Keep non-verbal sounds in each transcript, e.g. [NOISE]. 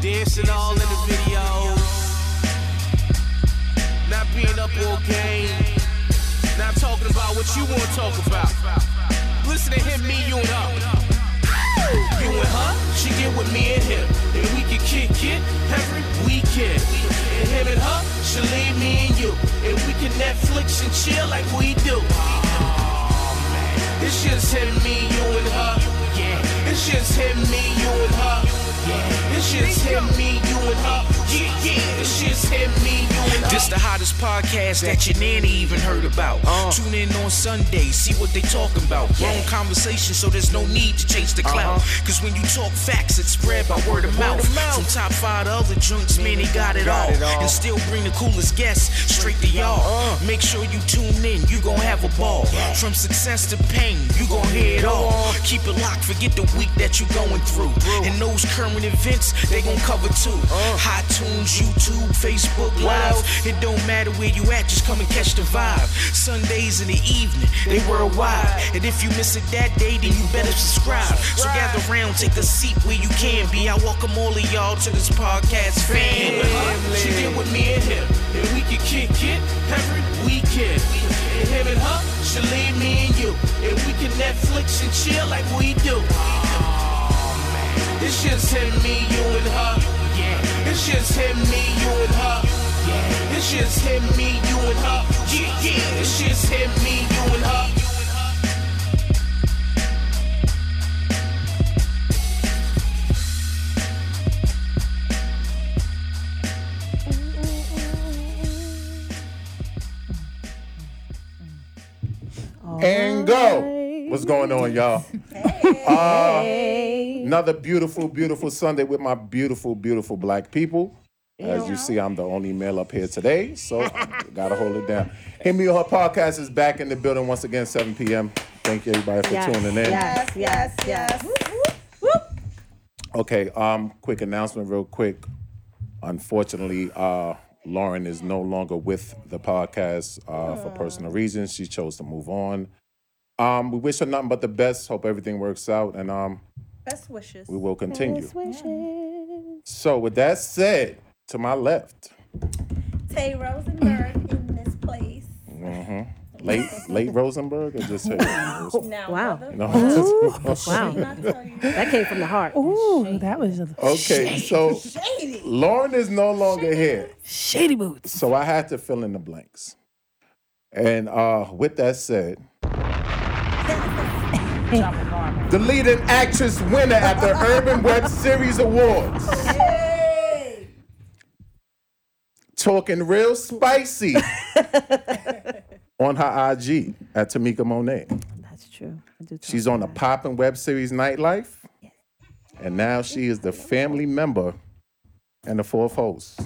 this and all in the videos. Not being up all game. Not talking about what you want to talk about. Listen to him, me, you, and her. You and her, she get with me and him. And we can kick it every weekend. And him and her, she leave me and you. And we can Netflix and chill like we do. It's just him, me, you, and her. Yeah. It's just him, me, you, and her. Yeah. It's just him, me, you, and her. Yeah, yeah. It's just him, me, you, and her. This the hottest podcast that your nanny even heard about. Tune in on Sunday, see what they talking about. Wrong conversation, so there's no need to chase the clout. Cause when you talk facts, it's spread by Uh-huh. word of mouth. From top five to other junks, man, they got it all. Uh. And still bring the coolest guests straight to y'all. Make sure you tune in, you gon' have a ball. From success to pain, you gon' hear it all. Keep it locked, forget the week that you going through. And those current events, they gon' cover too. iTunes, YouTube, Facebook Live. It don't matter where you at, just come and catch the vibe. Sundays in the evening, they worldwide. And if you miss it that day, then you better subscribe. So gather round, take a seat where you can be. I welcome all of y'all to this podcast You and family. her, she get with me and him. And we can kick it every weekend. And him and her, she leave me and you. And we can Netflix and chill like we do. It's just him, me, you, and her. Yeah. It's just him, me, you, and her. Yeah. It's just him, me, you, and her. Yeah, yeah. It's just him, me, you, and her. and go. What's going on, y'all? Uh, another beautiful, beautiful Sunday with my beautiful, beautiful black people. As you see, I'm the only male up here today, so [LAUGHS] gotta hold it down. Hit Me or Her podcast is back in the building once again, 7 p.m. Thank you everybody for Yes, tuning in. yes, yes, yes. Okay, um, quick announcement, real quick. Unfortunately, uh, Lauren is no longer with the podcast uh, for personal reasons. She chose to move on. Um, we wish her nothing but the best. Hope everything works out, and um, Best wishes. we will continue. So, with that said, to my left, Tay Rosenberg in this place. late late Rosenberg, or just her? [LAUGHS] Now, Wow. brother, No. Wow, I tell you, that came from the heart. Ooh, that was a okay, so Lauren is no longer here. shady boots. So I had to fill in the blanks. And uh, with that [LAUGHS] said, the leading actress winner at the [LAUGHS] Urban Web Series Awards. Talking real [LAUGHS] spicy on her IG at Tamika Monet. That's true. I do. talk She's on the about poppin' web series Nightlife. And now she is the family member and the fourth host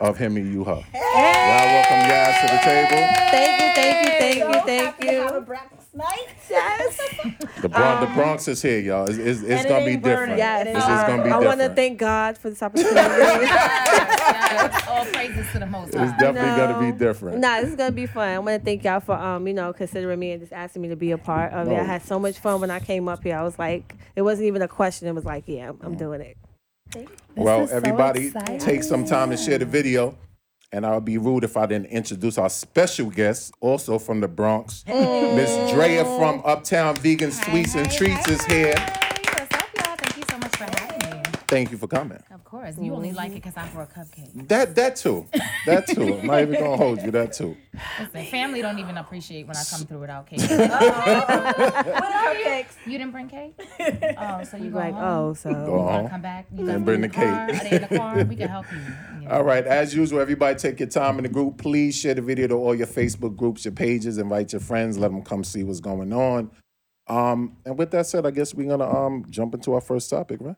of Him and You Her. Y'all welcome guys to the it. table. Thank you, thank you, so happy thank you, to have a thank you. breakfast night. The Bronx, the Bronx is here, y'all. It's, it's, it's it gonna be ain't burning. different. Yes, This is gonna be I want to different. thank God for this opportunity. [LAUGHS] All praises to the Most It's High. definitely gonna No. be different. Nah, this is gonna be fun. I want to thank y'all for um, you know, considering me and just asking me to be a part of it. No. I had so much fun when I came up here. I was like, it wasn't even a question. It was like, yeah, I'm, I'm doing it. well, is so everybody exciting. take some time to share the video. And I would be rude if I didn't introduce our special guest, also from the Bronx. Miss Drea from Uptown Vegan Sweets and Treats is here. What's up, y'all? Thank you so much for having me. Thank you for coming. Of course. You only like it because I brought Mm-hmm. cupcakes. That that too. That too. I'm not even gonna hold you. That [LAUGHS] too. Listen, family don't even appreciate when I come through without [LAUGHS] cake. Oh, Cupcakes. you didn't [LAUGHS] bring cake? Oh, so you go Like, home. oh, so Go Wanna on. Come back. You And guys bring in the car? cake. Are they in [LAUGHS] the car? We can help you. Yeah. All right, as usual, everybody take your time in the group. Please share the video to all your Facebook groups, your pages, invite your friends, let them come see what's going on. Um, and with that said, I guess we're gonna um jump into our first topic, right?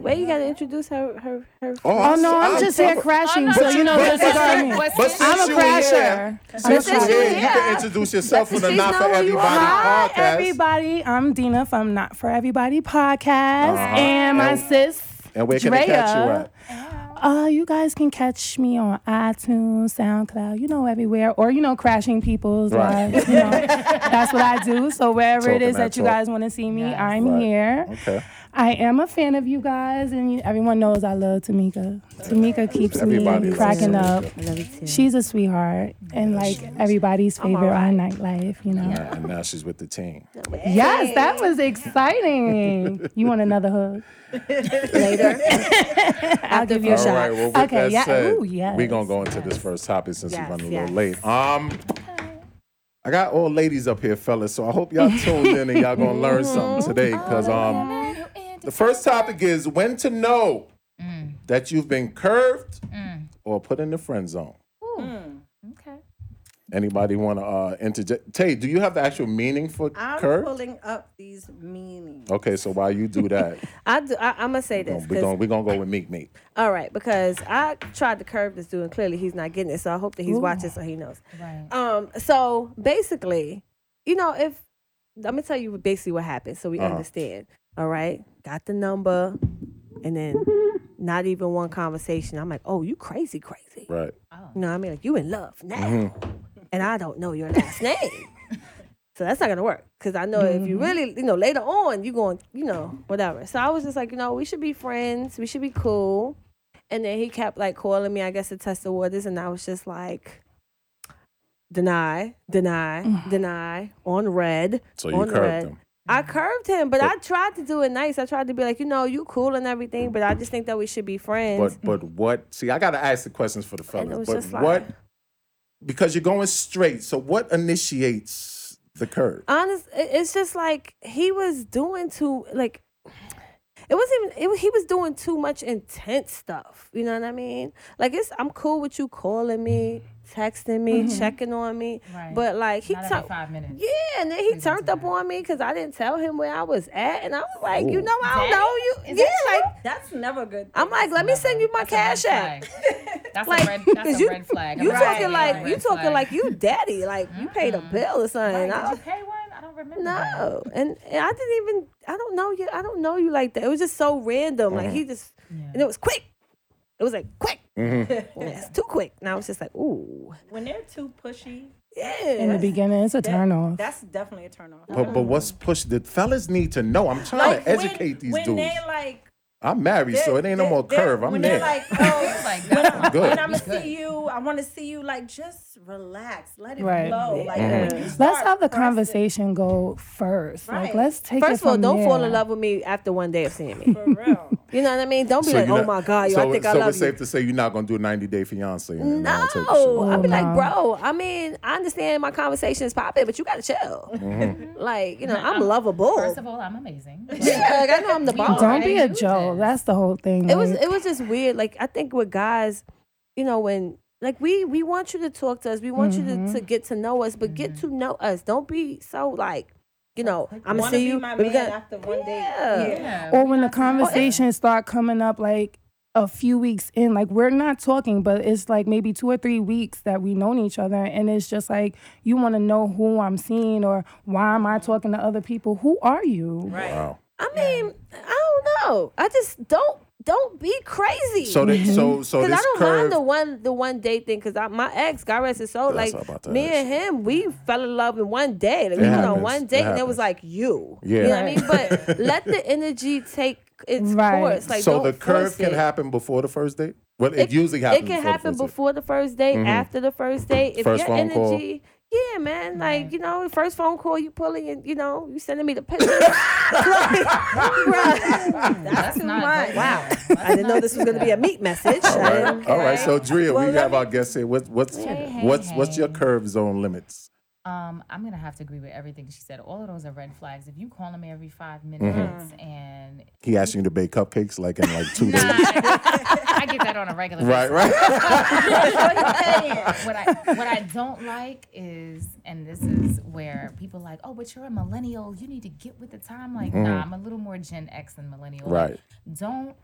wait, you gotta introduce her, her, her. Oh no, I'm just here crashing, so you know this is on me. But since I'm a you crasher. Here, since you she's here, you here. can introduce yourself on the She's Not not for who you Everybody Hi, podcast. everybody. I'm Dina from Not for Everybody podcast, Uh-huh. and my And- sis. And where can they catch you Drea. at? Uh, you guys can catch me on iTunes, SoundCloud, you know, everywhere, or you know, crashing people's Right. [LAUGHS] lives. You know, that's what I do. So wherever it Talking is that that you talk. guys want to see me, I'm Right. here. Okay. I am a fan of you guys, and you, everyone knows I love Tamika. Tamika keeps Everybody me loves cracking up. Tamika. I love you too. She's a sweetheart, and like everybody's favorite on nightlife, you know. Uh, and now she's with the team. Yes, that was exciting. you want another hug? later. I'll give you a All right. shot. Well, with Okay, that yeah, said, ooh, yes, we're gonna go into this first topic since Yes, we're running yes. a little late. Um, I got all ladies up here, fellas. So I hope y'all tuned in and y'all gonna learn [LAUGHS] something today. Cause Oh, um, the first topic is when to know Mm. that you've been curved or put in the friend zone. Okay. Anybody want to uh, interject? Tay, do you have the actual meaning for I'm curved? pulling up these meanings. Okay, so while you do [LAUGHS] that, I do, I, I'm gonna say this. we're 'cause- gonna, we gonna go with Meek Meek. all right, because I tried to curb this dude, and clearly he's not getting it. So I hope that he's watching, so he knows. Right. Um. So basically, you know, if I'm gonna tell you basically what happened, so we understand. All right, got the number, and then not even one conversation. I'm like, oh, you crazy, crazy. Right. You know what I mean? Like you in love now, Mm-hmm. and I don't know your last name, so that's not gonna work. Cause I know if you really, you know, later on you going, you know, whatever. So I was just like, you know, we should be friends. We should be cool. And then he kept like calling me, I guess, to test the waters, and I was just like, deny, deny, deny, on red, So you on curved red. him. I curved him, but I tried to do it nice. I tried to be like, you know, you cool and everything, but I just think that we should be friends. But but what? See, I gotta ask the questions for the And it fellas. was But just like- what? Because you're going straight. So what initiates the curve? honest it- it's just like he was doing too like it wasn't even it, wa- he was doing too much intense stuff you know what i mean like it's i'm cool with you calling me texting me checking on me Mm-hmm. Right. but like he Not turned every five minutes. yeah and then he turned up on me because i didn't tell him where i was at and i was like you know i don't know you Is yeah that like [LAUGHS] That's never a good. i'm like let me send you my That's cash a red app flag. That's like a red. 'cause That's a you, red flag. you Right. talking That's a like red you talking flag. like you daddy like you paid a bill or something Right, I Did was- you pay one? I don't remember. that. No, Mm-hmm. and, and I didn't even. I don't know you. I don't know you like that. It was just so random. Like Mm-hmm. he just, and it was quick. It was like quick. Mm-hmm. [LAUGHS] Yeah, it's too quick. And I was just like, ooh, When they're too pushy, In the yeah. beginning, it's a turn off. that's definitely a turn off. But but what's mm. pushed? The fellas need to know. I'm trying to educate when, these when dudes. they like, I'm married, so it ain't no they're- more they're- curve. I'm when there. they're like, oh, [LAUGHS] Like when, that's I'm, good. when I'm gonna see you, I want to see you. Like, just relax, let it Right. flow. Like, Mm-hmm. when you Let's start have the pressing- conversation go first. Like, Right. let's take it First of all, from don't fall there. in love with me after one day of seeing me. For real. You know what I mean? Don't be So like, you're oh not- my god, yo, so, I think so I love you. it's safe to say you're not gonna do a 90 day fiance. And and I don't take the shit. No, I'd be like, no. bro. I mean, I understand my conversation is popping, but you gotta chill. Mm-hmm. Like, you know, I'm lovable. First of all, I'm amazing. Yeah, [LAUGHS] like, I know I'm the boss. Don't be a Right. Joe. That's the whole thing. it was like, it was just weird. Like I think with guys, you know, when like we we want you to talk to us, we want you to, Mm-hmm. to get to know us, but get to know us. Don't be so like, you know, I'm gonna Wanna see be you. my we man gonna- after one date. Yeah. Yeah. or when the conversations start coming up, like a few weeks in, like we're not talking, but it's like maybe two or three weeks that we've known each other, and it's just like you want to know who I'm seeing or why am I talking to other people? Who are you? Right. Wow. I mean, I don't know. I just don't don't be crazy. So that so [LAUGHS] so Cause I Oh, this don't curve. mind the one the one day thing. Cause I, my ex, God rest his soul, That's like what I'm about to me ask. and him, we Mm-hmm. fell in love in one day. It Like, we went on happens. one It date, and it was happens. like you. Yeah. You know what I mean? [LAUGHS] But let the energy take its Right. course. Like so don't the curve force can it. happen before the first date. Well, it, usually happens. It can before the happen first date. before the first date, after the first date. If First your phone call. energy, yeah, man, like you know, first phone call, you pulling, and you know, you [LAUGHS] sending me the pictures. Like, bruh, That's not wow, good. That's I didn't know not this was gonna good. be a meat message. All I right. Oh. didn't- All right. So Drea, Well, we let have me- our guest here. What's what's Hey, what's hey, what's your hey. curve zone limits? Um, I'm gonna have to agree with everything she said. All of those are red flags. If you call me every five Mm-hmm. minutes and He asked you to bake cupcakes like in like two nah, [LAUGHS] days. I get that on a regular. Right, right. basis. what I what I don't like is, and this is where people like, oh, but you're a millennial. You need to get with the time. Like, nah, I'm a little more Gen X than millennial. Like, [LAUGHS] Mm-hmm. Right. Don't.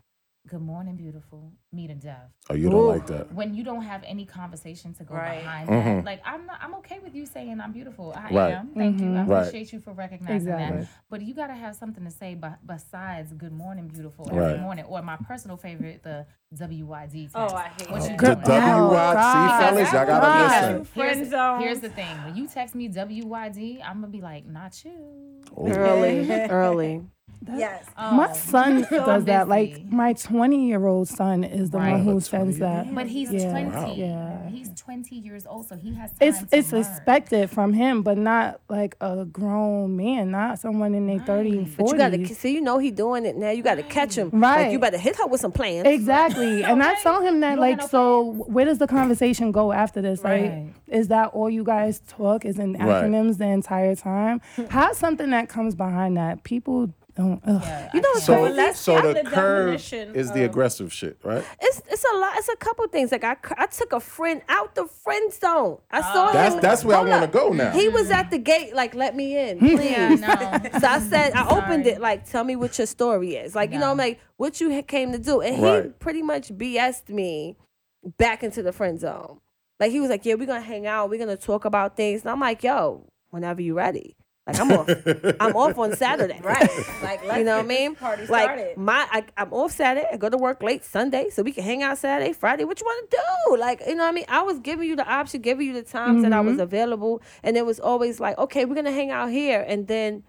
Good morning, beautiful. Me to death. Oh, you don't like that. when you don't have any conversation to go Right. behind that. Like I'm not I'm okay with you saying I'm beautiful. I Mm-hmm. Right. Mm-hmm. am. Thank you. I Right. appreciate you for recognizing Exactly. that. But you gotta have something to say be- besides good morning beautiful Right. every morning. Or my personal favorite, the WYD text. Oh, I hate What that. The you doing? Good- WYT God. fellas, y'all gotta God. listen. Friend Here's, zone. here's the thing. Oh. When you text me WYD, I'm gonna be like, not you. [LAUGHS] early, early. That- Yes. My son so does that. busy. Like my 20 year old son is the Right. one who That's sends crazy. that. But he's Yeah. 20. Wow. Yeah. He's 20 years old, so he has time It's to it's learn. expected from him, but not like a grown man, not someone in their 30 and 40s. But you gotta see, you know he doing it now. You gotta catch him. Like Right. you better hit her with some plans. Exactly. And I told him that, You don't like, have no so where does the conversation go after this? Right. Like, is that all you guys talk is in Right. acronyms the entire time? Have something that comes behind that. People don't. Ugh. You know what's So, crazy? that's so not the the curve definition is the aggressive shit, right? It's it's a lot. It's a couple things. Like I, cr- I took a friend out the friend zone. I Ah. saw That's him. that's where I Hold want to up. go now. He was at the gate, like, let me in, please. Mm. Yeah, [LAUGHS] no. So I said, I opened it, like, tell me what your story is. Like, you know, I'm like, what you ha- came to do. And he Right. pretty much BS'd me back into the friend zone. Like, he was like, yeah, we're going to hang out. We're going to talk about things. And I'm like, yo, whenever you're ready. Like, I'm off. I'm off on Saturday. Right. Like, [LAUGHS] let's You know get what I mean? this Party like started. my, I, I'm off Saturday. I go to work late Sunday, so we can hang out Saturday, Friday. What you want to do? Like, you know what I mean? I was giving you the option, giving you the times that I was available, and it was always like, okay, we're gonna hang out here, and then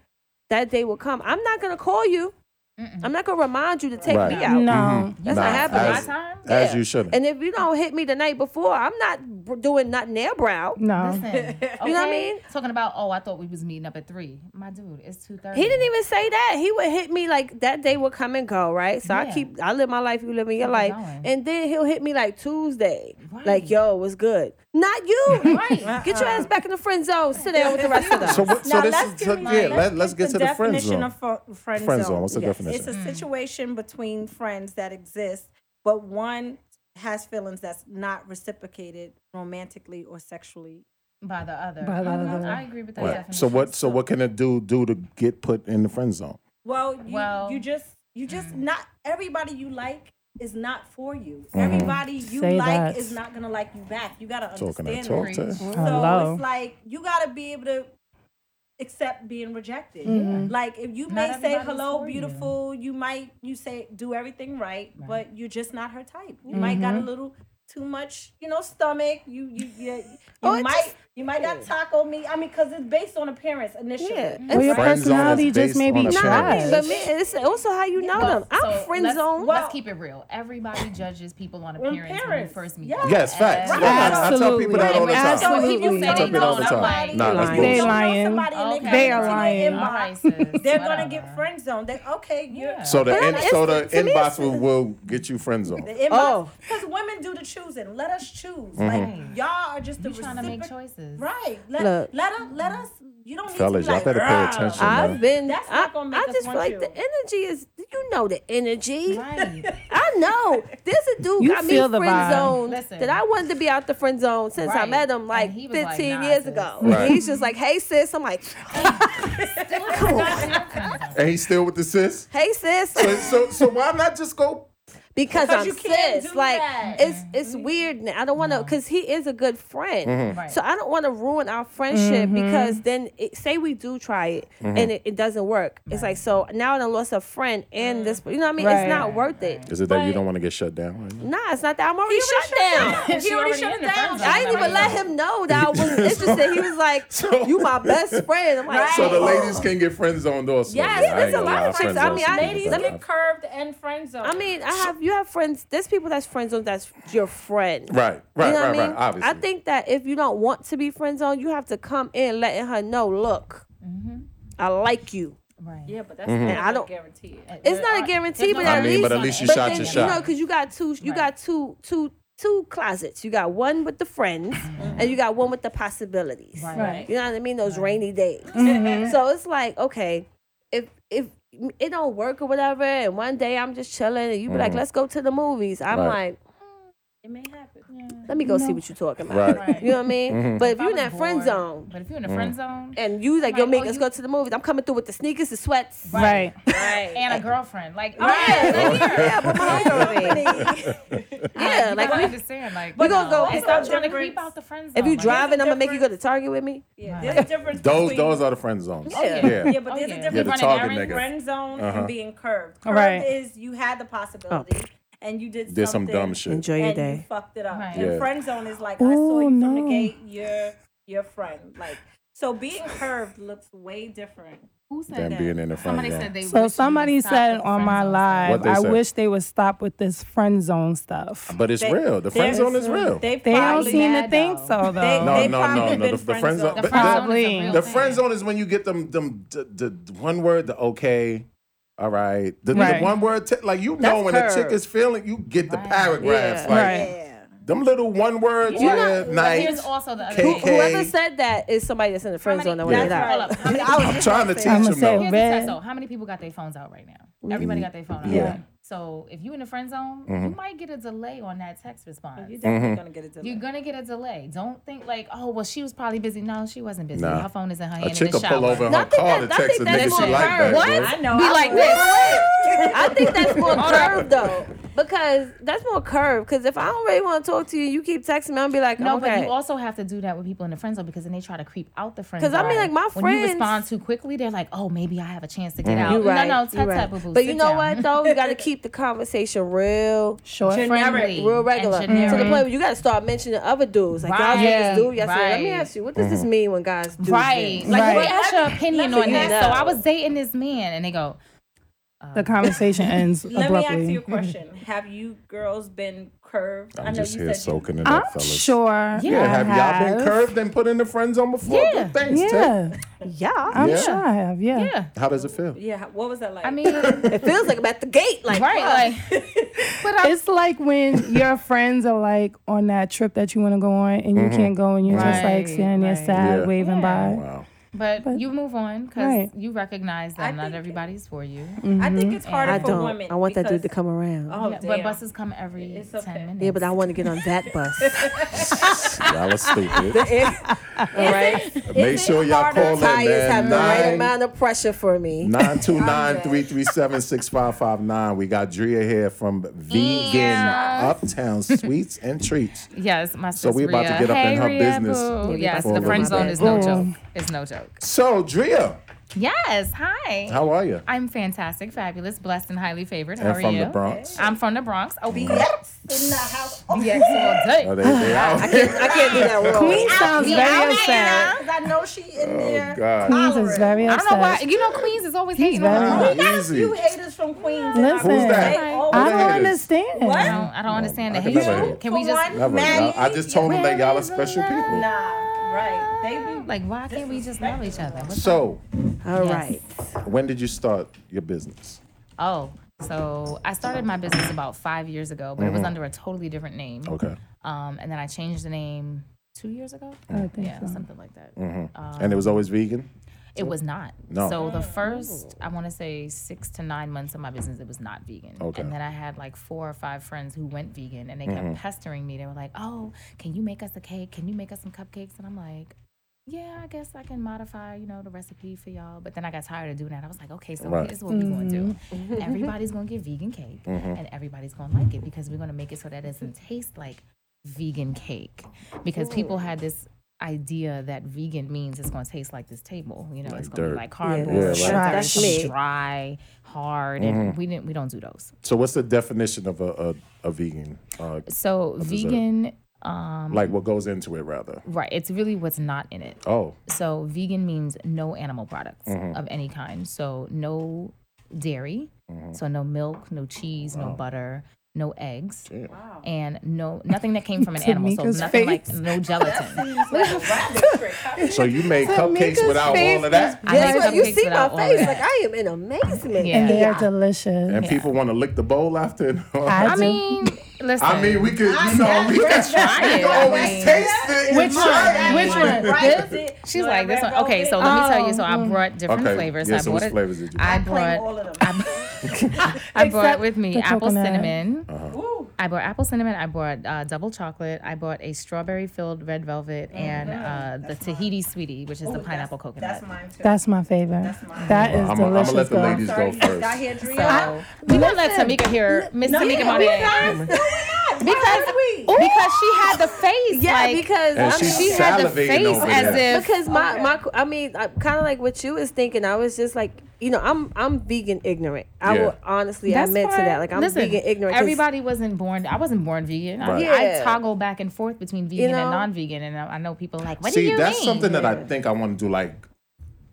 that day will come. I'm not gonna call you. I'm not gonna remind you to take Right. me out. No. Mm-hmm. not That's not happening. happening. As, time? as Yeah. you shouldn't. And if you don't hit me the night before, I'm not b- doing nothing there, brow. No. Listen, [LAUGHS] You know what I okay? mean? Talking about, oh, I thought we was meeting up at three. My dude, it's two thirty. He didn't even say that. He would hit me like that day would come and go, right? So I Yeah. keep I live my life, you live in your Keep it life. going. And then he'll hit me like Tuesday. Like, Right. yo, what's good? Not you. right. [LAUGHS] Get your ass back in the friend zone. Sit down with the [LAUGHS] rest of us. so what, so Now, this let's is get so, into- yeah. Let, let's get to the friend definition zone. Of fo- friend, Friend zone. zone. What's the It's a Mm. definition? situation between friends that exists, but one has feelings that's not reciprocated romantically or sexually. By the other. By the Mhm, other. I agree with that Right. definition. So what? So what can a dude do to get put in the friend zone? Well, you, Well, you just you just mm. not everybody you like is not for you. Mm-hmm. Everybody you Say like that. is not gonna like you back. You gotta So can I understand talk that. to? Preach. So Hello. it's like you gotta be able to accept being rejected. Like if you Not may say everybody's hello, for you." beautiful, you. might you say do everything right, but you're just not her type. You might got a little too much, you know, stomach. You you you, you Oh, it might just- you might not taco me. I mean, cause it's based on appearance initially. Mm-hmm. Yeah. Or your Friend zone is personality based just may on be appearance. trash. But man, it's also how you know them. I'm so friend let's- zone. Let's keep it real. Everybody judges people on appearance when you appearance. first meet Yes. them. Yes, facts. Right. Yeah, I- I tell Absolutely. people that all the Right. time. Absolutely. Absolutely. I tell people that all the Lying. time. Nah, that's Lying. bullshit. They lying. Okay. They are are lying. All right, sis. They're gonna Whatever. get friend zoned. They okay, you Yeah. So the But in, it's- so the to me, inbox it's- will, will get you friend zone. the inbox Oh. Mm-hmm. because women do the choosing. Let us choose. Right. Like y'all are just the You trying to make recipro- choices. Right. Let, Look. let us let us you don't need Fellas, to be y'all like, better pay "Rah." attention. I've been That's I, not gonna make I us just feel want like you. the energy is you know the energy. [LAUGHS] Right. I know. There's a dude You got me feel the friend vibe. zone Listen. that I wanted to be out the friend zone since I Right. met him like And he 15 was like, nah, years sis. ago. Right. He's just like, hey sis. I'm like, And he's still with the sis. hey sis. So so, so why not just go? because Because I'm you can't cis. do Like that. it's it's weird now. I don't want to because he is a good friend. Mm-hmm. Right. So I don't want to ruin our friendship Mm-hmm. because then it, say we do try it and it, it doesn't work. It's like so now I done lost a friend and this. Mm. You know what I mean? It's Right. not worth it. Is it that you don't want to get shut down? Right now? Nah, it's not that I'm already shut down. He She already already shut in the it down. friend zone. I didn't even let him know that [LAUGHS] I was interested. He was like, So- "You my best friend." I'm like, So the "Oh." ladies can get friend zoned also. Yes, I ain't there's a gonna lot lie, of friends. friend I mean, zone's I- been Ladies bad. get curved and friend zoned. I mean, I have you have friends. There's people that's friend zone that's your friend. Right, right, you know right, what I right. mean? Obviously, I think that if you don't want to be friend zone, you have to come in letting her know, look, I like you. Right. yeah, but that's Mm-hmm. not I don't- a guarantee. It's not a guarantee, but Hmm. I at mean, least but at least you but shot then, your You know, shot. because you got two, you got two, two, two closets. You got one with the [CLEARS THROAT] friends, and you got one with the possibilities. Mm-hmm. Right. Mm-hmm. You know what I mean? Those rainy days. So it's like, okay, if if it don't work or whatever, and one day I'm just chilling, and you be like, let's go to the movies. I'm Mm-hmm. Right. like, "Mm, It may happen. let me go see what you're talking about. Right. Mm-hmm. Right. You know what I mean? But if you're in was that friend bored, zone. But if you're in the Mm. friend zone And you like, yo, Like, make oh, us you- go to the movies. I'm coming through with the sneakers, the sweats. Right. and a girlfriend, like, oh, Right. yeah, Yeah, but my homegirl ain't. Yeah, you like gotta we understand, like, we gonna go- and stop trying to creep out the friend zone. If you like, driving, I'm gonna make you go to Target with me. [LAUGHS] Yeah, there's a difference. Those between- those are the friend zones. Yeah. Yeah, but Oh, there's yeah. a Yeah, difference the between target running nigga. friend zone Uh-huh. and being curved. Curved Right. is you had the possibility and you did, Did some something dumb shit. Enjoy your and day. you fucked it up. Right. And Yeah. friend zone is like I Oh, saw you from the no. gate. You're your friend. Like So being curved looks way different. Who said Than that? being in the front Somebody row. said they wish you So would somebody stop said the on my friend zone live, What they I said? wish they would stop with this friend zone stuff. But it's They- real. The friend they're- zone is real. They, They don't probably seem to mad, think though. so though. They- no, no, they've no, probably no. The, been the friend friend zone. zoned. The but friend the- zone is Probably. a real The The thing. friend zone is when you get them them the, the one word the okay, all right. The, the Right. one word t- like you know That's when a curved. chick is feeling you get the Right. paragraph Yeah. like Right. Yeah. them little one words You know- yeah but But night. here's also the other K- thing. K- Whoever said that is somebody that's in the friend How zone. many- I want to that's that. right. Hold up. How many- I was I'm just trying to gonna teach say- I'ma them say though. red. Here's the Red. test, though. How many people got their phones out right now? Everybody got their phone out. Yeah. Mm-hmm. right? So if you in the friend zone, you might get a delay on that text Oh, response. You're definitely gonna get a delay. You're gonna get a delay. Don't think like, oh well, she was probably busy. No, she wasn't busy. Nah. Her phone is in her A hand in chick the will shower. pull over in her I think car that- to I text a think nigga that's she more like that. curved. bro. What? I know. Be I like would. this. I think that's more curved though, because that's more curved. Because if I don't really want to talk to you, you keep texting me, I'm gonna be like, No, okay. but you also have to do that with people in the friend zone because then they try to creep out the friend zone. 'Cause I mean, like, my when you friends- respond too quickly, they're like, "Oh, maybe I have a chance to get out." You right. No, no, you tut right. tut, boo boo. But you sit know down. what though, you got to keep the conversation real, Short. Friendly real regular, and to the generic. point where you got to start mentioning other dudes. Like y'all Right. see Yeah. this dude yesterday. Let me Right. ask you, what does this mean when guys do Right. this? Like, let me Right. ask your opinion Nothing on you this. know. So I was dating this man, and they go, [LAUGHS] The conversation ends Let me ask [LAUGHS] abruptly. you a question. Have you girls been curved? I'm just here you soaking it I'm up, fellas. sure. Yeah, Yeah, I have y'all been curved and put in the friend zone before? Yeah. Good thanks, Tiff. Yeah, Yeah, I'm Yeah. sure I have. Yeah. yeah. How does it feel? Yeah. What was that like? I mean, right, it feels like I'm at the gate. Like like, but I, It's like [LAUGHS] when your friends are like on that trip that you want to go on and you can't go and you're just Right, like standing there right. sad, Mm-hmm. Yeah. waving Yeah. by. Wow. but, you move on because Right. you recognize that I not think- everybody's for you. I think it's harder I for don't. women. I want that dude to because- come around. Oh, Yeah, damn. but buses come every It's ten okay. minutes. Yeah, but I want to get on that bus. Y'all are stupid. All right. Make sure y'all call Tires that have the right man. Nine- amount of pressure for me. 929-337-6559. We got Drea here from Vegan Uptown Sweets and Treats. yes, my So sister. we about to Rhea. get up in hey, her Rhea, business Boo. Yes, for a the friend little zone bit. is no Ooh. joke. It's no joke. So, Drea, Yes. Hi. how are you? I'm fantastic, fabulous, blessed, and highly favored. How And are from you? the Bronx. I'm from the Bronx. Oh, Yes, in the house. Oh, yes, all day. Are they, they out here? I can't do that role. Queen sounds we out very here. upset. 'cause I know she in Oh, there. God. Queens is very I upset. don't know why. You know, Queens is always hating on very- her. Ah, You easy. haters from Queens. Listen. Who's that? They always- I Who the don't hell is- understand. I What? don't, I don't understand the I can never hatred. hate. Can we For just one, Never. Maggie. I just told them that y'all are special people. Nah, right. They be like? Why can't we just love each other? What's So, All Yes. right. when did you start your business? [LAUGHS] Oh, so I started my business about five years ago, but it was under a totally different name. Okay. Um, and then I changed the name two years ago. I think yeah, so. something like that. and it was always vegan? It was not. No. So the Oh. first, I want to say six to nine months of my business, it was not vegan. Okay. And then I had like four or five friends who went vegan, and they kept pestering me. They were like, "Oh, can you make us a cake? Can you make us some cupcakes?" And I'm like. Yeah, I guess I can modify, you know, the recipe for y'all. But then I got tired of doing that. I was like, okay, so Right. Mm-hmm. here's what we're gonna do. Mm-hmm. Everybody's gonna get vegan cake, and everybody's gonna like it because we're gonna make it so that it doesn't taste like vegan cake. Because people had this idea that vegan means it's gonna taste like this table. You know, it's gonna dirt. be like cardboard, Yeah, that's- it's that's gonna be me. dry, hard, Mm-hmm. and we didn't. We don't do those. So, what's the definition of a, a, a vegan? Uh, So dessert. vegan, um, like, what goes into it, rather? right? It's really what's not in it. Oh, So vegan means no animal products Mm-hmm. of any kind. So no dairy, Mm-hmm. so no milk, no cheese, no butter, no eggs, and no nothing that came from an animal. So Tamika's nothing face. like no gelatin. so you made cupcakes Tamika's without face all of that? I That's like what you cupcakes see my without all face. that. Like I am in amazement. Oh, Yeah. And they're Yeah. delicious. And people want to lick the bowl after [LAUGHS] it? I I do. mean, listen. I mean, we could, you know, we could try we it. could [LAUGHS] I always mean- taste it. Which and try one? it. Which one? Right. This? It- She's no, like this red one. Okay, velvet. so let me tell you. Oh, So I brought different Okay, flavors. yeah, I so brought which it- flavors did you I I claim brought. all of them. I brought with me the apple coconut. cinnamon. Uh-huh. Ooh, I brought apple cinnamon. I brought uh, double chocolate. I brought a strawberry filled red velvet Oh, and uh, the Tahiti sweetie, which is the pineapple coconut. that's [LAUGHS] mine too. That's my favorite. That's I'm going delicious. to let the girl. ladies go Sorry, you got first. here, Drea. So we won't let Tamika hear Miss Tamika Monet No, we're not. because [LAUGHS] because she had the face Yeah, like because And I she's mean, she had the salivating face over as there. if because my my I mean, kind of like what you was thinking. I was just like, you know, I'm I'm vegan ignorant. I Yeah. will honestly That's admit to fine. that. Like I'm Listen, vegan ignorant. 'cause Everybody wasn't born. I wasn't born vegan. I- Right. I, Yeah. toggle back and forth between vegan know? and non-vegan, and I, I know people are like, "What do See, you that's mean?" something that I think I want to do like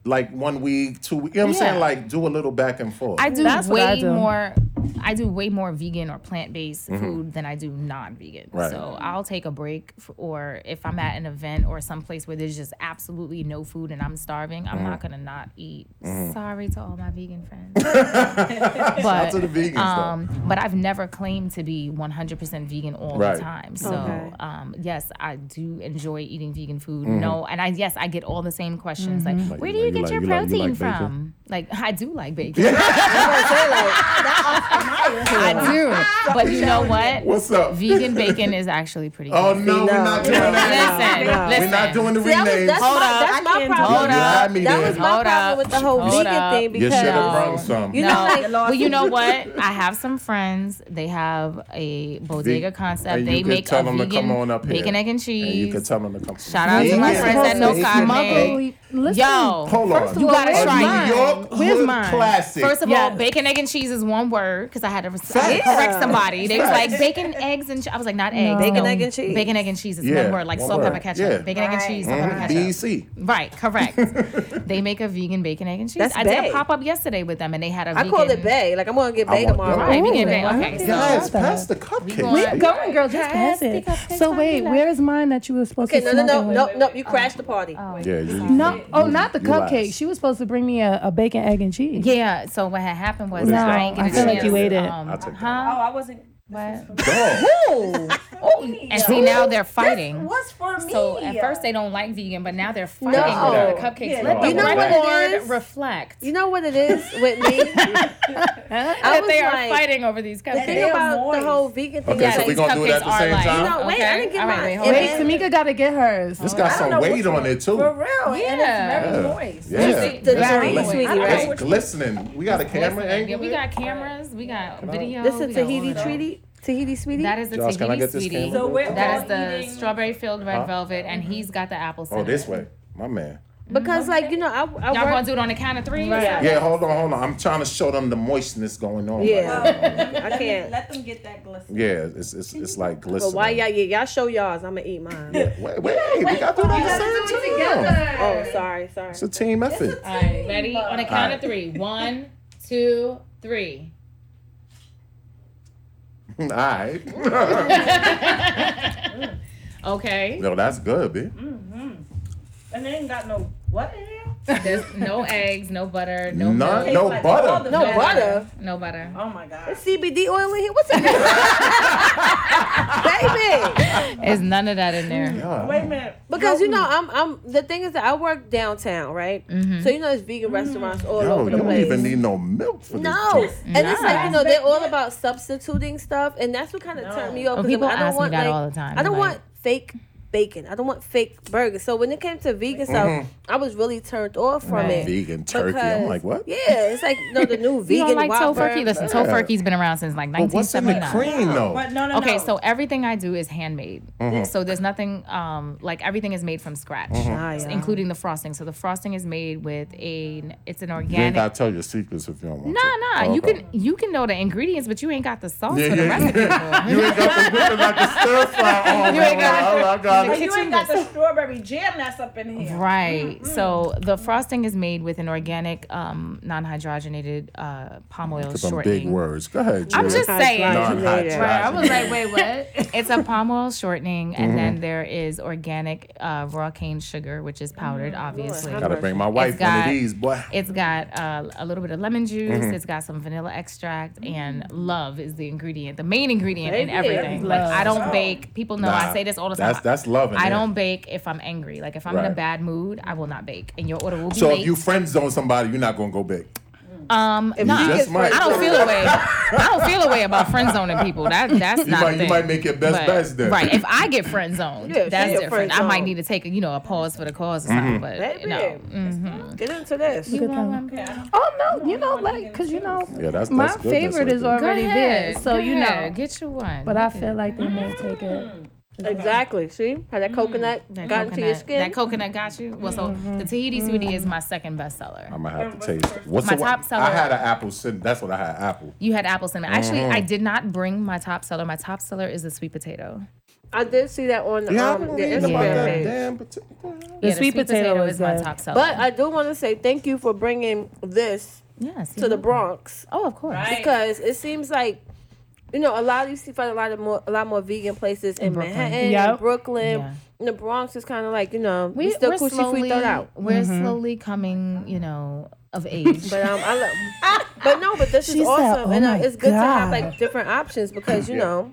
like one week, two week. You know what I'm saying? Yeah. Like do a little back and forth. I do That's way what I do. more. I do way more vegan or plant-based food than I do non-vegan. Mm-hmm. Right. So I'll take a break, f or if I'm at an event or someplace where there's just absolutely no food and I'm starving, I'm not gonna not eat. Sorry to all my vegan friends. Mm-hmm. [LAUGHS] Shout but to the vegans um, but I've never claimed to be 100% vegan all Right. the time. So, Okay. um, yes, I do enjoy eating vegan food. No, and I yes, I get all the same questions Mm-hmm. like, where you do Mm-hmm. like- you you get like- your you like- you protein like bacon? from? Like, [LAUGHS] I do like bacon. I do. But you know what? What's up? Vegan bacon is actually pretty [LAUGHS] Oh good. no, we're not doing no, that. Listen, no. listen. We're not doing the See, that was, renames. that's Hold my, up. that's my I can't problem. do that. You had me that there. was my Hold problem up. with the whole Hold vegan up. thing You should have because brought some. you no. know, like well, you know what? I have some friends. They have a bodega Ve- concept. and They you could make tell a them to vegan come on up here. bacon, egg, and And you could cheese. tell them to come. Shout out to my Vegan friends at No bacon, Carne. egg. Listen, Yo, Hold on. you gotta a try mine. New York Where's hood mine? classic. First of all, Yes. bacon, egg, and cheese is one word because I had to res- I had to correct somebody. They was like bacon, eggs, and che-" I was like not eggs. Bacon, no. egg, and cheese. Bacon, egg, and cheese is Yeah, one word, like one salt, word. pepper, ketchup. Yeah. Mm-hmm. Bacon, egg, and cheese, salt, pepper, ketchup. BC. [LAUGHS] Right, correct. they make a vegan bacon, egg, and cheese. That's I did bae. a pop up yesterday with them, and they had a I vegan. called it bae. Like I'm gonna get I bae want tomorrow. that. Right, vegan Ooh, bacon. I Okay, like so that. Guys, pass the cupcake. We going- Going, girl, just pass it. So wait, where is mine that you were supposed Okay, to? no, no, smuggle no, in? no, no. You crashed the party. Yeah, you, No, oh, not the you cupcake. last. She was supposed to bring me a, a bacon, egg, and cheese. yeah. So what had happened was What is I that? ain't get I a feel like you chance, ate it. Um, I'll take that. Oh, huh? I wasn't. What? Oh, Dog. And see now they're fighting. What's for me? So at first they don't like vegan, but now they're fighting No. over the cupcakes. Yeah. Let the You know what it record is? reflect You know what it is with [LAUGHS] me? I that was they are like, fighting over these The thing Damn cupcakes. about moist. the whole vegan thing, Okay, is so like, we gonna do it at the Cupcakes are same like- time. no, wait, I Okay, didn't get all right, mine. wait, hold And on. Wait, then- Tamika got to get hers. This got some weight on it too. For real. Yeah. And it's very moist. Yeah, the That's Very glis- sweetie, that's right? glistening. We got a camera Listen, yeah, angle. we got cameras, we got video. This we is got all of Tahiti that. treaty. Tahiti sweetie. That is the Josh, can I get Tahiti this sweetie. camera? So we're That is all the eating- strawberry filled red velvet, and he's got the apple Oh, cinnamon. this way, my man. because like you know I I Y'all gonna work. do it on the count of three? Yeah, hold on, hold on. I'm trying to show them the moistness going on. right Yeah. now. I can't. Let them get that glisten. yeah. It's it's it's like But glistening. why y'all yeah, y'all show y'all's. I'm gonna eat mine. Wait, wait, we got to do that same time. Oh, sorry, sorry. It's a team effort. All right, ready? On the count of three. One, two, three. [LAUGHS] All right. [LAUGHS] [LAUGHS] Okay. no, that's good, B. And they ain't got no what in here? There's no eggs, no butter, no No, milk, no Like, all butter. the No bad- butter. no butter. Oh my God. CBD oil in here. What's in here? Baby. There's none of that in there. Yeah. Wait a minute. Because you know, I'm I'm the thing is that I work downtown, right? Mm-hmm. So you know there's vegan restaurants all Yo, over you the don't place. even need no milk for no, this. and it's like you know they're all about substituting stuff, and that's what kind of turned me off. Oh, 'cause I'm- people I don't ask me want that like, all the time, I don't like- want fake bacon. I don't want fake burgers. So when it came to vegan Mm-hmm. stuff, I was really turned off from Right. it. Vegan turkey. I'm like, what? Yeah, it's like no, the new [LAUGHS] You vegan don't like Whopper. tofurkey? Listen, Yeah. tofurkey's been around since like But what's in the 1979. cream though? But no, no, no. Okay, so everything I do is handmade. Uh-huh. So there's nothing um like everything is made from scratch, Uh-huh. Ah, yeah. including the frosting. So the frosting is made with a it's an You ain't organic. gotta tell your secrets if you don't want to. Nah, nah. Oh, You okay. can you can know the ingredients, but you ain't got the sauce Yeah, for the yeah. [LAUGHS] recipe. You girl. ain't got the looking like a stir [LAUGHS] fry. Oh, Oh, You ain't got- I got But [LAUGHS] it. you ain't got the strawberry jam that's up in here. Right. So the frosting is made with an organic, um, non-hydrogenated uh, palm oil Some shortening. big words. Go ahead. I'm just saying. Non-hydrogenated. Right, I was like, wait, what? it's a palm oil shortening, and then there is organic uh, raw cane sugar, which is powdered, obviously. Gotta bring my wife It's one of got- these, boy. It's got uh, a little bit of lemon juice. Mm-hmm. It's got some vanilla extract, and love is the ingredient, the main ingredient in everything. Like I don't bake. People know Nah, I say this all the time. that's- that's love in I there. don't bake if I'm angry. Like if I'm in Right. a bad mood, I will not bake, and your order will be So late. if you friend zone somebody, you're not gonna go big. um, nah, you just might. I don't feel a way. I don't feel a way about friend zoning people. [LAUGHS] That that's You not. might, a you thing. might make your best But- best then. Right. If I get friend zoned, Yeah, if that's you get different. I friend might zoned. need to take a, you know a pause for the cause or something. But Baby. no. Mm-hmm. Get into this. Look at them. Oh no, you know, like, cause you know, Yeah, that's- my that's good, that's favorite right is there. already there, so you know. get you one. Mm. But I feel like they may take it. Exactly. See how that coconut Mm. That got coconut, into your skin. That coconut got you. Well, so the Tahiti sweetie is my second bestseller. I'm gonna have to taste. it. What's My the top seller- I had an apple cinnamon. That's what I had. Apple. You had apple cinnamon. Actually, I did not bring my top seller. My top seller is the sweet potato. I did see that on Yeah, um, I'm the reading about Instagram that page. damn potato. The Yeah, sweet potato is is my good. top seller. But I do want to say thank you for bringing this yes, to the broad. Bronx Oh, of course. Right. because it seems like you know a lot of you see find a lot of more a lot more vegan places in, Brooklyn. Manhattan, in Yep. Brooklyn, Yeah. in the Bronx is kind of like you know we, still cushy free thrown out. We're slowly coming, you know, of age. But um, I [LAUGHS] love. but no, but this She is said, awesome, "Oh and uh, my it's good to have God." like different options because you Yeah. know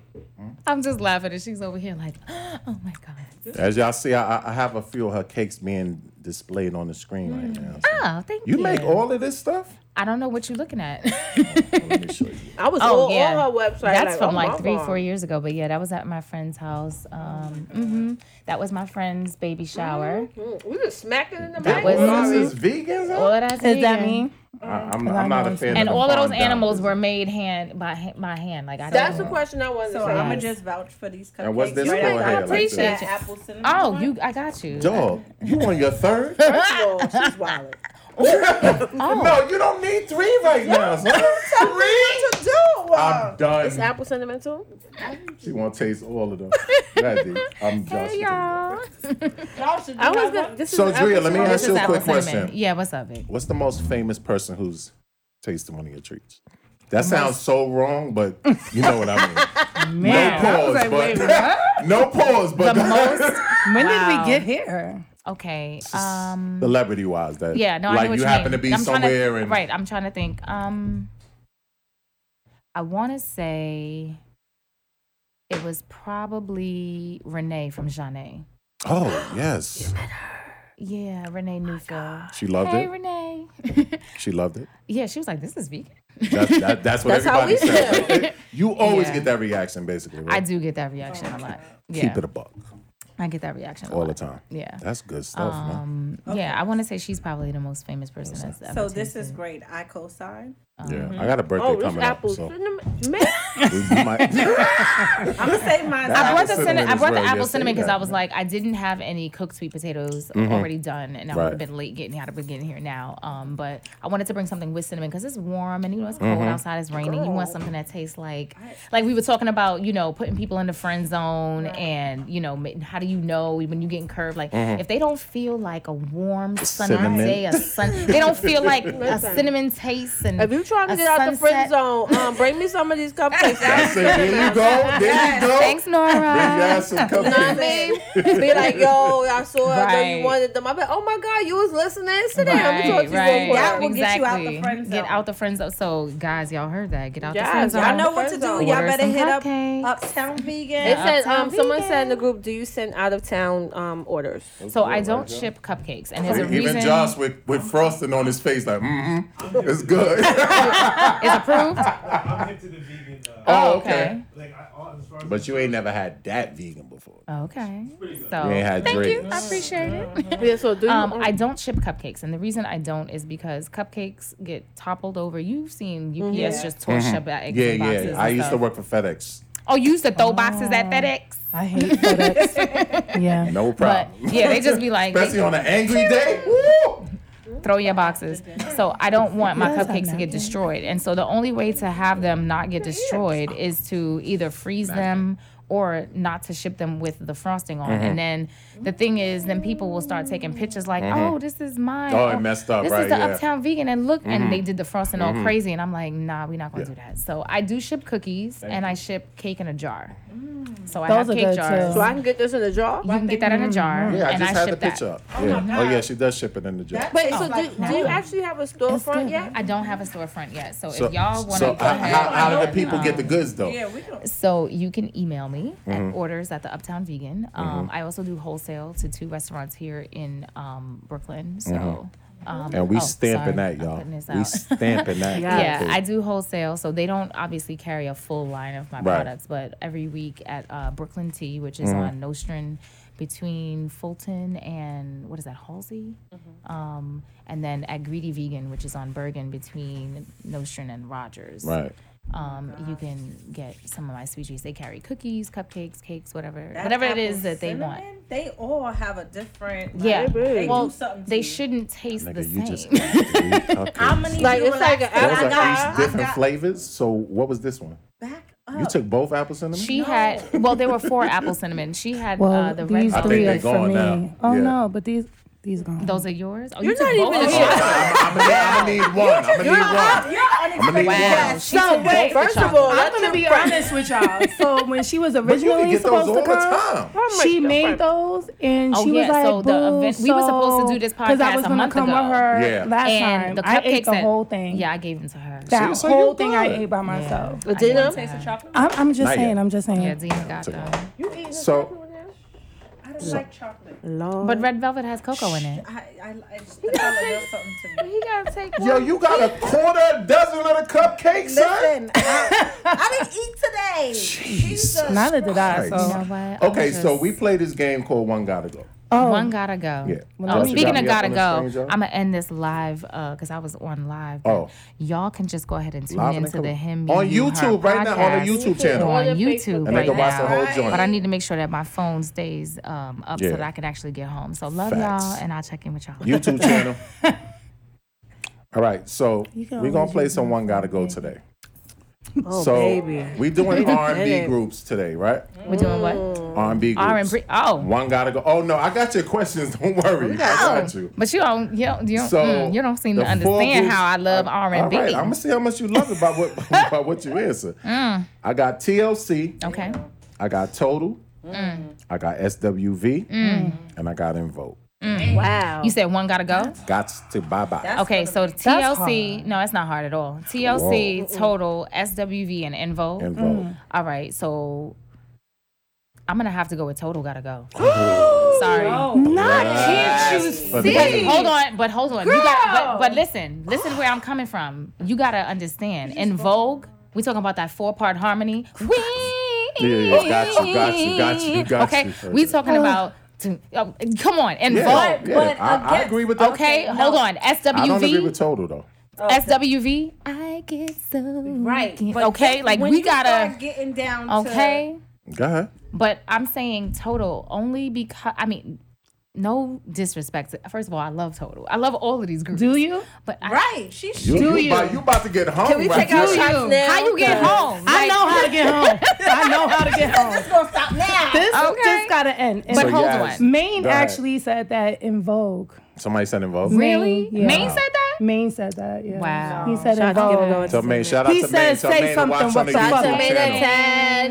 I'm just laughing, and she's over here like, [GASPS] "Oh my god!" As y'all see, I, I- I have a few of her cakes being displayed on the screen right now. so- Oh, thank you. You make all of this stuff? I don't know what you're looking at. Let me show you. I was oh all, yeah, on her [LAUGHS] website. That's from oh, my like three, God. four years ago. But yeah, that was at my friend's house. Um, hmm That was my friend's baby shower. Mm, We just smacking in the That back. was- All of Sorry. this vegan? All of that Is that vegan. me? I, am I'm not a fan. And of the all of those farm down animals were business. made hand by ha- my hand. Like I That's the don't. question I wanted So to say. I'm gonna Yes. just vouch for these cupcakes. And what's this right for here? after I Like this? appreciate that apple cinnamon. Oh, one. you! I got you. Dog, you on your [LAUGHS] third? [LAUGHS] First of all, she's wild. Oh. No, you don't need three right now. son. What to do? I'm It's done. apple sentimental. She want to taste all of them. That's it. I'm just. [LAUGHS] Hey, y'all. Y'all should do I was that gonna, this So, is apple Drea, let me cinnamon. ask Oh, This you is a apple quick cinnamon. question. Yeah, what's up, Vic? What's the most famous person who's tasted one of your treats? That sounds so wrong, but you know what [LAUGHS] I mean. Man, no I was pause, like, but wait, [LAUGHS] what? no pause, but [LAUGHS] The most. When did Wow. we get here? Okay. Um. celebrity wise, that Yeah. No. like I know what you you happen mean. to be I'm trying somewhere and right. I'm trying to think. Um. I want to say it was probably Renee from Jeanne. oh yes, Yeah, Oh Renee Newfield. she loved Hey, it. Renee. She loved it. yeah, she was like, "This is vegan." That, that, that's what That's how everybody we says. feel. It- [LAUGHS] you [LAUGHS] always Yeah. get that reaction, basically. Right? I do get that reaction a lot. Yeah, Keep it a buck I get that reaction a all the lot. time. Yeah. That's good stuff, man. Um, Yeah, I want to say she's probably the most famous person that's ever. So this is tasted, great. I co-sign. Yeah, mm-hmm. I got a birthday Oh, this coming up, apple so cinnamon. Man, we, we might. [LAUGHS] [LAUGHS] I'm gonna save mine. That I apple brought the cinnamon. I is brought the real, apple yes, cinnamon they because got I was it. like, I didn't have any cooked sweet potatoes already done, and I would Right. have been late getting out of getting here now. Um, but I wanted to bring something with cinnamon because it's warm and you know it's cold outside, it's raining. You want something that tastes like, like we were talking about, you know, putting people in the friend zone, and you know, ma- how do you know when you getting curved? Like if they don't feel like a warm sunny Cinnamon. day, a sun, they don't feel like a Listen. cinnamon taste. And if you trying to a get out the friend sunset. zone, um, bring me some of [LAUGHS] these cupcakes. I said, there you go, there you go. thanks, Bring Nora. y'all [LAUGHS] some You know what cupcakes. I mean? Be like, yo, I saw it, I know you Right. wanted them. I be like, oh my God, you was listening. Sit down. Let me Right, talk to you right. real quick. That will get you out the friend Get zone. out the friend zone. So guys, y'all heard that. Get out Yes, the friend zone. y'all I know what to do. Order Y'all better some hit up cupcakes. Uptown Vegan. It said, Uptown um, someone vegan. said in the group, do you send out of town um, orders? So I don't ship cupcakes, and there's a Even reason. Josh with, with frosting on his face, like, mm-hmm, it's good. [LAUGHS] It's approved. I'm hip to the vegan. Uh, oh, okay. Like, I, all- as far as But you ain't never had that vegan before. Okay. You ain't So had Drake. I appreciate it. [LAUGHS] Yeah, so do you? Um, I don't ship cupcakes, and the reason I don't is because cupcakes get toppled over. You've seen UPS Mm-hmm. just torch up at Mm-hmm. eggs Yeah, and boxes. yeah. I and used to stuff. work for FedEx. Oh, you used to throw boxes Oh. at FedEx. I hate FedEx. [LAUGHS] yeah. No But problem. yeah, they just be like, [LAUGHS] they- Especially on an angry day. Woo! throw your boxes. So I don't want my cupcakes to get destroyed. And so the only way to have them not get destroyed is to either freeze them or not to ship them with the frosting on. Mm-hmm. And then the thing is, then people will start taking pictures like, oh, this is mine. Oh, it messed up, This right, is the yeah. Mm-hmm. Uptown Vegan. And look, and they did the frosting all crazy. And I'm like, nah, we're not going to do that. So I do ship cookies and I ship cake in a jar. So I Mm. Those have are cake good, jars. too. so I can get this in a jar? You can get that in a jar. Yeah, I and just I had the ship picture that. up. yeah. Oh, yeah, she does ship it in the jar. Wait, tastes so do, like do you actually have a storefront good. yet? I don't have a storefront yet. So, So, if y'all want so to how, how, how do the people get the goods though? Yeah, we don't. So you can email me at Mm-hmm. orders at the Uptown Vegan. Um, I also do wholesale to two restaurants here in um, Brooklyn. So. Um, Mm-hmm. And we oh, stamping sorry, that, I'm y'all. putting this We out. stamping that. [LAUGHS] Yeah, Okay. I do wholesale, so they don't obviously carry a full line of my Right. Mm-hmm. products. But every week at uh, Brooklyn Tea, which is on Nostrand, between Fulton and what is that Halsey, Mm-hmm. um, and then at Greedy Vegan, which is on Bergen between Nostrand and Rogers. Right. Um, you can get some of my sweeties. They carry cookies, cupcakes, cakes, whatever, That whatever it apple is that they want. cinnamon, They all have a different. like, Yeah. They well, do something to they you. shouldn't taste the Nigga, same. you [LAUGHS] [LAUGHS] just ate three I'm cupcakes. gonna need Like, you to it's like an relax because Those apple- I are got- eight I different got- flavors. So what was this one? Back You up. took both apple cinnamon. she had well, there were four apple cinnamon. She had Well, uh, the red. these I think three they are for gone me. now. Oh Yeah. no, but these these gone. Those are yours. Oh, You're you took not even both of a yours. chef. I'm gonna need one. I'm gonna need one. You're need unexpected. one. Wow. Yes. She took both the first of chocolate. all, I'm gonna be honest with [LAUGHS] y'all. So when she was But you can originally get those supposed all to the come, time. she made those, and Oh, she yeah, was like, so the "Boo, event- we were supposed to do this Because I podcast was a gonna month come ago. with her Yeah. last time. and the I cupcakes ate the that- whole thing. Yeah, I gave them to her. that so you whole thing I good. ate by myself. I Dina? gave them to Taste her. of chocolate? I'm, I'm just Not yet. saying. I'm just saying. Yeah, Dina got them. You eating this So- chocolate now? I don't like chocolate. Lord. But red velvet has cocoa in it. I, I, I just, the color does something to me. he gotta take Yo, you got a quarter dozen of the cupcakes, son. Listen, I, [LAUGHS] I didn't eat today. Jesus. Neither did I. Christ. You know So what? I'm Okay, so just- we play this game called One Gotta Go. oh, One gotta go. Yeah. Well, Oh, don't you speaking got of me up gotta on go, this thing, Joe? I'm gonna end this live because I was on live. but Oh. y'all can just go ahead and tune Live on the into the cover. him Me, On You, Her YouTube right now, on the podcast YouTube channel. on Yeah. YouTube And they right can watch the now. whole joint. But I need to make sure that my phone stays um, up Yeah. so that I can actually get home. So love Facts. y'all, and I'll check in with y'all. [LAUGHS] YouTube [LAUGHS] channel. All right, so You can we're gonna always play use some my One Gotta Go today. so we doing R and B groups today, right? We're doing what? R and B groups. R and B. Oh, One Gotta Go. Oh no, I got your questions. [LAUGHS] Don't worry, I got you. but you don't. You don't. You don't, So, mm, you don't seem to the four understand groups- how I love R and B. All right, I'm gonna see how much you love it by what [LAUGHS] by what you answer. I got TLC. Okay. I got Total. I got SWV, and I got Invoke. Wow. You said one gotta go. Got to bye bye. Okay, so TLC, no, it's not hard at all. TLC, Total, SWV, and Envo. Invoke. All right, so I'm gonna have to go with Total. [GASPS] Gotta go. Sorry. Can't you Because- hold on, but hold on. You got, but, but listen, listen to where I'm coming from. You gotta understand. In Vogue, we talking about that four part harmony. We. Yeah, yeah, got you, got you, got you, got okay, you. we talking about. To, oh, come on, in Yeah, Vogue. yeah. but I, I again- agree with that. Okay, hold on. SWV. I don't agree with total though. SWV. I get so Right. get- But okay, then like when we you gotta. start getting down to- Okay, Go ahead. but I'm saying total only because I mean, no disrespect. to- First of all, I love total. I love all of these groups. do you? But I, Right. She, You, you, About, you about to get home we right take our now. shots now? how you get home? I Like, know how to get [LAUGHS] home. I know how to get home. gonna stop now. This Okay. just gotta end. And But So hold yes. on. Maine Go ahead. actually said that in Vogue. Somebody said involved. Really? Yeah. Maine said that. Maine said that. Yeah. Wow. He said in Shout out to Vogue. Vogue. Tell Maine, shout out He to Maine. says, Tell say Maine to something, watch on the what the YouTube fuck? Tomato channel. tag.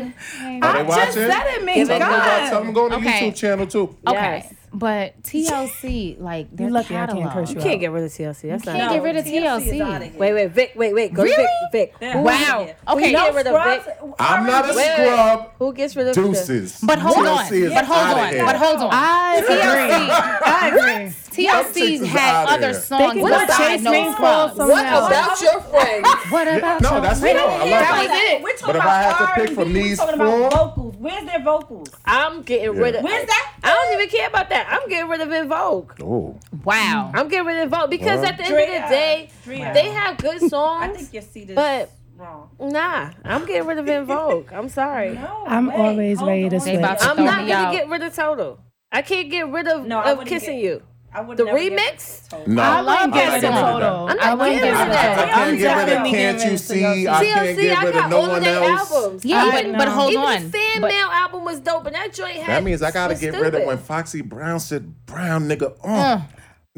Are they I watching? just said it, Maine. Give Tell it them to watch- Tell God. them to go to the Okay. YouTube channel too. Okay, Yes. [LAUGHS] but TLC like their You're lucky I catalog. can't curse you. You out. can't get rid of TLC. That's Can't not. get rid of TLC is outta TLC. here. Wait, wait, Vic, wait, wait. Go Really? to Vic. Vic. Yeah. Who Wow. gets- who Okay. gets No rid of Scrubs- Vic? I'm not a Wait, wait, wait. scrub. Who gets rid of the- Deuces. But hold TLC on. is But hold outta on. here. But hold on. I agree. TLC. I agree. TLC is had outta other here. songs They can go besides chase no Maine's clubs. Club What somehow. Oh, about your friends? What [LAUGHS] about No, your- that's it. Wait a I minute, love that it. was it. We're talking But if about I had to pick R&B, from these we're talking four- about vocals. Where's their vocals? I'm getting rid of. Where's that? I don't even care about that. I'm getting rid of In Vogue. Oh, Wow. I'm getting rid of Vogue because Word. at the end of the day, Drea, they have good [LAUGHS] I songs. think your seat is but- wrong. Nah, I'm getting rid of In Vogue. I'm sorry. No, I'm wait, always hold ready to on. switch. about to I'm throw not me gonna out. get rid of Total. I can't get rid of, No, I of wouldn't kissing get- you. I would The never get remix? told. no. I love I'm not getting getting rid of total. that. I I'm not getting wouldn't rid get rid of of that. I total. can't I'm get rid of definitely Can't getting You rid of total. See. I can't get TLC, I rid of got no all of one their else. albums. Yeah, I but, but know. hold Even on. the fan But- mail album was dope, and that joint had. That means I gotta was get rid of stupid. when Foxy Brown said brown nigga. Oh.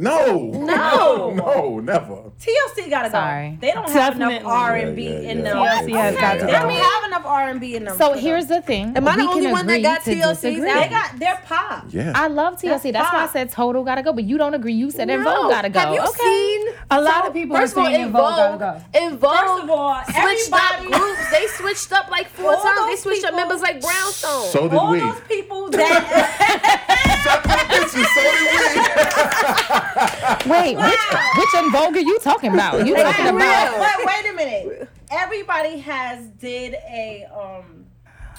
No. No. [LAUGHS] No, never. TLC gotta Sorry. go. They don't have Definitely. enough R and B Yeah, yeah, in yeah. them. TLC has Okay, got to They okay. go. don't have enough R and B in them. So for them. here's the thing. Am I the We can only one that agree got to TLC's disagree. they album? got their pop. Yeah. I love TLC. That's why I fine. said total gotta go. But you don't agree. You said that vogue gotta go. Have you okay. seen? A lot of people are First of all, saying in in Vogue gotta Vogue, go. in Vogue, First of all, switched up everybody- groups. They switched up like four All times. They those switched up people- members like Brownstone. So did All we. those people [COUGHS] that [LAUGHS] Bitches, so did we. Wait, which which in vogue are you talking about? You talking Wait, about But wait a minute. Everybody has did a um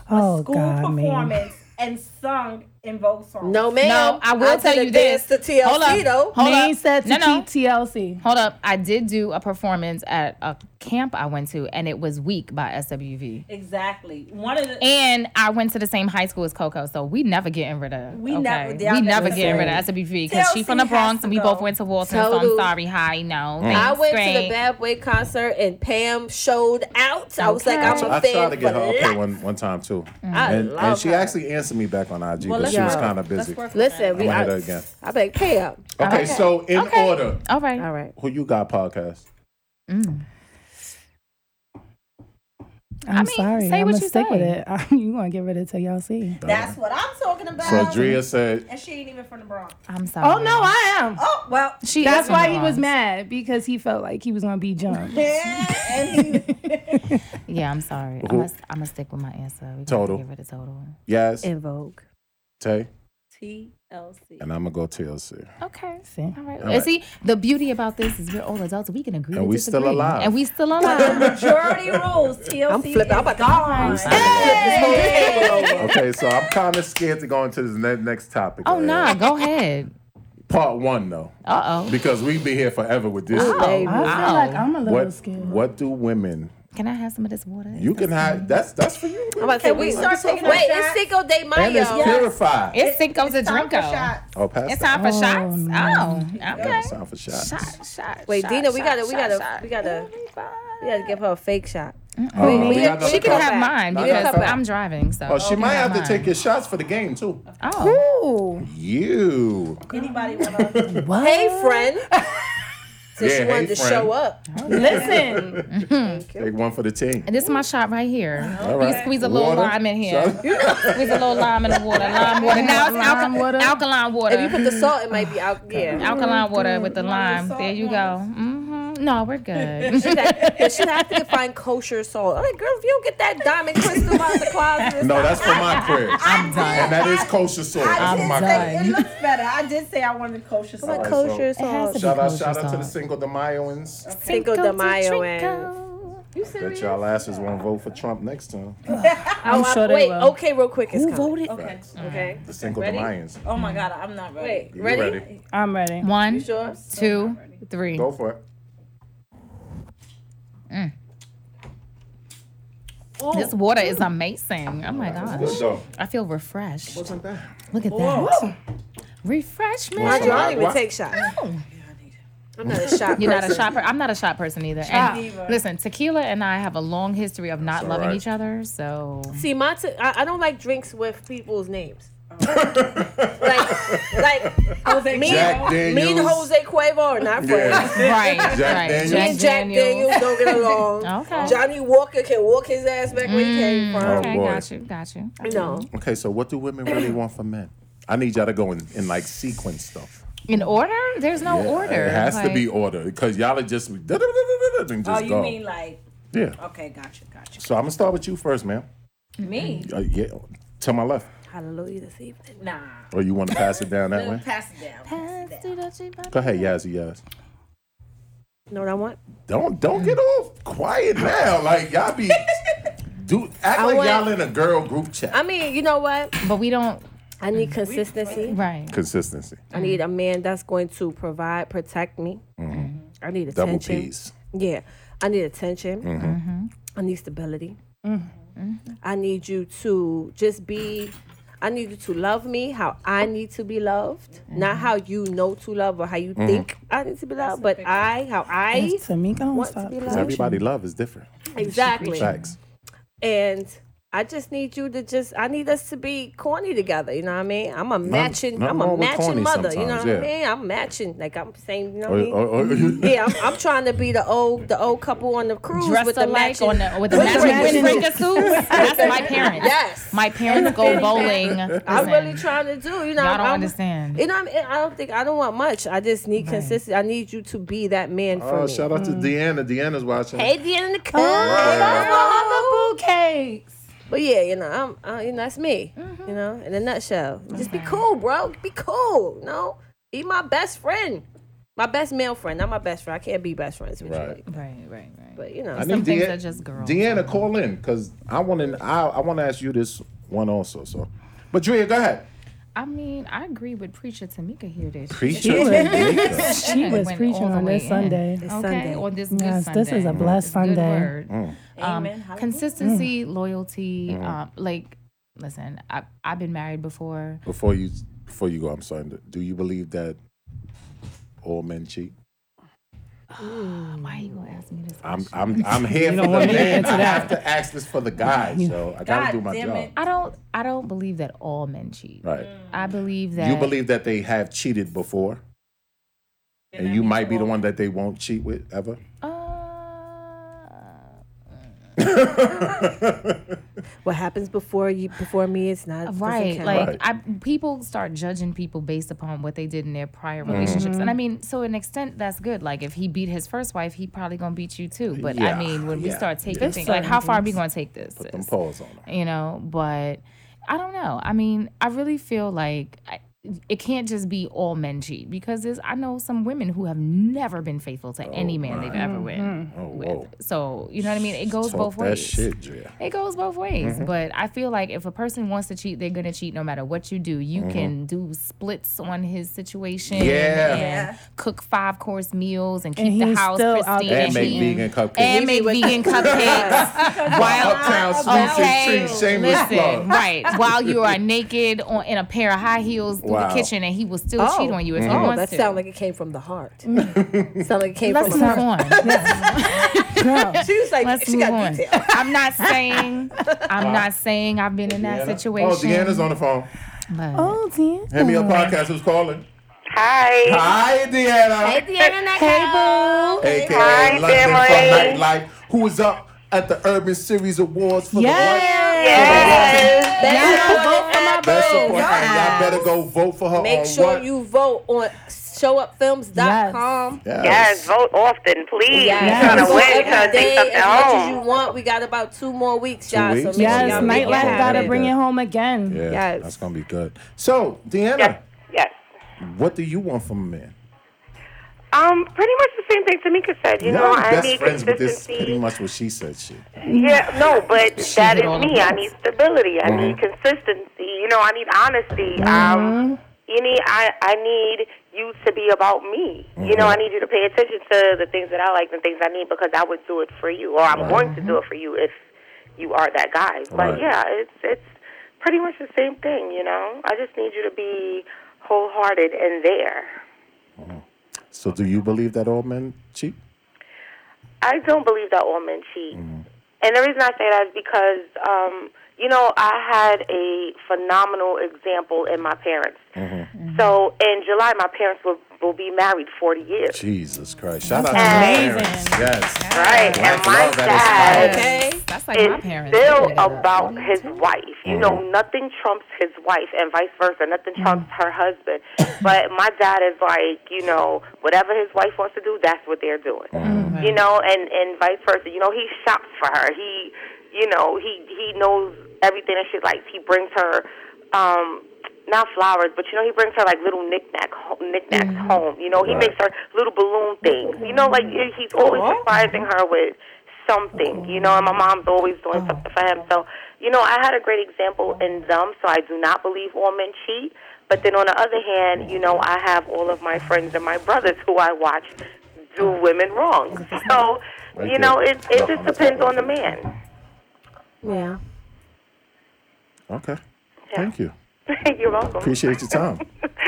Oh school God, performance Maine. and sung in Vogue songs. no, man. No, I will tell you this. To TLC, Hold up. though. Hold Maine up. said to No, no. keep TLC. Hold up. I did do a performance at a camp I went to, and it was weak by SWV. Exactly. One of the And I went to the same high school as Coco, so we never getting rid of. We okay? never- yeah, we I'm never gonna getting say. rid of SWV because she TLC from the has Bronx to and we both go. went to Walton. So So, I'm do- sorry, hi, Mm. no. I thanks, went to the great. Bad Boy concert and Pam showed out. I was like, Okay. I'm So a I tried fan to get her for up here life. one, one time too, I and, and love she her. actually answered me back on IG, Well, but let's she was work. kind of busy. Let's work with Listen, I we. want I, to hear that again. I beg Pam. Okay, so in Okay. order, All right. All right. who you got podcast? Mm. I'm mean, sorry. say I'm what gonna you stick with say. it. [LAUGHS] you gonna give it to TLC? That's what I'm talking about. So Drea said, and she ain't even from the Bronx. I'm sorry. Oh no, I am. Oh well. She is That's from the why he was Bronx. mad because he felt like he was gonna be jumped. Yeah, and he, Yeah, I'm sorry. I'm Who- gonna I'm stick with my answer. We're Total. Give it a total. yes, In Vogue. Tay, TLC. and I'm gonna go TLC. Okay. See? All right. All And right. see, the beauty about this is we're all adults. We can agree And to we disagree. still alive. And we still [LAUGHS] alive. Majority rules. TLC. I'm flipping. I'm about is to- gone. Okay, so I'm kind of scared to go into this ne- next topic. oh man. nah, go ahead. Part one though, Uh oh. because we'd be here forever with this. Baby. I feel like I'm a little What? scared. What do women? Can I have some of this water? You can have. That's that's for you. I'm about to say, we we start taking our Wait, shots? it's Cinco de and it's Mayo. purified. it's Cinco de Time for Drinko. shots. oh, pass It's that. time for Oh, shots. no. Oh, Yeah, okay. it's time for shots. Shot, shot. Wait, shot, Dina, we shot, gotta, we shot, gotta, shot. we gotta, we gotta give her a fake shot. Uh, Wait, we wait, got another She can topic. have mine Not because that bad. I'm driving. So. Oh, she might have to take it. your shots for the game too. Oh. Ooh, You. Anybody want to? what? Hey, [LAUGHS] friend. Since Yeah, she wanted hey, to friend. show up. listen. Take one for the team. And this is my shot right here. All right. You squeeze a little Water. lime in here. Shot. Squeeze a little lime in the water. Lime water. Now it's Lime alka- water. alkaline water. If you put the salt, it might be out. Yeah. [LAUGHS] alkaline water with the lime. salt There you go. ones. hmm No, we're good. She got- But she have to find kosher salt. I'm like, girl, if you don't get that diamond crystal out the closet, No, that's for my crib. [LAUGHS] I'm done. And that is kosher salt. I That's did for my say crib. it looks better. I did say I wanted kosher I'm like, sauce. so- kosher has salt. to be- Shout out, Kosher shout out to the salt. single de Mayoans. Cinco de Mayo and. You That serious? y'all asses won't vote for Trump next time. Oh, I- sure they wait, will. okay, real quick. Who voted? Okay. Okay. The single de Ready? Mayans. Oh my God, I'm not ready. Wait, You ready? I'm ready. One, Sure. two, three. Go for it. This water is amazing. Oh my Good gosh. though. I feel refreshed. Wasn't bad. Look at that. Refreshment. Mind you, I Why- don't even why- take shots. I'm not a shot You're not a person. shot per- I'm not a shot person either. And listen, tequila and I have a long history of not That's all loving right. each other. So See, my t- I, I don't like drinks with [LAUGHS] people's names. like, like Jose me, Jack and, me and Daniels. Jose Cuervo are not friends. Yeah. right, right. Daniels. Me and Jack Daniels don't get [LAUGHS] along. Okay. Johnny Walker can walk his ass back where he came from. Okay, Oh, boy. got you, got you. No, Okay, so what do women really want from men? I need y'all to go in, in like sequence stuff. In order? There's no order. It has to Like, be order because y'all are just and just Oh, go. you mean like? yeah. Okay, gotcha, gotcha. Mm-hmm. So I'm gonna start with you first, ma'am. Me? Uh, yeah, to my left. hallelujah this evening. Nah. uh, Or you want to pass it down that way? Pass it down. Pass it down. Go ahead, Yazzie Yaz. Know what I want? Don't don't get all quiet now. Like y'all be do act I like want- y'all in a girl group chat. I mean, you know what? But we don't. I need consistency. Right. Consistency. I need a man that's going to provide, protect me. I need Double attention. P's. Yeah, I need attention. I need stability. I need you to just be. I need you to love me how I need to be loved, not how you know to love or how Mm-hmm. you think I need to be loved, but I how I Tamika, don't want to stop. be Because loved. everybody love is different. Exactly. Facts. And I just need you to just. I need us to be corny together. You know what I mean? I'm a matching. nothing I'm a wrong with corny matching mother. You know sometimes, what I yeah. mean? I'm matching. Like I'm saying. You know Or, what I mean? or, or, [LAUGHS] Yeah, I'm, I'm trying to be the old the old couple on the cruise Dressed with the alike matching. on the, with the With matching fringes. windbreaker suits. That's my [LAUGHS] parents. Yes. My parents go bowling. I'm Listen, really trying to do. You know, Y'all don't I'm, understand. You know, I'm, I don't think I don't want much. I just need consistency. I need you to be that man [LAUGHS] for oh, me. shout out to Deanna. Deanna's watching. Mm. Hey, the end of the cup. Oh, the cakes. But yeah, you know, I'm, I, you know, that's me. Mm-hmm. You know, in a nutshell, just be cool, bro. Be cool. You know, be my best friend, my best male friend, not my best friend. I can't be best friends with you, Right. like, Right, right, right. but you know, I Some need things Dea- are just girls. Deanna, call in because I want to. I, I want to ask you this one also. So, but Drea, go ahead. I mean, I agree with preacher Tamika here. That she- Preacher [LAUGHS] She Tamika. was, she was went preaching all the on this way in. Sunday. This okay, Sunday. on this Yes, good Sunday. this is a blessed It's good Sunday. word. Mm. Um, Amen. Hallelujah. consistency, Mm. loyalty. Um, like, listen, I, I've been married before. Before you before you go, I'm sorry. Do you believe that all men cheat? Why are you gonna ask me this? I'm question? I'm [LAUGHS] I'm here for don't the want me to man. answer I that. have to ask this for the guy, so I gotta God do my damn job. it. I don't. I don't believe that all men cheat. Right. I believe that You believe that they have cheated before, and you might be the one that they won't cheat with ever. Uh, What happens before you before me is not doesn't right count. like Right. I, people start judging people based upon what they did in their prior Mm-hmm. relationships and i mean so an extent that's good like if he beat his first wife he probably gonna beat you too but Yeah, i mean when we yeah. start taking things like how far are we gonna take this Put them sis? paws on them. you know but i don't know i mean i really feel like I, it can't just be all men cheat because there's, i know some women who have never been faithful to any man they've ever been Oh, with whoa. so you know what i mean it goes Talk both that ways shit, Drea. it goes both ways. But I feel like if a person wants to cheat, they're gonna cheat no matter what you do. You can do splits on his situation, Yeah. and Yeah. cook five course meals and keep And the he's house still out pristine there And make eating. vegan cupcakes. and make vegan cupcakes while Uptown sweets and treats, shameless Listen, plug. [LAUGHS] right. While you are naked on in a pair of high heels through Wow. the kitchen, and he will still Oh. cheat on you if he Oh, wants that to. sound like it came from the heart. sound like it came [LAUGHS] Let's from move the heart. [LAUGHS] on. Girl, She was like, Let's she move got on. details. I'm not saying. I'm not saying I've been in that Deanna? situation. Oh, Deanna's on the phone. but- oh, Deanna. Hand me a podcast. Who's calling? Hi. Hi, Deanna. Hey, AKA Hi, London family. from Nightlife, who was up at the Urban Series Awards for Yes. the best support. Y'all better go vote for her. Make on sure what? you vote on showupfilms.com. Yes. Yes, vote often, please. Yes. You're trying to Vote win. You're every trying to day, take something as much as you home. want. We got about two more weeks, y'all. weeks? So make sure Yes, y'all Yeah, make it nightlife yeah, gotta yeah. happen. bring it home again. Yeah, Yes. That's gonna be good. So, Deanna, Yes. Yes. what do you want from a man? Um, pretty much the same thing Tamika said. You know, Y'all I best need friends, but this is pretty consistency. much what she said. Shit. Yeah, no, but that hit is all the me. I notes. need stability. I Mm-hmm. need consistency. You know, I need honesty. Um, you need. I I need you to be about me. You know, I Mm-hmm. need you to pay attention to the things that I like and things I need because I would do it for you, or I'm going to do it for you if you are that guy. Mm-hmm. But Right. yeah, it's it's pretty much the same thing. You know, I just need you to be wholehearted and there. So, do you believe that all men cheat? I don't believe that all men cheat. Mm-hmm. And the reason I say that is because, um, you know, I had a phenomenal example in my parents. Mm-hmm. So in July, my parents will, will be married 40 years. Jesus Christ! Shout out to amazing. my parents. Yes. Right. And Black my love, that dad is Yes, That's like my is parents. still They were about like, his wife. You know, Mm. nothing trumps his wife, and vice versa. Nothing trumps her husband. but my dad is like, you know, whatever his wife wants to do, that's what they're doing. Mm. You know, and and vice versa. You know, he shops for her. He, you know, he he knows everything that she likes. He brings her. um not flowers, but you know he brings her like little knickknack ho- knickknacks Mm. home. You know he makes her little balloon things. You know like Mm. he- he's always surprising her with something. You know and my mom's always doing something for him. So you know I had a great example in them. So I do not believe all men cheat. But then on the other hand, you know I have all of my friends and my brothers who I watch do women [LAUGHS] wrong. So Right you know there. it it Yeah, just on the depends top. on the man. Yeah. Okay. Thank you. [LAUGHS] You're welcome. Appreciate your [LAUGHS] time.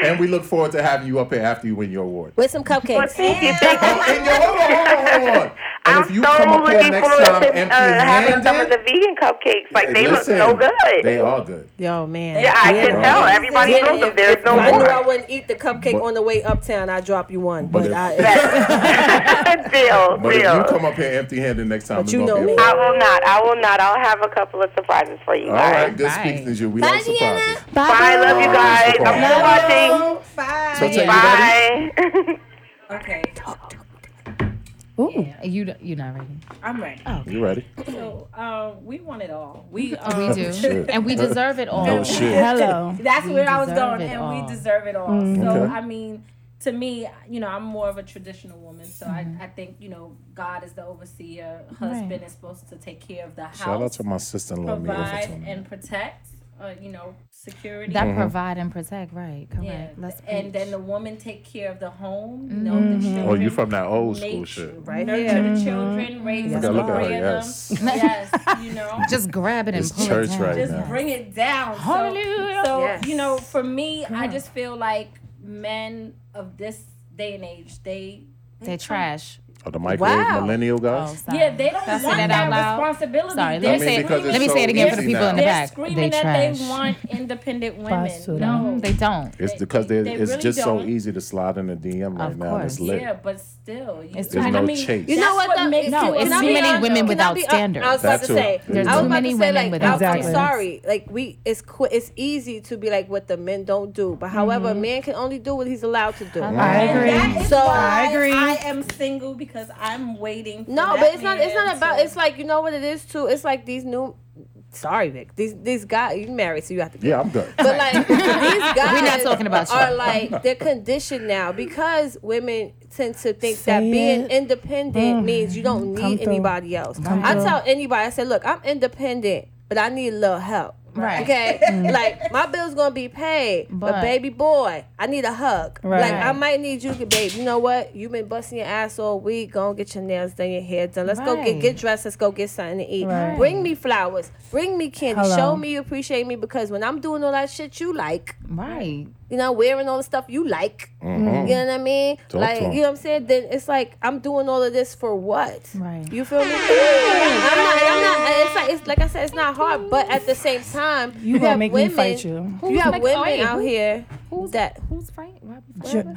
and we look forward to having you up here after you win your award. With some Well, cupcakes. thank you, thank you. And yo, hold on, hold on, hold on. [LAUGHS] And I'm if you so come up here looking next forward time to empty uh, having some of the handed, vegan cupcakes. Like they listen, look so good. They are good. Yo, man. yeah, I can are. tell. Everybody Jenny, knows them. if- There's if no I knew I more. wouldn't eat the cupcake But- on the way uptown. I'd drop you one. But But, if- I, [LAUGHS] deal, But if you deal. come up here empty handed next time, But it's you gonna know be a me. I problem. will not. I will not. I'll have a couple of surprises for you All guys. right, good Bye. speaking to you. We like surprises. Bye. Love you guys. I'm still watching. Bye. So take you Bye. okay, Ooh. Yeah, you d- you're not ready. I'm ready. ready? You ready? So um, we want it all. We um, We do, shit. and we deserve it all. Oh shit. Hello. That's where I was deserve going, it and all. Mm-hmm. we deserve it all. So Okay. I mean, to me, you know, I'm more of a traditional woman, so Mm-hmm. I, I think you know God is the overseer. Husband is supposed to take care of the house, Shout out to my sister in law, Mia. provide for telling me. and protect. uh, you know, security. Mm-hmm. That provide and protect, right? Correct. Let's and preach. Mm-hmm. then the woman take care of the home, you know, the children. Oh, you from that old school Nature, shit. Mm-hmm. Right Nurture the children, raise Look the at- look at her, three of yes. them. yes, you [LAUGHS] know. just grab it and It's pull church it down. right just now. bring it down. So- Hallelujah. So, you know, for me, I just feel like men of this day and age, they They're trash. Oh, the microwave Wow. millennial guys. Sorry. yeah, they don't Did I say want that that, out loud? responsibility. Sorry, They're let I me mean, say, because let me it's say it so again for the easy people now. in the They're back. They screaming that trash. they want [LAUGHS] independent women. Basura. No, They don't. It's They- because they- they, they it's really just so don't. easy to slide in the DM right Of now. and It's course. lit. yeah, but still, you, It's There's too no many- chase. You know That's what? what though? makes No, you it's Can I too be many honest? women Can I without be- standards. I was about That to too. say. There's I was too about many to say, women like, without I'm, I'm standards. sorry. Like, we, it's qu- it's easy to be like what the men don't do, but however, a man can only do what he's allowed to do. I I That agree. is So- why I agree. I am single because I'm waiting. For No, that but it's not. It's man not about. to- It's like you know what it is too. It's like these new. Sorry, Vic. These these guys. You married, so you have to. Yeah, I'm good. But like these guys, We're not talking about you. are like they're conditioned now because women tend to think Say that being it. independent means you don't Come need through. anybody else. Come I through. tell anybody, I say, look, I'm independent, but I need a little help. Right. Okay. Like my bill's gonna be paid, but, But- baby boy, I need a hug. Right. Like I might need you, to- babe. You know what? You've been busting your ass all week. Go and get your nails done, your hair done. Let's go get Right. get dressed. Let's go get something to eat. Right. Bring me flowers. Bring me candy. Hello. Show me you appreciate me because when I'm doing all that shit you like, Right. you know, wearing all the stuff you like. Mhm. You know what I mean? Talk to like, you him. know what I'm saying? Then it's like I'm doing all of this for what? Right. You feel me? I'm not. I'm not. It's like it's like I said. It's not hard, but at the same time, You gonna make me fight you. You have Who's women like, oh, out who- here Who's that. Who's fighting? Why- why- Ju-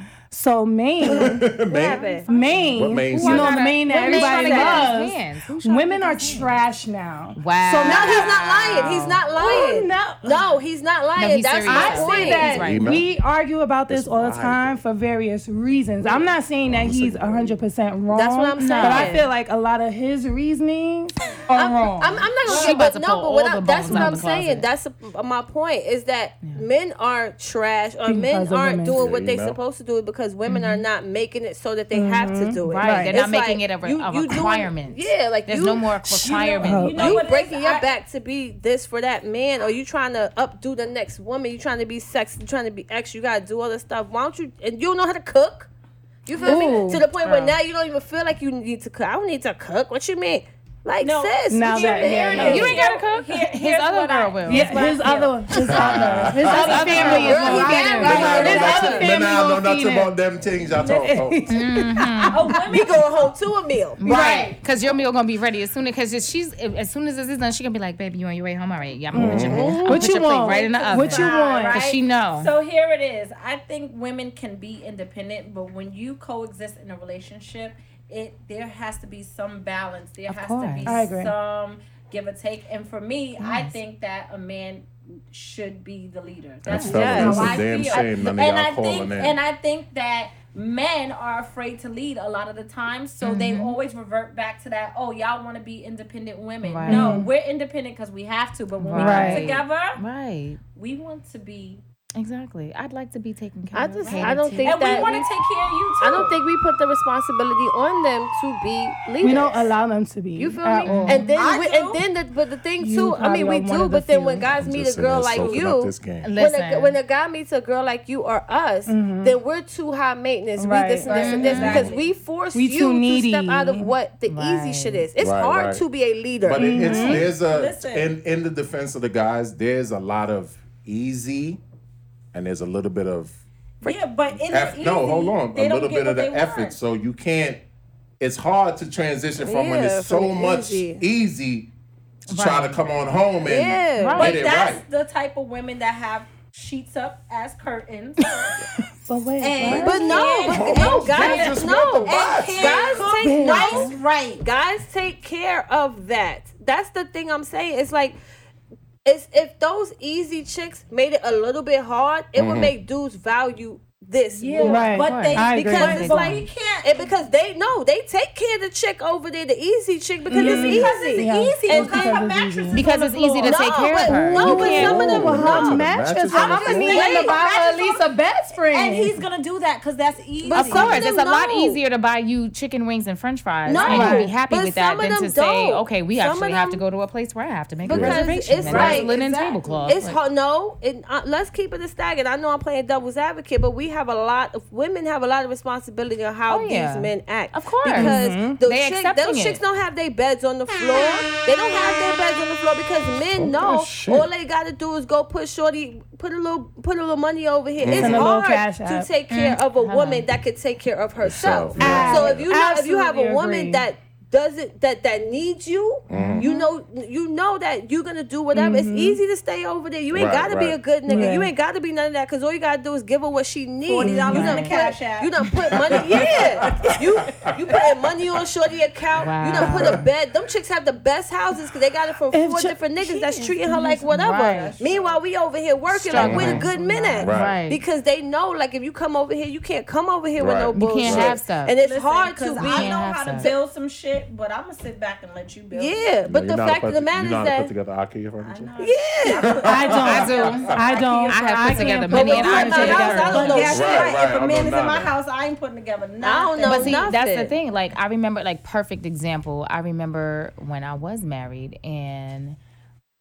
[LAUGHS] So Maine, [LAUGHS] Man, Maine, What Maine you know said? the Maine that Who's trying everybody to get these loves. hands? Who's trying to Women get are these hands? trash now. Wow. So now No, he's not lying. He's not lying. Oh, no. no, he's not lying. he's That's serious. my I see point. that. that right. we argue about this It's all the wild. time for various reasons. I'm not saying that he's 100% wrong. That's what I'm saying. But I feel like a lot of his reasonings are wrong. I'm, I'm not gonna She get but about to no, pull but what all I, the that's bones what out I'm the saying. closet. That's uh, my point is that men are trash or men Because of aren't women. doing what Yeah, they you know. supposed to do because women are not making it so that they have to do it. Mm-hmm. Right. They're not making it a, re- you- a you doing- requirement. yeah, like There's you- no more you requirement. know- Oh, You, know what it is? breaking your I- back to be this for that man, or you trying to updo the next woman. You trying to be sexy, you trying to be extra. You gotta do all this stuff. Why don't you? And you don't know how to cook. You feel Ooh, me? To the point where now you don't even feel like you need to cook. I don't need to cook. What you mean? Like No, sis, now what that- you yeah, mean? no. You ain't gotta cook. Here- His here's other what I- girl will. here's yeah, what I his feel. other, his other, his other family is Girl, he more damn feeding. right. His That's other it. family more feeding. them things y'all talk about. Oh, [LAUGHS] women We going home to a meal. Right, because your meal gonna be ready as soon as because she's as soon as this is done, she gonna be like, "Baby, you on your way home already? Yeah, I'm gonna put your, I'm gonna Mm-hmm. What put you your plate want? right in the oven. What you want? Because she know. So here it is. I think women can be independent, but when you coexist in a relationship, it there has to be some balance. There has to be course. I agree. some give or take. And for me, I think that a man should be the leader. That's fellas, how it's a I damn feel. shame none of and y'all I calling think, in. and I think that men are afraid to lead a lot of the time, so they always revert back to that. Oh, y'all want to be independent women? Right. No, we're independent because we have to. But when we Right. come together, right, we want to be exactly. I'd like to be taken care I of. just- catered I don't to. think- and we that want to we- take care of you too. I don't think we put the responsibility on them to be leaders. We don't allow them to be. You feel Mm-hmm. at me? all. And then, I we, do. and then, the, but the thing You too. I mean, we probably are one do, of the but then when few. guys meet a girl like you, This game. Listen, when a, when a guy meets a girl like you or us, then we're too high maintenance. Mm-hmm. Right. we this and this and Right. this because we force We too you needy. to step out of what the easy Right. shit is. It's Right, hard right. to be a leader. But it, it's there's a Listen. in in the defense of the guys, there's a lot of easy, and there's a little bit of Yeah, but in eff- the easy, no. Hold on, they a don't little get bit what of they the want. effort. So you can't. It's hard to transition from when Yeah, it's so from much easy. easy to try to come on home and Yeah. get Right. But it that's right. the type of women that have sheets up [LAUGHS] as curtains. But wait, And- what? But no, but Hold no, on, guys, Jesus, no, what the fuck? guys take rice no, right. guys take care of that. That's the thing I'm saying. It's like. It's if those easy chicks made it a little Mm-hmm. bit hard, it would make dudes value this Yeah, more. Right. but they I agree. because Because it's it's but like- we can't and because they know they take care of the chick over there, the easy chick, because it's Mhm. easy. Because it's Yeah. easy, And because her mattress is Because it's easy to take care of but- her. No, You but can't- some of them Ooh, no. her mattress I'm on the just floor. saying, Need to buy her at least a bedspread. And he's gonna do that because that's easy. of course, it's a lot easier. easier to buy you chicken wings and French fries No, and you be happy but with that some of than to them say, don't. okay, we Some actually of have to them- go to a place where I have to make a Because reservation. it's and there's a like- linen exactly. tablecloth. It's Like- hard. No, it, uh, let's keep it a stag. And I know I'm playing devil's advocate, but we have a lot of women have a lot of responsibility on how Oh, yeah. these men act. Of course. because Mhm. those, They chick- accepting those it. chicks don't have their beds on the floor. They don't have their beds on the floor because men know shit. all they got to do is go put shorty, put a little, put a little money over here. Mhm. It's Send a little hard cash to app. take care Mm. of a woman that could take care of herself. Herself, yeah. So if you not, if you have Absolutely a woman agree. that doesn't that that needs you Mhm. you know you know that you're gonna do whatever Mhm. it's easy to stay over there you ain't Right, gotta be right. a good nigga Yeah. you ain't gotta be none of that because all you gotta do is give her what she needs $40 you done, in the put, Cash App. you done put money yeah you you putting money on shorty account you done Wow. put a bed them chicks have the best houses because they got it from four different niggas that's treating her like whatever Right. meanwhile we over here working like we're the Struggling. good men at Right. because they know like if you come over here you can't come over here with Right. no You can't bullshit have stuff. and it's Listen, hard to 'cause be I know how to stuff. build some shit, but I'm gonna sit back and let you build. it. yeah but You know the how to fact put- of the matter you is know how to that put together IKEA furniture. I don't. I do. I don't. I have put can't together put many it and I don't together. know I don't know That's shit. right. right, If I a man know is in my nothing. house, I ain't putting together nothing. don't know But see, that's the nothing. thing. Like I remember, like perfect example. I remember when I was married, and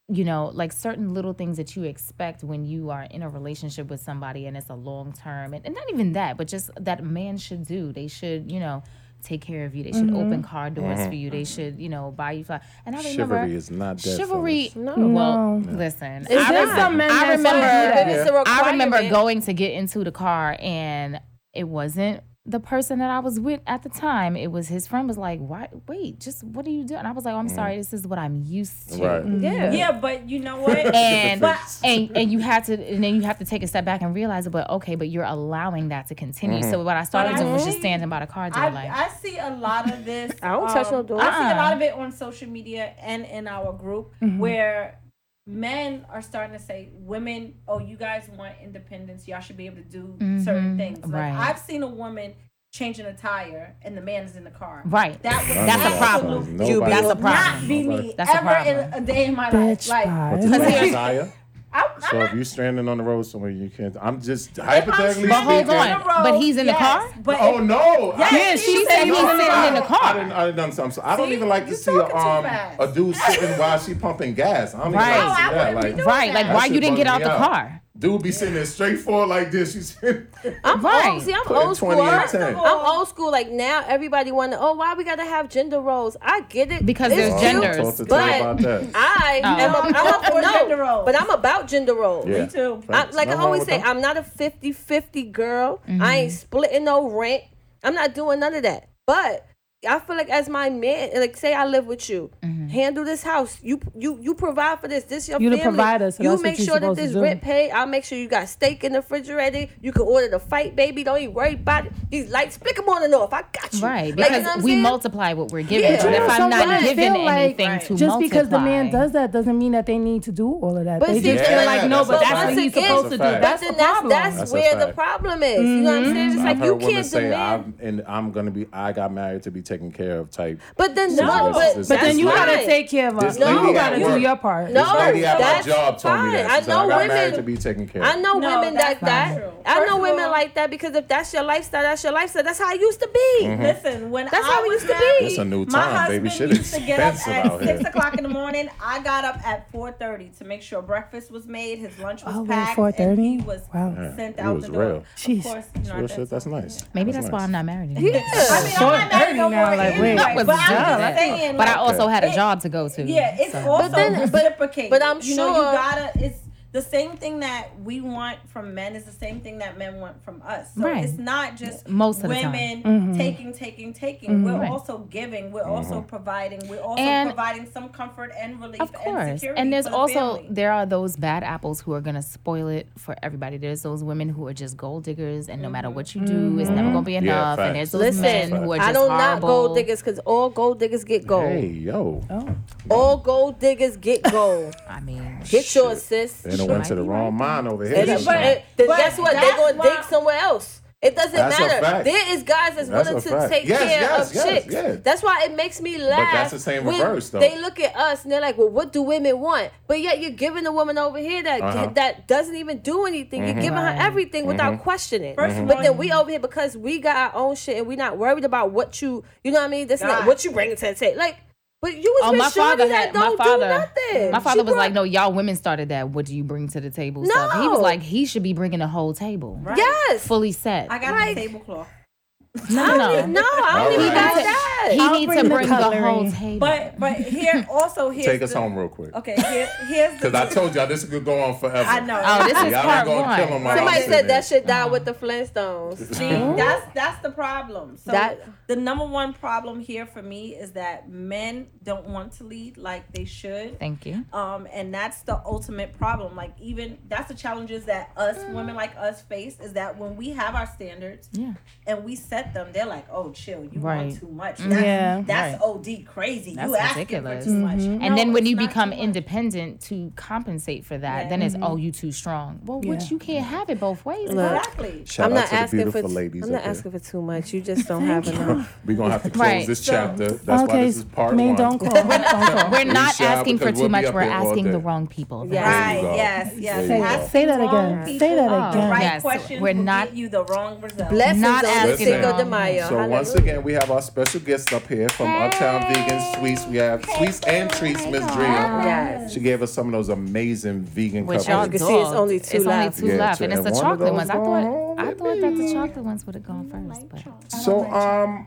you know, like certain little things that you expect when you are in a relationship with somebody, and it's a long term, and, and not even that, but just that a man should do. They should, you know, take care of you. They should Mm-hmm. open car doors for you. They should, you know, buy you flowers. And I remember Chivalry is not dead. chivalry. fellas. No. Well, listen. It's I, not. remember, Some men I that's remember. like that. It's a I remember requirement. going to get into the car, and it wasn't the person that I was with at the time. It was his friend. Was like, "Why? Wait, just what are you doing?" And I was like, "Oh, "I'm sorry. This is what I'm used to." Right. yeah Yeah, but you know what? And, But- and and you have to and then you have to take a step back and realize it. But okay, but you're allowing that to continue. So what I started But I doing was just see- standing by the car door, I, like, I see a lot of this. um, I don't touch no door. I see a Uh-uh. lot of it on social media and in our group where men are starting to say, "Women, oh, you guys want independence? Y'all should be able to do certain Mhm, things." Like right. I've seen a woman changing a tire and the man is in the car. right. That was That's a problem. absolute- Nobody- You be- That's a Not problem. [LAUGHS] be me That's a ever in problem. a day in my Bitch, life. Like But bye. this Because is here- Messiah. I'm, So I'm if not you're standing on the road somewhere, you can't. I'm just hypothetically But hold speaking- on. But he's in the car? But Oh no! I- Yeah, she she said said he was no. sitting in the car. I didn't. I didn't. I'm, so- I don't See? even like to You see a, talking too um, fast. a dude sitting while she pumping gas. I don't Right. even Oh, like I to see that. wouldn't be Like, doing Right. that. Like, that why shit you didn't get bugged out me the car? Dude be sitting there straight forward like this. You [LAUGHS] sitting I'm Right. old. See, I'm Put in old school. 20 and First of 10. all, I'm old school. Like now, everybody wonder, oh, why we gotta have gender roles? I get it Because It's there's cute, genders. Talk to Tay but about that. I Oh. am. No, I'm not I'm for a, no, gender roles. but I'm about gender roles. Yeah. too. I, Facts. like I Nothing wrong always with say, that. I'm not a 50-50 girl. I ain't splitting no rent. I'm not doing none of that. But I feel like as my man, like say I live with you, handle this house. You you you provide for this. This your You the family. provider, so you that's what make you sure that supposed to this do. rent paid. I'll make sure you got steak in the refrigerator. You can order the fight, baby. Don't even worry about it. These lights, flick them on and off. I got you. Right, Like, you because know what I'm we saying? multiply what we're giving. Yeah. But You if know, I'm not someone giving feel like anything to Just because the man multiply- does that doesn't mean that they need to do all of that. But they see, just yeah, feel like no, that's but a that's fact. what he's That's a supposed to do. fact. That's but the then that's, problem. that's That's a where the fact. problem is. You know what I'm saying? It's I've like heard you women can't say demand. I'm and I'm gonna be. I got married to be taken care of type. But then No, no, this- but, this- But then that's you gotta fine. take care of This us. No, lady you at gotta do work- your part. No, This lady at my that's job told me that. fine. She said, I I know got women- married to be taken care of. I know No, women like that's not that. true. I First know of women all- like that because if that's your lifestyle, that's your lifestyle. That's how it used to be. Mm-hmm. Listen, when That's I how it was used to be. married, It's a new my time, baby. husband Shit used to get up expensive out at here. six o'clock in the morning. I got up at four thirty to make sure breakfast was made, his lunch was Oh, wait, packed, 4:30? and he was Wow. Yeah, sent it out was the door. real. Jeez. Of course, you know, Real at that shit, that's time. nice. Maybe that's that's why nice. I'm [LAUGHS] not married Yeah. anymore. I mean, I'm not married no more 4:30 now, like, anyway, wait. That was but I'm dumb. just saying, But I like, also had a it- job to go to. Mm, Yeah, it's so- also then- but- reciprocated. but I'm you know, you sure- gotta. It's the same thing that we want from men is the same thing that men want from us. So Right. it's not just Most of the time. Mm-hmm. women Mm-hmm. taking, taking, taking. We're Right. also giving. We're also providing. We're also And- providing some comfort and relief. Of and, course. security And there's for the also family. there are those bad apples who are gonna spoil it for everybody. There's those women who are just gold diggers and no matter what you do, it's never gonna be Yeah, enough. facts. and there's those men Mm-hmm. Listen, who are just I don't not horrible. gold diggers because all gold diggers get gold. Hey yo, Oh, All gold diggers get [LAUGHS] gold. I mean Get yours, sis. they done went to the Might be wrong mine over And, here. and- But- then but guess what? They that's gonna why- dig somewhere else. It doesn't That's a matter. fact. There is guys that's, That's willing a to fact. take Yes, care yes, of yes, chicks. yeah. That's why it makes me laugh. that's the same when reverse, though. They look at us and they're like, "Well, what do women want?" But yet you're giving the woman over here that Uh-huh. that doesn't even do anything. Mhm. Mm-hmm. You're giving Right. her everything Mm-hmm. without questioning. First of But all, then we over here because we got our own shit and we're not worried about what you, you know what I mean? This and that, God. what you bringing to the table. Like, but you was Oh, with my father shorty that had my don't do father. nothing. My She father was brought- like, "No, y'all women started that. What do you bring to the table?" No. stuff. he was like, he should be bringing a whole table. Yes, fully set. I got Like- the tablecloth. no, no, no, I don't All even right. got that. He I'll needs bring to the bring the, cutlery. whole table. But [LAUGHS] but here also here's Take us the- home real quick. Okay, here, here's [LAUGHS] the Because I told y'all this could go on forever. I know. Oh, this is y'all part ain't gonna one. kill 'em while Somebody I'm said sitting that here. shit died with the Flintstones. See, that's that's the problem. So That- the number one problem here for me is that men don't want to lead like they should. Thank you. Um, and that's the ultimate problem. Like even that's the challenges that us Mm. women like us face is that when we have our standards Yeah. and we set them, they're like, "Oh, chill, you Right. Mm. want too much. That's, Yeah. that's Right. Mm-hmm. OD crazy. That's you asking ridiculous. for too much." And No, then when it's you not become too much. independent to compensate for that, Yeah. then it's oh you too strong. Well, Yeah. which you can't have it both ways. Mm-hmm. Look. exactly. Shout I'm out not to the asking for beautiful ladies I'm not out there. asking for too much. You just don't have enough. We're gonna have to close Right. this So- chapter. That's why okay, this is part man, one. [LAUGHS] don't call. don't call. We're not shy asking for because too we'll be much. up We're here all asking the day. wrong people. Yeah. There you Right. go. Yes. Yes. There you Ask go. Say that the wrong again. Say that people again. The right Yes. questions We're will not- get you the wrong result. Blessings Not on asking Cinco for too de Mayo. So once Hallelujah. again, we have our special guests up here from Uptown Vegan Sweets. We have Sweets and Treats, Miss Dream. Yes. She gave us some of those amazing vegan Which cupcakes. y'all you can see, it's dogged. only two It's left. only two Yeah, left, two- and it's and the one of chocolate those ones. I gone thought home I with thought that me. the chocolate ones would have gone first, but So um,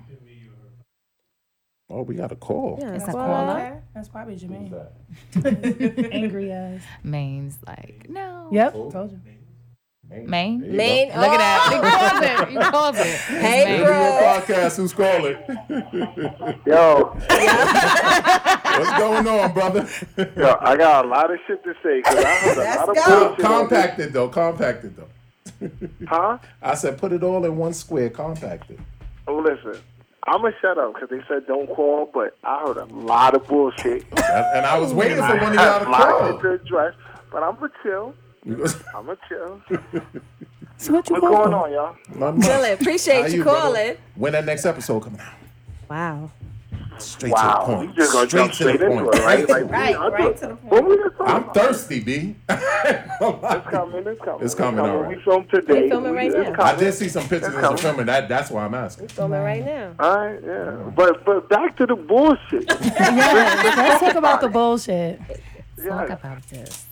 oh, we got a call. Yeah, it's a well, caller. That's probably Jermaine. [LAUGHS] Angry eyes. Maine's like no. Yep. Told you. Maine. There you go. Maine. Look at that. You called it. You called it. Hey, Maine. Good to your bro. podcast. Who's calling? [LAUGHS] Yo, What's going on, brother? yo, I got a lot of shit to say 'cause I heard a lot Com- of bullshit. on [LAUGHS] this- compacted though. Compacted though. Huh? I said, put it all in one square. Compacted. Oh, listen, I'm gonna shut up 'cause they said don't call, but I heard a lot of bullshit. And I was waiting for [LAUGHS] one of y'all a to lot of shit [LAUGHS] to call. address, but I'm gonna chill. Because- I'm gonna [LAUGHS] chill. So what you What's going want? on, y'all? Not much. Dylan, appreciate How you brother? calling. When that next episode coming out? Wow. Straight Wow, to the you point. just gonna jump straight into it, right? Like, Right, right to the What point. we just talking I'm about? thirsty, B. [LAUGHS] It's coming. It's coming. It's coming, all right. We filmed today. We filming right it's now. I coming. did see some pictures It's of some coming. filming. That that's why I'm asking. Filming right now. All right, yeah. But but back to the bullshit. [LAUGHS] Yeah, let's talk about the bullshit. Talk yeah. about this.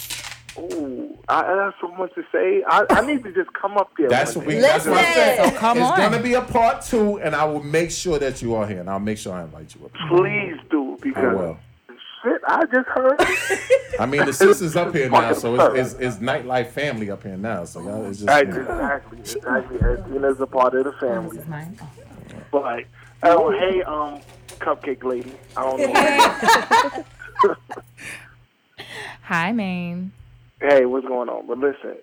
Ooh, I, I have so much to say. I, I need to just come up there. That's what one we. day. That's what I said. So come it's on. gonna be a part two, and I will make sure that you are here, and I'll make sure I invite you up. Please do I because will. shit, I just heard. [LAUGHS] I mean, the sister's up here now, so it's, it's, it's nightlife family up here now. So y'all, it's just exactly, exactly. Edwina's a part of the family, This is mine. Oh. but oh hey, um, cupcake lady. I don't [LAUGHS] know. Hi, Maine. hey, what's going on? But listen.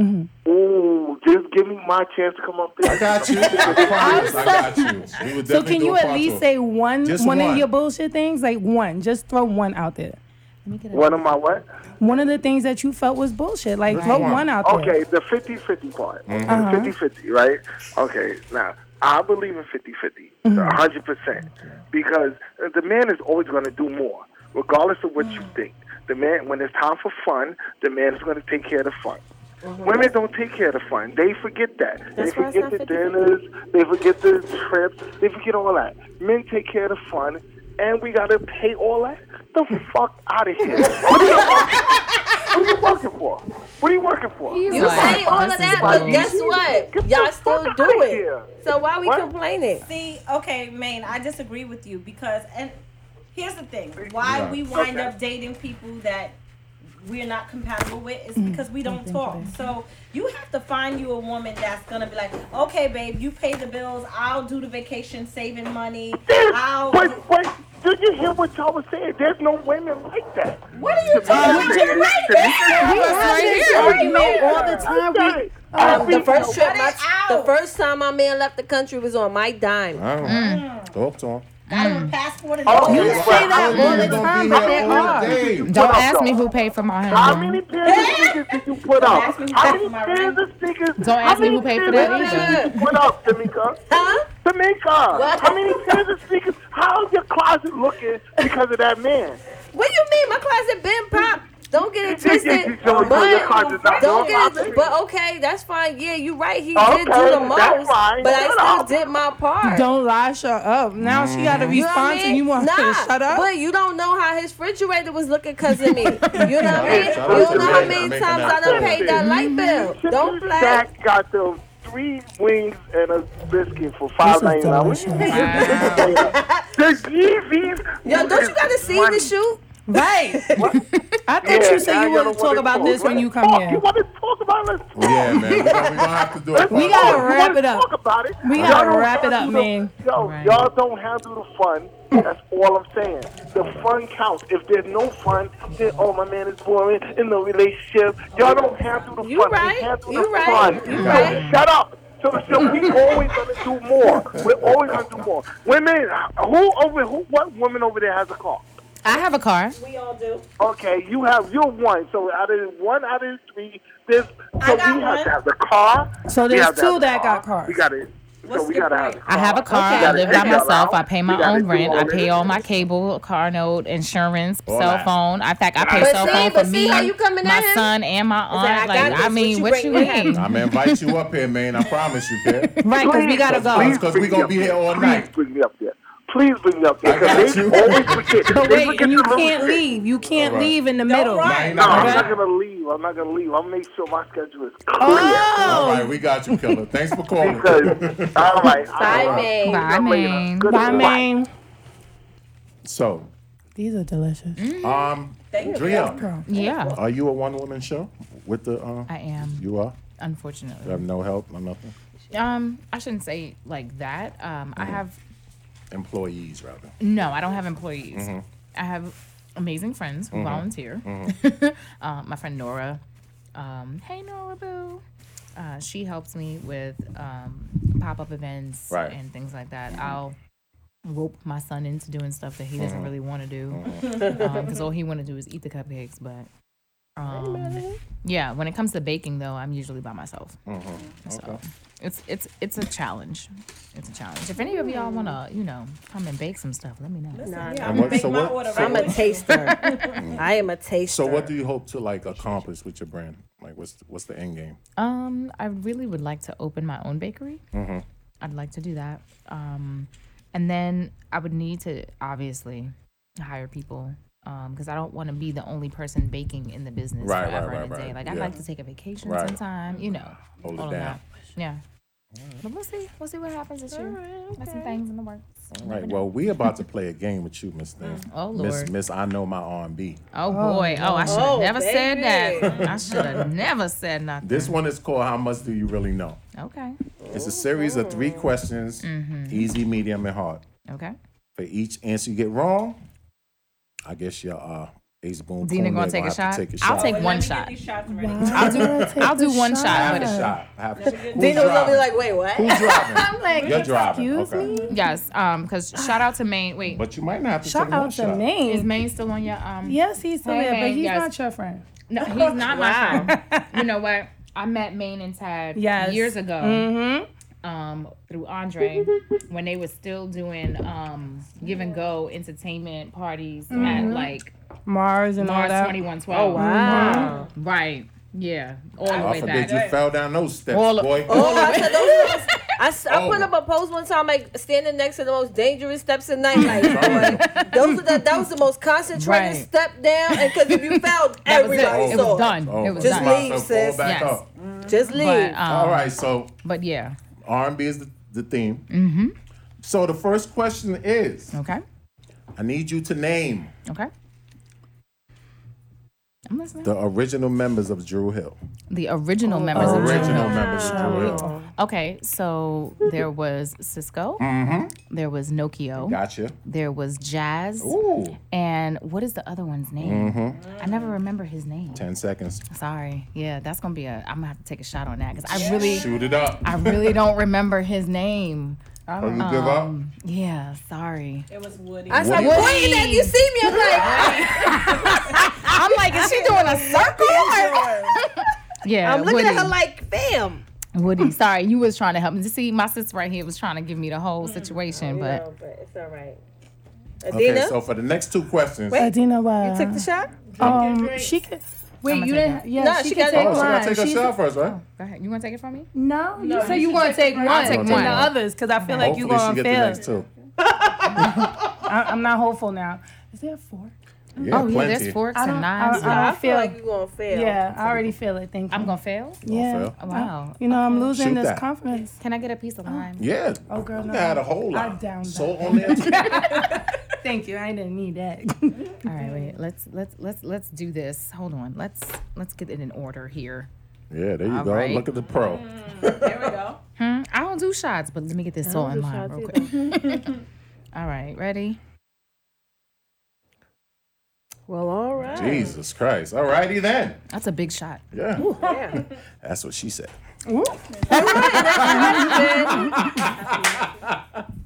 Mm-hmm. Ooh, just give me my chance to come up there. I got you. I promise, I got you. We would So definitely can do you a at part least two. say one Just one one. of your bullshit things? Like one. Just throw one out there. Let me get a- One of my what? One of the things that you felt was bullshit. Like throw one. one out there. Okay, the 50 50 part. 50 50, right? Okay, now, I believe in 50 50, 100%, because uh, the man is always going to do more, regardless of what you think. The man, when it's time for fun, the man is going to take care of the fun. Women don't take care of the fun. They forget that. they That's why it's forget the not 50-50. dinners. They forget the trips. They forget all that. Men take care of the fun, and we gotta pay all that. The fuck out of here. what, are you, what are you working for? What are you working for? You say all of this is that, but bullshit. guess what? Get the Y'all fuck still outta do here. it. So why we What? complaining? See, okay, Maine, I disagree with you because, and here's the thing: why Yeah. we wind Okay. up dating people that we're not compatible with is because we don't talk. So you have to find you a woman that's gonna be like, okay, babe, you pay the bills, I'll do the vacation saving money, There's- I'll. Wait, wait. Did you hear what y'all was saying? There's no women like that. What are you Uh, talking we about? We have this argument all Mm. the time. We Okay. Um, the Every- first trip, Cut it my, out. the first time my man left the country was on my dime. I don't know. Talk to him. Got him a passport and Oh, all you that. say that all the time, but there are. Don't ask me who paid for my How honeymoon. many pairs of sneakers did you put Don't up? ask me who How paid many for my pairs of sneakers? Don't ask me who paid for that either. What up, Tamika? Huh? Tamika, What? how many pairs of sneakers? How's your closet looking because of that man? What do you mean? My closet been pop. Don't get it [LAUGHS] Yeah, yeah, yeah, twisted. so your closet's But not don't going get it. But okay, that's fine. Yeah, you right. He Okay, did do the that's most, fine. but I Shut still up. did my part. Don't lie, shut up. Now she got to Mm-hmm. You know what I respond to mean? you want nah, her to [LAUGHS] shut up. But you don't know how his refrigerator was looking because [LAUGHS] of me. You know what I mean? You Shout out don't to know how Meg. many Making times that I done sense. paid that light bill. Don't flag. Jack got them three wings and a biscuit for five ninety nine. What you think? The Yeezys. Yo, don't you gotta see the shoe? Right. I thought Yeah, you said now you you wanted to don't talk wanna about talk. this when What you the come fuck here. you want to talk about it? Yeah, man. We're gonna, we gonna have to do [LAUGHS] it. We gotta wrap it up. We Y'all gotta don't wrap it handle up, the- man. Yo, y'all don't handle the fun. That's all I'm saying. The fun counts. If there's no fun, then oh my man is boring in the relationship. Y'all don't handle the You fun. right. We handle You the right. fun. You So right. Shut up. So, so [LAUGHS] we always gonna do more. We're always gonna do more. Women, who over who? What woman over there has a car? I have a car. We all do. Okay, you have you're one. So out of one out of three, there's so we I got have one. to have the car. So we there's have to two have the that car. got cars. We got it. So we gotta have the car. I have a car. We I gotta live by take that myself. I route. pay We my gotta own do rent. I of pay it. all my cable, car note, insurance, All cell that. phone. I fact I pay But cell see- phone but for see me, how you coming my at him? son, and my like, I got aunt. Like this. I What mean, you what you bring me? mean? I'm gonna invite you up here, man. I promise you, kid. Right, 'cause [LAUGHS] we gotta go. please Because we bring me gonna up be here all night. Please bring me up there. Please bring me up there. I got Because they you. always [LAUGHS] forget. But they wait, forget and you the little can't shit. leave. You can't All right. leave in the middle. Right. No, I'm Okay. not gonna leave. I'm not gonna leave. I'll make sure my schedule is clear. Oh. All right, we got you, killer. Thanks for calling. Because all [LAUGHS] right, Bye, man. Bye, man. Good Bye, luck. man. [LAUGHS] So, These are delicious. um, Drea, Yeah, are you a one-woman show with the? Uh, I am. You are. You Unfortunately, have no help, no nothing. um, I shouldn't say like that. Um, I have Employees, rather. no. I don't have employees. Mhm. I have amazing friends who Mhm. volunteer. Mhm. [LAUGHS] Uh, my friend Nora. Um, hey, Nora Boo. Uh, she helps me with um, pop up events Right. and things like that. I'll rope my son into doing stuff that he doesn't Mhm. really want to do because Mhm. all he want to do is eat the cupcakes. But um, yeah, when it comes to baking, though, I'm usually by myself. Mm-hmm. So Okay. it's it's it's a challenge. It's a challenge. If any of y'all wanna, you know, come and bake some stuff, let me know. Nah, Yeah, And I'm what- gonna make so my what- order so I'm a right away. taster. I am a taster. So, what do you hope to like accomplish with your brand? Like, what's what's the end game? Um, I really would like to open my own bakery. Mm-hmm. I'd like to do that. Um, and then I would need to obviously hire people because I don't want to be the only person baking in the business Right, right, forever right, and a right. day. Like I'd Yeah. like to take a vacation Right. sometime, you know. Hold all it down. of that. Yeah. But we'll see. We'll see what happens this year. Got some things in the works. You All never right. know. Well, we [LAUGHS] about to play a game with you, Miss Thing. Oh, Miss Lord. Miss, I know my R and B. Oh boy! Oh, I should have Oh, never said baby. that. I should have never said nothing. This one is called "How Much Do You Really Know." Okay. It's a series of three Oh. questions: Mm-hmm. easy, medium, and hard. Okay. For each answer you get wrong, I guess your uh, Ace Boom Dina Kool-Aid gonna take a have shot. to take a I'll shot. take Let one me get shot. these shots ready. I'll do. I'll do one shot. Have with a it. shot. I have to. Who's Dina was over there driving? like, wait, what? Who's driving? I'm like, You're driving. excuse okay. me. Yes. Um. Because shout out to Maine. Wait. But you might not have to Shout take one out to shot. Is Maine. Maine still on your um? Yes, he's still Hey, there, but Maine, he's yes. not your friend. No, he's not my friend. You know what? I met Maine and Tad Yes. years ago. Mm-hmm. um, through Andre when they were still doing um, give and go entertainment parties at like Mars and all Mars that. twenty one twelve. Oh, wow. Right. Yeah. All the I way forbid back. you fell down those steps, [LAUGHS] All of- boy. [LAUGHS] Oh, I said those ones. I, s- I Oh. put up a post one time, like standing next to the most dangerous steps in nightlife. [LAUGHS] [LAUGHS] Sorry. Like, those are the, that was the most concentrated Right. step down, and because if [LAUGHS] you fell, That was it. everybody It saw. was done. Oh, it was my Just done. God. leave, So fall sis. back Yes. up. Just leave. But, um, All right, so But yeah. R&B is the, the theme. Mm-hmm. So the first question is, Okay. I need you to name Okay. I'm listening. The, the original members of Drew Hill. original members of Drew. Original members of Drew Hill. Okay, so there was Cisco, Mm-hmm. there was Nokio, Gotcha. there was Jazz, Ooh. and what is the other one's name? Mm-hmm. I never remember his name. Ten seconds. Sorry. Yeah, that's gonna be a. I'm gonna have to take a shot on that because I really, Shoot it up. I really don't remember his name. Oh, you give up? Yeah, sorry. It was Woody. I said, Woody. Woody, if you see me, I'm like, I'm like, is she doing a circle? [LAUGHS] yeah, I'm looking at Woody. her like, fam. Woody, sorry, you was trying to help me. See, my sister right here was trying to give me the whole situation, but but it's all right. Okay, Adina, so for the next two questions. Wait. Adina, what? you took the shot. Uh, Um, she could. Wait, you didn't. Yeah, Nah, she, she can got it. take Oh, one. so I take a She's- shot first, right? go ahead. You want to take it from me? No, you No, said you you should want to take take one. one. I'll take and one. the others because I feel like you're Hopefully, she going get to the fail. next two. I, I'm not hopeful now. Is there a fork? Yeah, oh yeah, plenty. there's forks I and don't- knives. Uh, I- I, I feel feel- like you're gonna fail. Yeah, I already feel it. Thank you. I'm gonna fail. Yeah. fail. Wow. You know, I'm losing Shoot this that. confidence. Can I get a piece of lime? Yeah. Oh, girl, You no. had a whole lot. I downed Salt on there. [LAUGHS] too. Thank you. I didn't need that. All right, wait. Let's let's let's let's do this. Hold on. Let's let's get it in order here. yeah, there you All go. right. Look at the pro. There we go. Hmm? I don't do shots, but let me get this salt and lime real quick. All right, ready? Well, all right. Jesus Christ. All righty then. That's a big shot. Yeah. Yeah. [LAUGHS] That's what she said.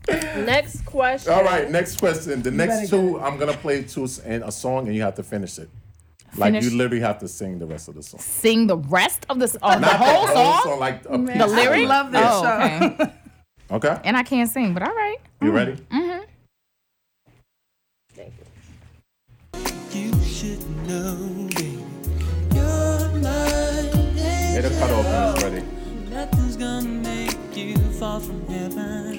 Next question. All right, next question. The next better two, I'm gonna play two s- and a song, and you have to finish it. Like Finish- you literally have to sing the rest of the song. Sing the rest of this [LAUGHS] of the Not whole song. like a piece The of it. lyric. love this Oh, show. okay. Okay, And I can't sing, but all right. you ready? You should know, baby, you're mine. Hit a cut off when it's ready. Nothing's gonna make you fall from heaven.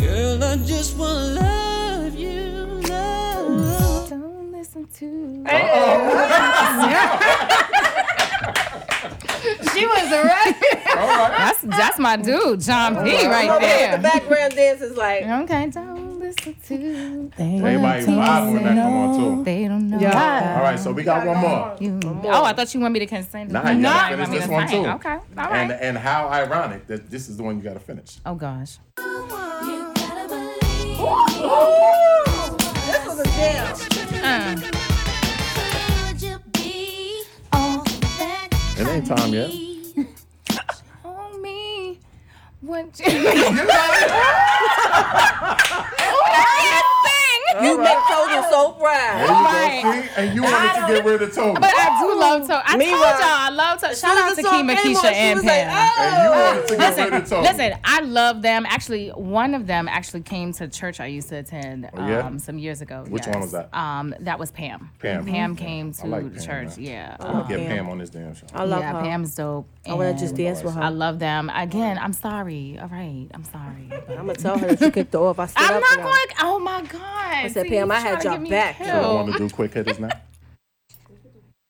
Girl, I just wanna love you, love. Don't listen to. she was right. That's that's my dude, John P. Right The there. background dance is like, Okay, don't listen to. Everybody vibing when that come on too. They don't know. All right, so we got one more. You. Oh, I thought you wanted me to consent. Nah, you gotta you finish want me this to one sing. too. Okay, all right. And and how ironic that this is the one you gotta finish. oh gosh. this was a jam. Uh, It ain't time [LAUGHS] yet. oh me, what? You [LAUGHS] I can't Oh. sing. You make Togan so There proud. Oh you Right. go, see? And you wanted to get rid of Toby. But I do love to. I Meanwhile, told y'all I love to. Shout out to Kima, Keisha, and Pam. Pam. And you wanted to get Listen, rid of Toby. listen, I love them. Actually, one of them actually came to church I used to attend Oh, yeah? um, some years ago. Which yes. one was that? Um, that was Pam. Pam. Mm-hmm. Pam Mhm. came I to like Pam, church. man. Yeah. I'm gonna get Pam. Pam on this damn show. I love yeah, her. Pam's dope. I want and to just dance with her. I love them. Again, I'm sorry. All right, I'm sorry. but- I'm going to tell her that you kicked her off. I stood I'm up not for her. going. Oh my God. I said, Pam, I had your back. You don't want to do quick hitters now?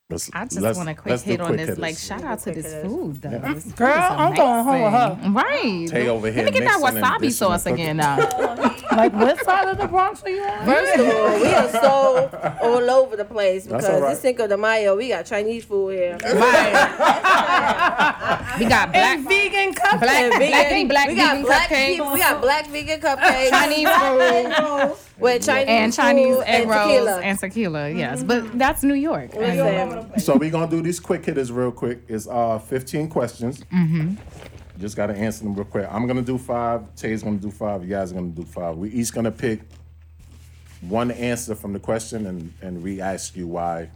Let's- I just let's- want a quick let's do hit on quick this. hitters. Like, shout out to this food, though. This food is Girl, I'm going home with her. amazing. Right. Tay over here Let me get that mixing and wasabi dishing and sauce again cooking. now. Like, what side of the Bronx are you on? First of all, we are so all over the place That's because all right. it's Cinco de Mayo. We got Chinese food here. We got black, black, Vegan vegan, cup. black, we got vegan black cupcakes, people- we got black [LAUGHS] vegan cupcakes. Chinese food, with Chinese and Chinese food egg and rolls tequila. and tequila. Yes, but that's New York. And- Listen, So we're gonna do these quick hitters real quick. It's uh 15 questions. Mm-hmm. Just gotta answer them real quick. I'm gonna do five. Tay's gonna do five. You guys are gonna do five. We each gonna pick one answer from the question and and re-ask you why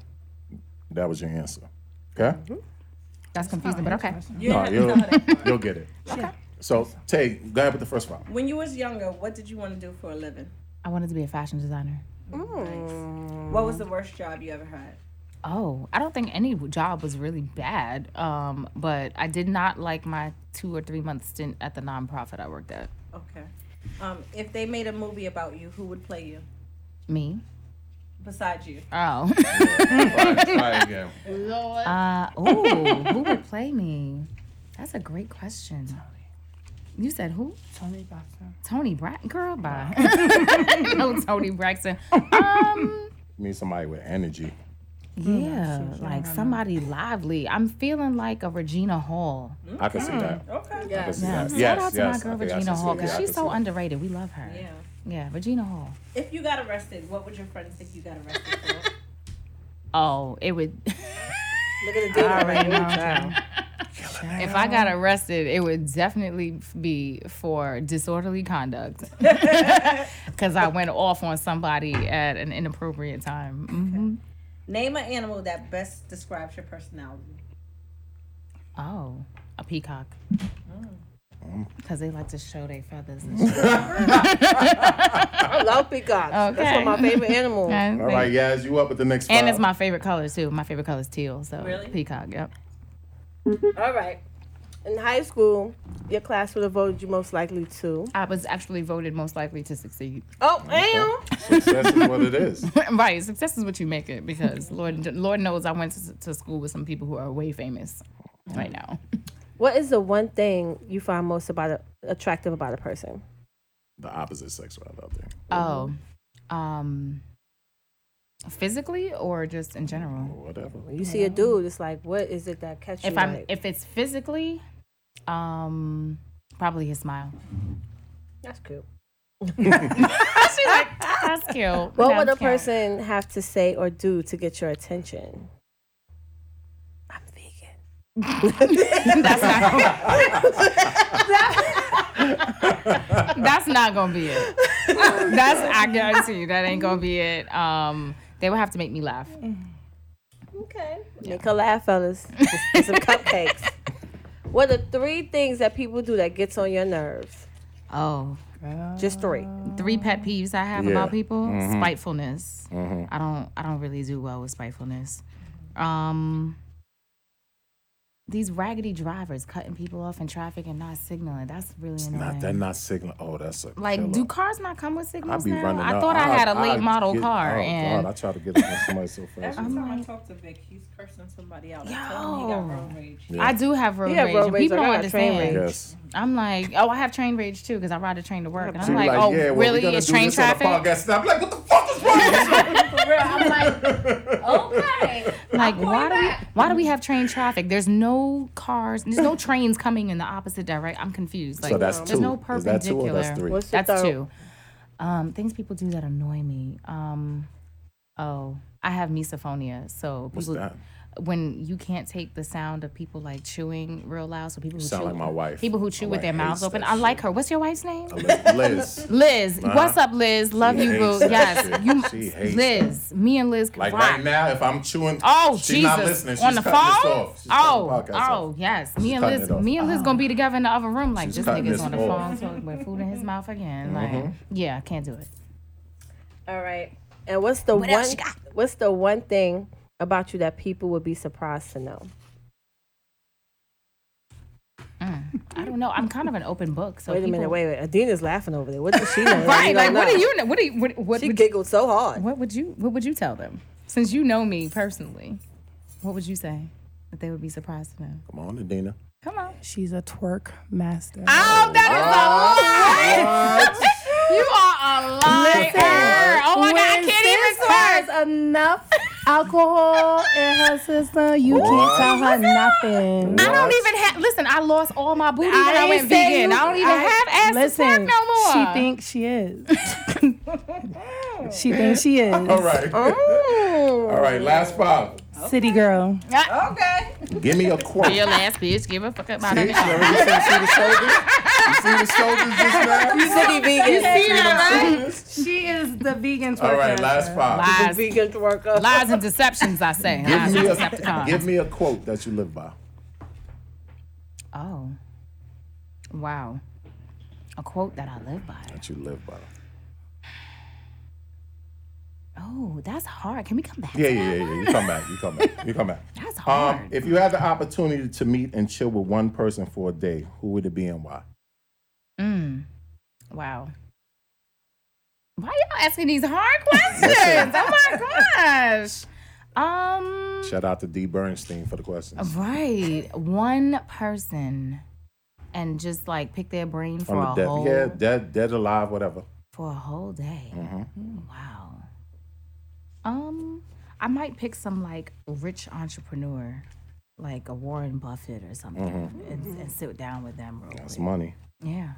that was your answer. Okay? That's confusing, but okay. No, you'll, you'll get it. So Tay, go ahead with the first round. When you was younger, what did you want to do for a living? I wanted to be a fashion designer. What was the worst job you ever had? Oh, I don't think any job was really bad, um, but I did not like my two or three month stint at the nonprofit I worked at. Okay. Um, if they made a movie about you, who would play you Me? besides you? Oh. All right, all right, [LAUGHS] yeah. Uh, oh, who would play me? That's a great question. You said who? Tony Braxton. Tony Braxton. Girl, bye. [LAUGHS] no, Tony Braxton. Um, Need somebody with energy. yeah, like somebody lively. I'm feeling like a Regina Hall. I can see that. Okay. I can see Yeah. that. Shout Yes, out to yes. my girl I think I Regina can see Hall that. because I she's can so see that. underrated. We love her. Yeah. Yeah, Regina Hall. If you got arrested, what would your friends think you got arrested for? Oh, it would. [LAUGHS] look at the dude. already know. If I got arrested, it would definitely be for disorderly [LAUGHS] conduct because I went off on somebody at an inappropriate time. hmm Name an animal that best describes your personality. Oh, a peacock. Mm. Because they like to show their feathers and shit. I love peacocks. That's one of my favorite [LAUGHS] animals. All right, Uh, Yaz, you up at the next And five. it's my favorite color too. My favorite color is teal. So peacock. Yep. All right. In high school, your class would have voted you most likely to. I was actually voted most likely to succeed. Oh, damn. Success is what it is. [LAUGHS] right. Success is what you make it because Lord, Lord knows I went to, to school with some people who are way famous Mm. right now. What is the one thing you find most about a, attractive about a person? The opposite sex rather out there. Oh, Mm. um, physically or just in general? Whatever. Oh, You see a dude, it's like, what is it that catches you? Mm-hmm. If I'm, like? if it's physically, um, probably his smile. that's cute. [LAUGHS] She's like, that's cute. What would That's a cute." person have to say or do to get your attention? that's not. that's not gonna be [LAUGHS] it. That's I guarantee you that ain't gonna be it. Um, they would have to make me laugh. Okay. Make her laugh, [LAUGHS] fellas. With- with some cupcakes. What are three things that people do that gets on your nerves? Oh, just three. Three pet peeves I have Yeah. about people: Mhm. Mm-hmm. spitefulness. I don't. I don't really do well with spitefulness. Um, these raggedy drivers cutting people off in traffic and not signaling. That's really annoying. Not that not signal. Oh, that's a Like, killer. do cars not come with I signals be now? running. I up. thought I, had a I late model get- car, oh, and God, I try to get against somebody so fast. [LAUGHS] Every time I talk to Vic, he's cursing somebody out. I tell him he got road rage. Yeah. I do have road You have rage. road and rage, People like, I don't got train understand. rage. Yes. I'm like, oh, I have train rage too because I ride a train to work, and She I'm be like, oh, yeah, well, we really? gonna It's do train this on the traffic? podcast. And I'm like, what the fuck is wrong? Like, why do we, why do we have train traffic? There's no cars. There's no trains coming in the opposite direction. I'm confused. Like, So that's there's two. no Is that two or perpendicular. that's three? What's your third? two. Um, things people do that annoy me. Um, oh, I have misophonia. So What's people, that? when you can't take the sound of people like chewing real loud, so people who Sound chew, like my wife. people who chew My with wife their mouths hates open. that I like her. What's your wife's name? [LAUGHS] Liz. Liz, Uh-huh. what's up, Liz? Love She you, hates boo. that Yes, shit. you. She hates Liz, me and Liz. Like rock. right now, if I'm chewing, Oh, she's Jesus. not listening. She's On the phone? cutting this off. She's cutting oh, the podcast off. oh, yes. She's Me and cutting Liz, it off. me and Liz gonna be together in the other room. Like She's this cutting nigga's this on the phone, off. talking with food in his mouth again. Like, Mhm. yeah, I can't do it. All right. And what's the What one else you what's the one thing about you that people would be surprised to know? I don't know. I'm kind of an open book. So wait a people, minute, wait, wait. Adina's laughing over there. What does [LAUGHS] she know? that Right, we like don't what know? do you know? What do you, what, what She would, giggled so hard. What would you what would you tell them? Since you know me personally, what would you say that they would be surprised to know? Come on, Adina. Come on. She's a twerk master. Oh, that is a lie. You are a liar. oh my god, I when sis can't even swear. has enough alcohol in her system. You What? can't tell her nothing. I don't even have. Listen, I lost all my booty when I ain't went say vegan. you- I don't even have ass listen, to twerk no more. She thinks she is. she thinks she is. All [LAUGHS] right. Oh. All right, last five. City girl. Okay. Give me a quote. [LAUGHS] Be your last bitch. Give a fuck about See, it. she already said she was shoulders. You see the shoulders just [LAUGHS] now? You city vegan. You see that, them right? shoulders? She is the vegan All right, last five. Lies. Vegan twerker. Lies and deceptions, I say. Give Lies me, and a, Decepticons. give me a quote that you live by. oh. Wow. A quote that I live by. That you live by. Oh, that's hard. Can we come back? Yeah, yeah, yeah, yeah. You come back. You come back. You come back. [LAUGHS] That's hard. Um, if you had the opportunity to meet and chill with one person for a day, who would it be and why? Mm. Wow. Why y'all asking these [LAUGHS] hard questions? oh my gosh. Um. Shout out to D. Bernstein for the questions. Right. One person and just like pick their brain for a dead, whole yeah, dead, dead, alive, whatever. for a whole day. Mm, Mhm. Wow. Um, I might pick some like rich entrepreneur, like a Warren Buffett or something, Mhm. and, and sit down with them real That's quick. money. Yeah.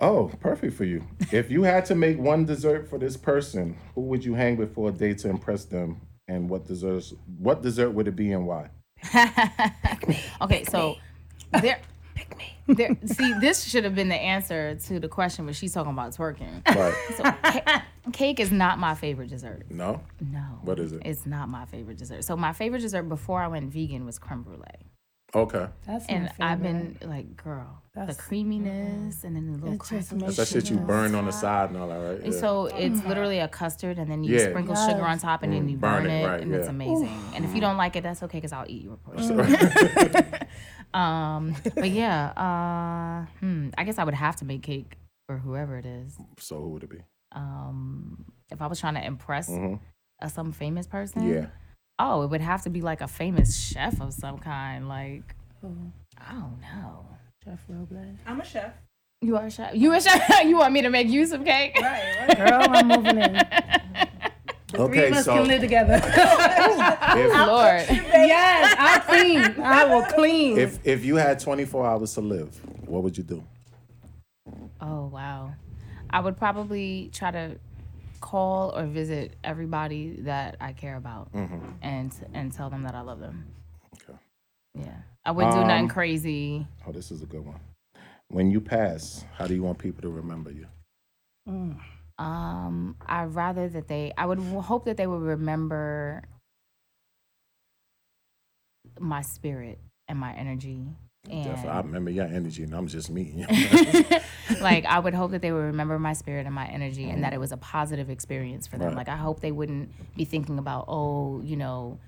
Oh, perfect for [LAUGHS] you. If you had to make one dessert for this person, who would you hang with for a day to impress them? And what desserts? What dessert would it be and why? Okay, so There, [LAUGHS] pick me. There, see, this should have been the answer to the question when she's talking about twerking. Right. [LAUGHS] So, ca- cake is not my favorite dessert. [LAUGHS] No. No. What is it? It's not my favorite dessert. So my favorite dessert before I went vegan was creme brulee. Okay. That's and my I've been like, girl, the creaminess and then the little crust. That's that shit you burn on the side and all that, right? Yeah. So it's literally a custard, and then you Yeah. sprinkle Mm-hmm. Yes. sugar on top, and then Mm, you burn burn, it, it, right, and it's yeah. amazing. Oof. And if you don't like it, that's okay, cause I'll eat your portion. [LAUGHS] um, but yeah, uh, hmm, I guess I would have to make cake for whoever it is. So who would it be? Um, if I was trying to impress Mhm. uh, some famous person, Yeah. Oh, it would have to be like a famous chef of some kind, like Mm-hmm. I don't know. Chef Robles. I'm a chef. You are a chef. You a chef. [LAUGHS] you want me to make you some cake? Right. Girl, I'm moving in. Three Okay, of us so can live together. If- [LAUGHS] Lord. Yes, I clean. I will clean. if if you had 24 hours to live, what would you do? [LAUGHS] Oh wow. I would probably try to call or visit everybody that I care about Mhm. and and tell them that I love them. Okay. Yeah. I wouldn't do Um, nothing crazy. Oh, this is a good one. When you pass, how do you want people to remember you? Um, I'd rather that they I would w- hope that they would remember my spirit and my energy. And Definitely, I remember your energy, and I'm just [LAUGHS] me. [LAUGHS] like I would hope that they would remember my spirit and my energy and that it was a positive experience for them. Right. Like I hope they wouldn't be thinking about, oh, you know,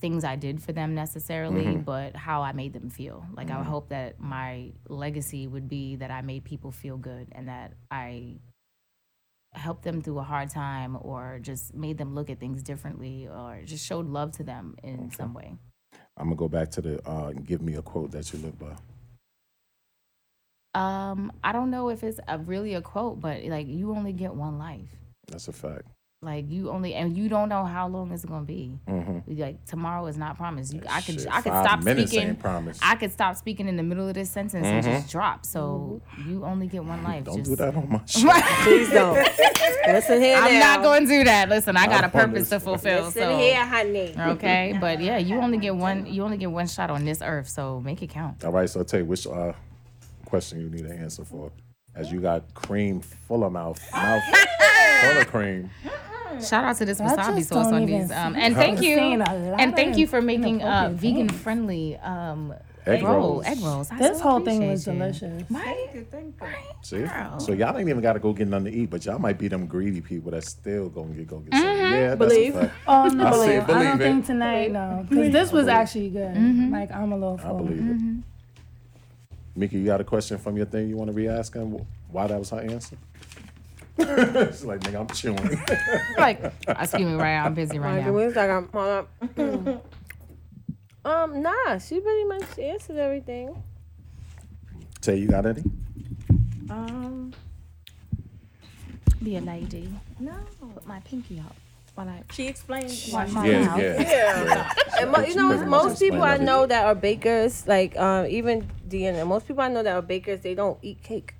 things I did for them necessarily, Mhm. but how I made them feel. Like I would hope that my legacy would be that I made people feel good and that I helped them through a hard time or just made them look at things differently or just showed love to them in some way. I'm gonna go back to the uh, give me a quote that you live by. Um, I don't know if it's a, really a quote, but like you only get one life. That's a fact. Like you only, and you don't know how long it's gonna be. Mhm. Like tomorrow is not promised. You, I could, Shit, I could five stop minutes speaking. ain't promised. I could stop speaking in the middle of this sentence Mhm. and just drop. So you only get one life. Don't just, do that [LAUGHS] on my show. Right. Please don't. Listen here I'm now. not going to do that. Listen, I got I a purpose to promise. fulfill. Listen so. here, honey. [LAUGHS] Okay, but yeah, you only get one. You only get one shot on this earth, so make it count. All right, so I'll tell you which uh, question you need an answer for. As you got cream full of mouth, [LAUGHS] mouth full of cream. Shout out to this I wasabi just sauce don't on even these. Um, see and that. thank you, Seen a lot and thank of you for making uh, inappropriate vegan things. friendly um, Egg roll rolls. egg rolls. I This so whole thing appreciate was you. delicious. Right? See? So y'all ain't even gotta go get nothing to eat, but y'all might be them greedy people that still gonna get go get something. Yeah, that's Believe. a fact. Oh no, I I, said believe don't it. think tonight. No, because this was actually good. Mm-hmm. Like I'm a little I full. believe it. Mika, you got a question from your thing you wanna re ask him why that was her answer? [LAUGHS] She's like, nigga, I'm chewing. [LAUGHS] [LAUGHS] like, excuse me, right? I'm busy right Like, now. it was like I'm hold up. um, nah, she pretty much answered everything. Tay, you got any? Um, Be a lady. No, put my pinky up. While I she explains wash Yeah, my mouth. yeah. Yeah. And mo- you know, Pretty much most people I explained know that are bakers, like um, even Deanna, most people I know that are bakers, they don't eat cake.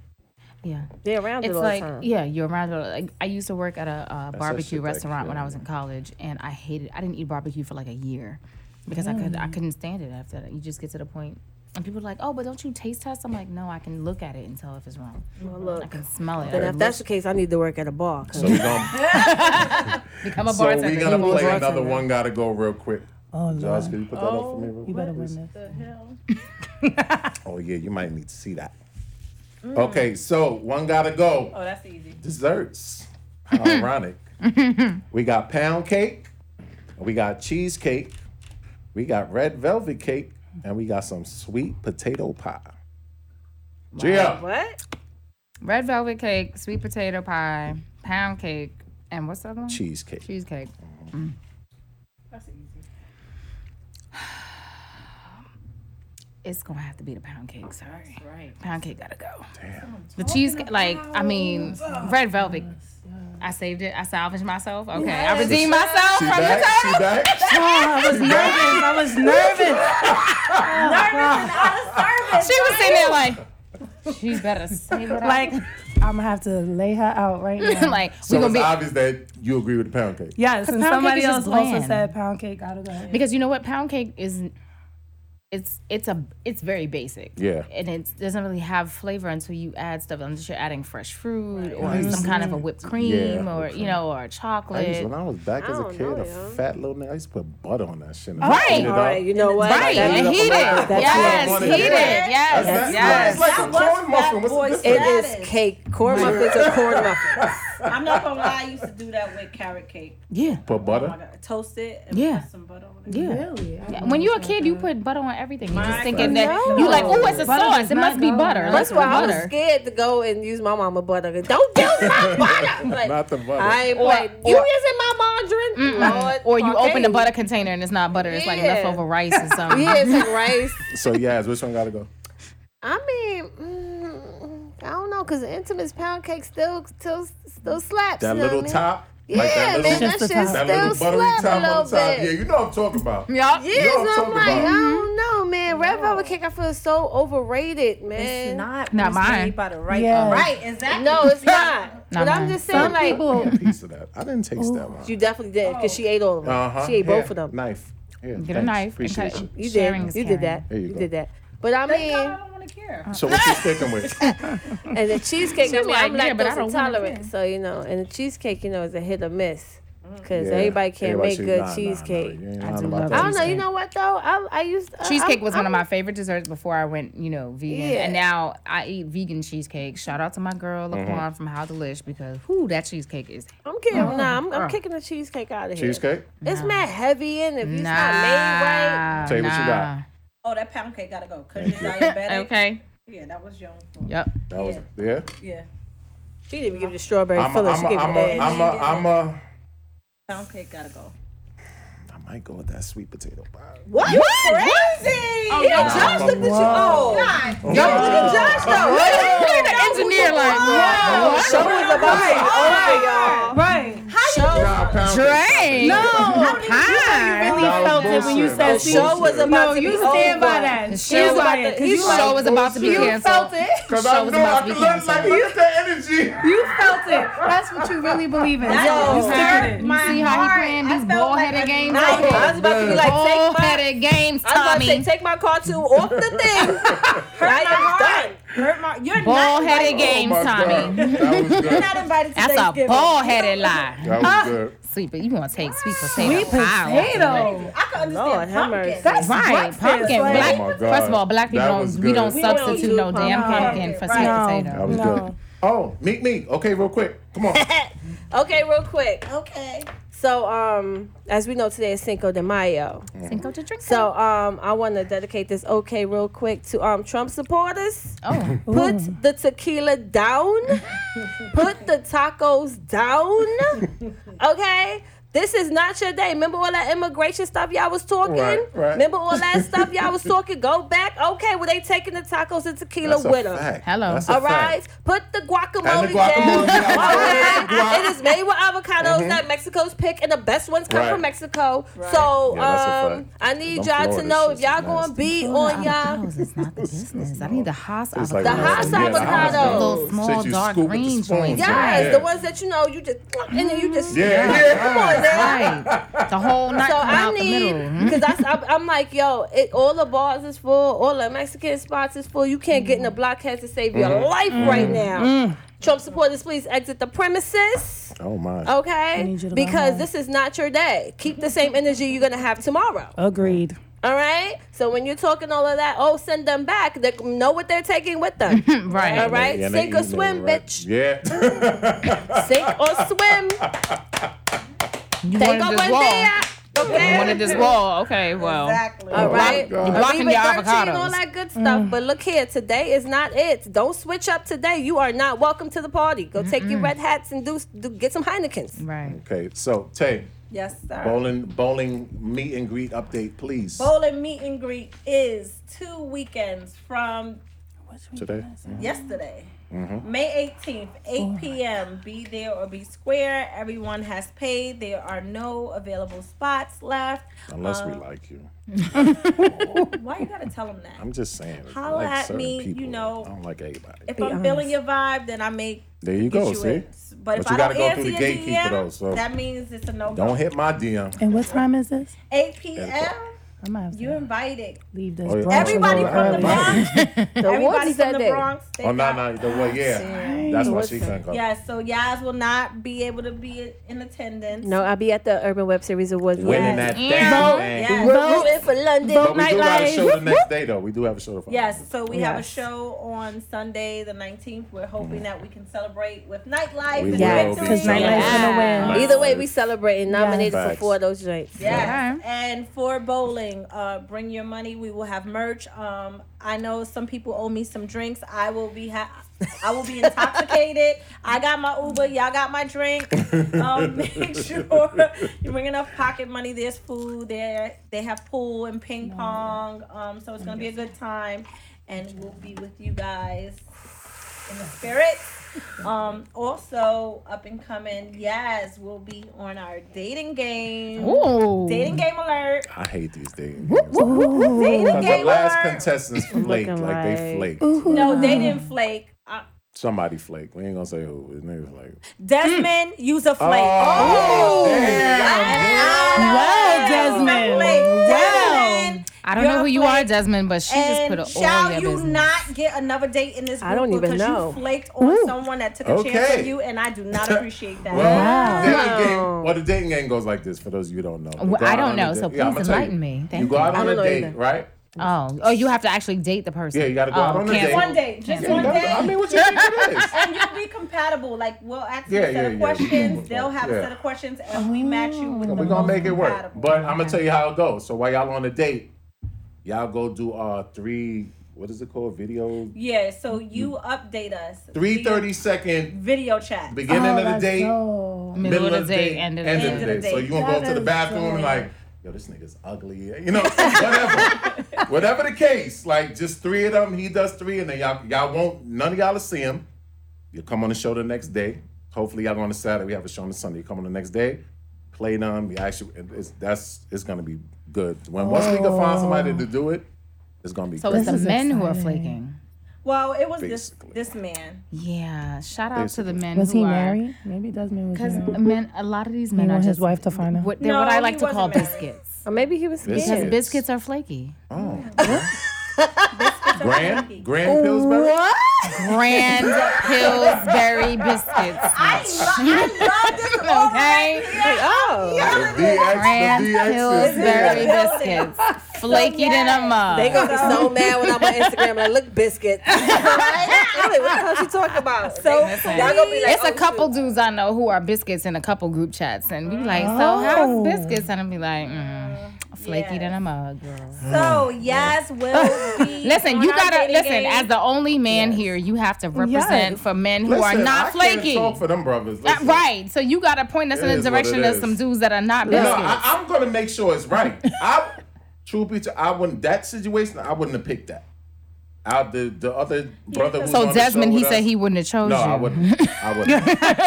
Yeah. They're around it It's all like, the time. yeah, you're around. it. Like, I used to work at a uh, that shit barbecue back restaurant when then, I was in college, and I hated. I didn't eat barbecue for like a year because I could. I Mm. couldn't stand it after that. You just get to the point, and people are like, "Oh, but don't you taste test?" I'm like, "No, I can look at it and tell if it's wrong. Well, look. I can smell it. And if that's the case, I need to work at a bar. 'cause- So we gonna become a so bartender. we gonna You won't play work. another one. Gotta go real quick. Oh, Josh, can you put that up for me? Real You quick? better win this. Oh yeah, you might need to see that. Okay, so one gotta go. Oh, that's easy. Desserts. How ironic. we got pound cake. We got cheesecake. We got red velvet cake, and we got some sweet potato pie. Gia, What? Red velvet cake, sweet potato pie, pound cake, and what's the other one? cheesecake. Cheesecake. Mm. That's easy. [SIGHS] It's gonna have to be the pound cake. Sorry. Right. Pound cake gotta go. Damn. The cheesecake, like, I mean, red velvet. I saved it. I salvaged myself. Okay, I Yes. redeemed She myself from the back? She back? Oh, I was nervous. I was nervous. She was sitting there like, she better save it. Like I'm gonna have to lay her out right [LAUGHS] now. like we So gonna it's be obvious that you agree with the pound cake. [LAUGHS] yes, and pound somebody cake is else just also bland. said pound cake gotta go. because you know what? Pound cake is it's it's a it's very basic. Yeah. And it doesn't really have flavor until you add stuff unless you're adding fresh fruit or I used some to kind of do a it. whipped Yeah, cream whipped or you cream. know or chocolate. I used, when I was back as a don't kid, know, a fat little nigga, I used to put butter on that shit. and Right. heat it All up. right, you know what? Right, Heat it and up a heat little it. bit. That's Yes, what I wanted. heat it. Yes, That's- yes. It's like a That was corn muffin. What's the It difference? is cake. Corn muffins are corn muffins. I'm not gonna lie, I used to do that with carrot cake. Yeah. Put butter. Toast it and Yeah. put some butter on it. Yeah. Yeah, When you're a kid, you put butter on everything. You're just My thinking goodness. that you like, oh, it's a Butter sauce. does It not must be go butter. That's Let's why put I was butter. scared to go and use my mama butter. Don't use my butter. [LAUGHS] Like, Not the butter. I ain't Or- playing. or- You using my margarine? Mm-mm. Lord, [LAUGHS] Or you open the okay. [LAUGHS] butter container and it's not butter. It's like Yeah. leftover rice or [LAUGHS] something. Yeah, it's like [LAUGHS] rice. So yeah, which one gotta go? I mean, mm, I don't know, cause the intimates pound cake still still still slaps. That you know what little I mean? top. Yeah, man, that shit that little still buttery slap top a on the little top. bit. Yeah, you know what I'm talking about. Yup. Yeah, Y'all so I'm talk like, about it. I Mm-hmm. don't know, man. Red velvet cake, I feel so overrated, man. It's not. Not mine. By the right, Yeah. right, exactly. No, [LAUGHS] it's not. Not but I'm mine. just saying, like, I had a piece of that. I didn't taste that one. you definitely did because she ate all of them. Uh-huh. She ate Here, both of them. Knife. Yeah, Get a knife and Appreciate cut- you. You Sharing did. is You did caring. that. There you You go. did that. But I mean, So what you sticking with? and the cheesecake, She to me, like, I'm yeah, but I lactose don't want it. intolerant, so you know, and the cheesecake, you know, is a hit or miss Mm. because Yeah, everybody can't everybody make should- good nah, nah, nah, cheesecake. you ain't I lying do about love that. I don't know. You know what though? I I used I- Cheesecake Uh, I'm- was one I'm- of my favorite desserts before I went, you know, vegan. Yeah. And now I eat vegan cheesecake. Shout out to my girl Mm-hmm. Laquan from How Delish because whoo, that cheesecake is I'm kidding. Mm-hmm. Nah, I'm, Uh-huh. I'm kicking the cheesecake out of here. Cheesecake? It's mad heavy and if it's not made right. nah. Tell you what you got. nah. Oh, that pound cake gotta go. Cause you're diabetic. Okay. Yeah, that was young. Yep. That was yeah. Yeah. She didn't even give the strawberry I'm a, filling. I'm She a, gave I'm a, it I'm a, I'm a. Pound cake gotta go. I might go with that sweet potato pie. What? You crazy? Oh, no. Josh looked at you. Oh, God. Yo, look at Josh though. Look at- look at the engineer like, Wow. what? Show was about to over, Oh. y'all. right. Nah, pound Dre. cake. You really That was felt it when you bullshit. said That was she. Show was about No, to you be Oh, stand over. by that. The Stand by show was that. about to- 'cause you you The show was about to be You felt canceled. it. Cause Show I was know about I to be can learn like canceled. look at that energy. You felt it. That's what you really believe in. Yo. You You stirred my see how he playing these ball headed games? I was- I was about to be like, ball take my, headed games, I was about to say, Tommy. take my cartoon off the [LAUGHS] thing. right, it's done. Hurt my. You're Ball not. headed invited- games, oh my Tommy. God. That was [LAUGHS] You're good. not Ah! invited to That's a Thanksgiving. ball headed lie. That was good. Sweet, but you want to take sweet potato sweet potato. I can understand Lord, have pumpkin. mercy. That's Right, breakfast, pumpkin. like- Black, Oh my God. first of all, black people That don't was we don't good. We don't substitute do no damn pumpkin. pumpkin for Right. sweet No. Um, potato. That was good. Oh, meet me. Okay, real quick. Come on. Okay, real quick. Okay. So, um, as we know, today is Cinco de Mayo. Cinco de drink. So, um, I want to dedicate this okay, real quick, to um Trump supporters. oh, [LAUGHS] Put the tequila down. Put the tacos down. Okay? This is not your day. Remember all that immigration stuff y'all was talking? Right, right. Remember all that stuff y'all was talking? Go back. Okay, well, they taking the tacos and tequila That's a with them. fact. Hello. That's a All right, fact. put the guacamole, And the guacamole. [LAUGHS] Guac. down. Mm-hmm. okay, it is made with avocados that Mexico's pick, and the best ones come Right. from Mexico. So Yeah, that's a um, fact. I Them need y'all to Florida know if shits y'all is gonna nasty. be on y'all. avocados is not the business. I need the Haas It's like avocado. The one of those- Haas yeah, the Haas avocados. avocados. Those small Shit you dark scoop with the green spoon, joints. yeah. Yes, Yeah. the ones that you know you just and then you just Yeah, yeah. Come on, now. Right. [LAUGHS] The whole nut So come I out the need middle. mm-hmm. because that's I'm, I'm like yo, it, all the bars is full, all the Mexican spots is full. You can't get in the blockhead to save Mm-hmm. your life right now. Trump supporters, please exit the premises. Oh my. Okay, need you to go because home. this is not your day. Keep the same energy you're gonna have tomorrow. Agreed. All right. So when you're talking all of that, oh, send them back. They know what they're taking with them. Right. All right. Yeah, they Sink or eating it, swim, right? bitch. Yeah. [LAUGHS] Sink or swim. You Take wanted up this one wall. day. Okay. You wanted this wall. Okay, well. Exactly. All Oh, right. my God. Arriba Blocking your 13, avocados. all that good stuff. But look here, today is not it. Don't switch up today. You are not welcome to the party. Go take your red hats and do, do get some Heinekens. Right. Okay, so Tay, Yes, sir. bowling bowling meet and greet update, please. Bowling meet and greet is two weekends from Today. yesterday. Mm-hmm. May 18th, Oh 8 p.m. Be there or be square. Everyone has paid. There are no available spots left. Unless we like you. Why you gotta tell them that? I'm just saying. I holla like at certain me, you people. know. I don't like everybody. If I'm feeling your vibe, then I may. There you get go, see? in. But, But if you I gotta don't go answer through the your gatekeeper, DM, though, so- that means it's a no. Don't hit my DM. And what time is this? 8 p.m. I might have You're invited. Leave this Oh, yeah. Bronx Everybody alone. from the Bronx. [LAUGHS] The Everybody Woods from said the that. Bronx. they Oh no, got- no, the way, yeah, that's why she couldn't go. Yeah, so Yaz will not be able to be in attendance. No, I'll be at the Urban Web Series Awards. Winning that Yes. thing, Vote. man. Yes. We're rooting for London. But we do have a Nightlife. show the next day, though. We do have a show the following. Yes, so we have a Yes. show on Sunday, the 19th. We're hoping that we can celebrate with Mm. nightlife. We and will victory. be celebrating. Yeah. Nice. Either way, we celebrating nominated for Facts. four of those joints. Yes. And for bowling, uh, bring your money. We will have merch. Um, I know some people owe me some drinks. I will be ha- I will be intoxicated. I got my Uber. Y'all got my drink. Um, make sure you bring enough pocket money. There's food there. They have pool and ping pong. Um, so it's gonna be a good time, and we'll be with you guys in the spirit. Um, also up and coming, Yaz will be on our dating game. Ooh. Dating game alert. I hate these days. Dating Because the game last Mm. alert. [LAUGHS] contestants flaked like, they flaked. No, they didn't flake. Uh, Somebody flaked. We ain't gonna say who. His nigga flaked. Desmond, use a flake. Mm. Oh, Well, Desmond. Well, I don't know who you are, Desmond, but she just put And a all shall your you business. not get another date in this group I don't even because know. you flaked on someone that took a chance Okay. on you, and I [LAUGHS] do not appreciate that. Well, dating game, well, the dating game goes like this. For those of you who don't know, You Well, go I out don't on a know, date- so yeah, I'ma please tell you. enlighten me. Thank you go you. out I on a don't know date, either. right? Oh, oh, you have to actually date the person. Yeah, you gotta go oh, out on a cancel. date. One day, just Yeah, one that's- day. I mean, what you think it is? [LAUGHS] And you'll be compatible. Like we'll ask you Yeah, a set yeah, of yeah. questions. They'll have Yeah. Oh. a set of questions, and we match you with So the we're gonna most make it work. compatible. But I'm gonna tell you how it goes. So while y'all on a date, y'all go do uh three what is it called? Video Yeah. So you update us. three thirty second Video chat. Oh, beginning Oh, of the date, Middle of the day, end of the day. So you gonna go That to the is bathroom and dope. like, yo, this nigga's ugly. You [LAUGHS] know, whatever. whatever the case, like just three of them, he does three, and then y'all y'all won't none of y'all will see him. You'll come on the show the next day. Hopefully y'all go on the Saturday. We have a show on the Sunday. You come on the next day, play them. You actually it's that's it's gonna be good. When once we can find somebody to do it, it's gonna be So great. it's the men who are flaking. Well, it was this this man. Yeah. Shout out to the men. Was who he are- married? Maybe Desmond was Because married. men, a lot of these men He are want his just wife to find out. What, they're No, what I he like to call wasn't married. [LAUGHS] biscuits. Or maybe he was scared. Because biscuits are flaky. Oh. [LAUGHS] Grand Grand Pillsbury. What? Grand Pillsbury biscuits. [LAUGHS] I, [LAUGHS] love this. okay. oh. The DX, the Grand DX is Pillsbury here. biscuits. Flaky than a mug. They gonna be so mad when I'm on Instagram like, look, biscuit. I'm like, what the hell she talking about? So Listen, y'all gonna be like, oh, it's a couple dudes I know who are biscuits in a couple group chats, and we be like, "So how's biscuits?" And I'm be like, mm, "Flaky than a mug." Girl. oh, So Mm. [LAUGHS] yes, will be. Listen, on you our gotta dating listen. game. As the only man here, you have to represent Yes. for men who Listen, are not I flaky. Can't talk for them brothers. Uh, Listen. right. So you gotta point us It in the is what it direction of is. some dudes that are not No, biscuits. I, I'm gonna make sure it's right. I, true picture, I wouldn't that situation. I wouldn't have picked that. Out the the other brother. who's on so the show Desmond, he with said us- he wouldn't have chose No, you. I wouldn't. I [LAUGHS] wouldn't. well,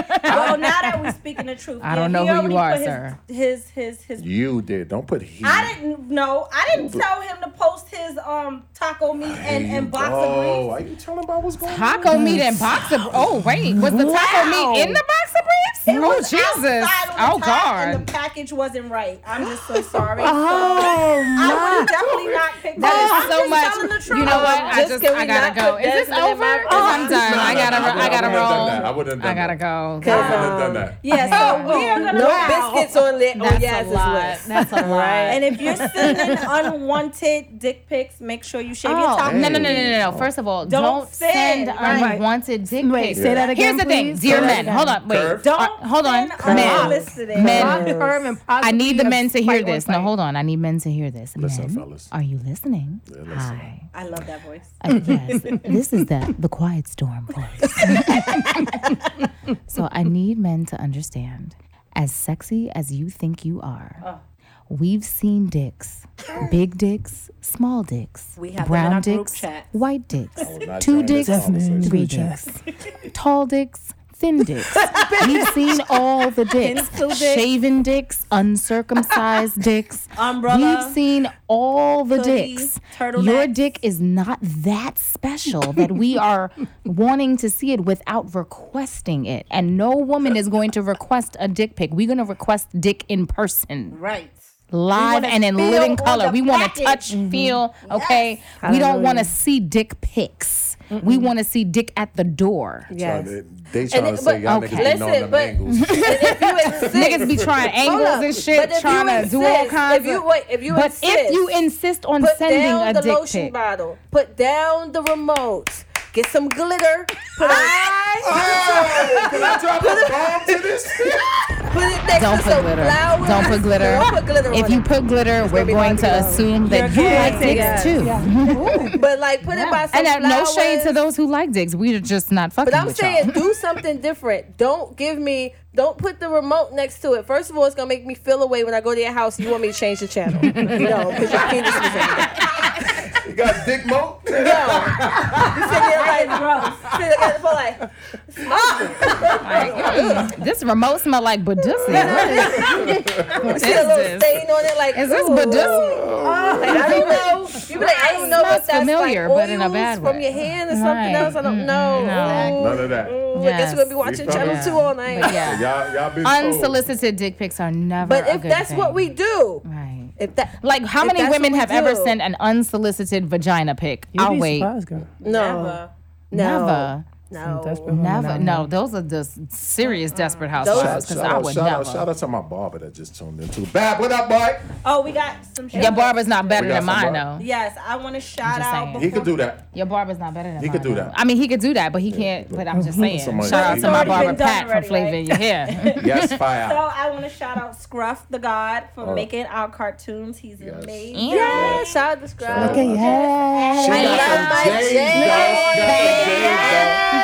Oh, now that we're speaking the truth, I don't yeah, know he who already you are, put his- sir. His his his. you did. Don't put he. I didn't know. I didn't tell him to post his um taco meat and There you and box go. of Are you telling about what's going on? Taco meat and box of oh wait was the taco Wow. meat in the box of briefs? It oh was Jesus! outside on the Oh top God! And the package wasn't right. I'm just [GASPS] so sorry. Oh, I my. would definitely not pick That that. is so much. You know what? I just I gotta go. Is this over? 'Cause I'm done. I gotta No, no, I wouldn't have gotta done roll. that. I wouldn't have done I gotta that. go. I wouldn't have done that. Yeah, so we are gonna No wow. biscuits on Oh, lit on That's a Yaz's lot. list. That's a lot. And if you're sending unwanted dick pics, make sure you shave your Oh, top. no, no, no, no, no, no. First of all, don't, send, right. unwanted dick pics. Wait, say that again, Here's the thing, please. dear Say that men. again. Hold on, wait. Curve. Don't hold on, send men. unsolicited. Men, Curve and I need the possibly men to a hear fight or this. No, hold on. I need men to hear this. Listen, men, fellas. Are you listening? listen. Hi. I love that voice. Uh, yes. this is the the quiet storm voice. [LAUGHS] so I need men to understand. As sexy as you think you are, Oh. we've seen dicks, big dicks, small dicks, We have them in brown our group Oh, dicks, chats. white dicks, would not two join this dicks, conversation. three Group chats. dicks, tall dicks, [LAUGHS] thin dicks. we've seen all the dicks, Pencil dick. shaven dicks, [LAUGHS] uncircumcised dicks. Umbrella. We've seen all the Hoodie, dicks. turtleneck. Your dick is not that special that [LAUGHS] we are wanting to see it without requesting it. And no woman is going to request a dick pic. We're going to request dick in person. Right. live wanna and in feel living on color. the We want to package. touch, Mm-hmm. Mhm. feel. Okay, we don't Hallelujah. want to see dick pics. We want to see dick at the door. Yes. Trying to- they trying to say y'all niggas be knowing them angles. Niggas be trying Hold angles up. and shit, But if trying you to do all insist- kinds if you, of. wait, if you but insist, if you insist on put sending down a the dick lotion pic, bottle, put down the remote, get some glitter, put it. Oh, can I drop a bomb to this? Put it next don't to put some glitter. flowers. Don't put glitter. Don't put glitter if on you it. put glitter, we're going to assume that you like dicks too. but like put it by some And uh, no flowers. shade to those who like dicks. We're just not fucking But I'm with saying y'all. do something different. Don't give me don't put the remote next to it. First of all, it's gonna make me feel away when I go to your house. You want me to change the [LAUGHS] channel. you know, because you can't just listen to that. [LAUGHS] You got dick mo? No. You sitting there like gross. Sitting there for like Mm, this remote smell like Badoosie. What is See a little this? stain on it, like Is this Oh, ooh. Badoosie? Like, I don't know. [LAUGHS] You be like, I don't know Smells if that's familiar, like but in a oils bad from way. your hand or something Right. Mm-hmm. else. I don't know. Ooh, None of that. ooh, I guess we're gonna be watching We Channel fucking- Two all night. Y'all, y'all been Unsolicited dick pics are never. But a if good that's thing. what we do, right? If that, like, how if many that's what women we have ever do- sent an unsolicited vagina pic? You'd I'll be wait. surprised, girl. No, Never. No. Never. No, those are the serious desperate house Shout, shows because shout I out, would shout never. out, shout out to my barber that just tuned in too. Bab, what up, boy? Oh, we got some. Your barber's not better We got than mine, some though. Yes, I want to shout just out. saying. He could do that. Your barber's not better than He mine, could do though. that. I mean, he could do that, but he can't. But I'm just saying. [LAUGHS] Somebody- Shout out It's to my already been barber done Pat already, from Flavor in Your Hair. [LAUGHS] Yes, fire. So I want to shout out Scruff the God for Oh. making our cartoons. He's amazing. Yeah. Yeah. Shout out to Scruff. Look at you. Yes. She got some J's,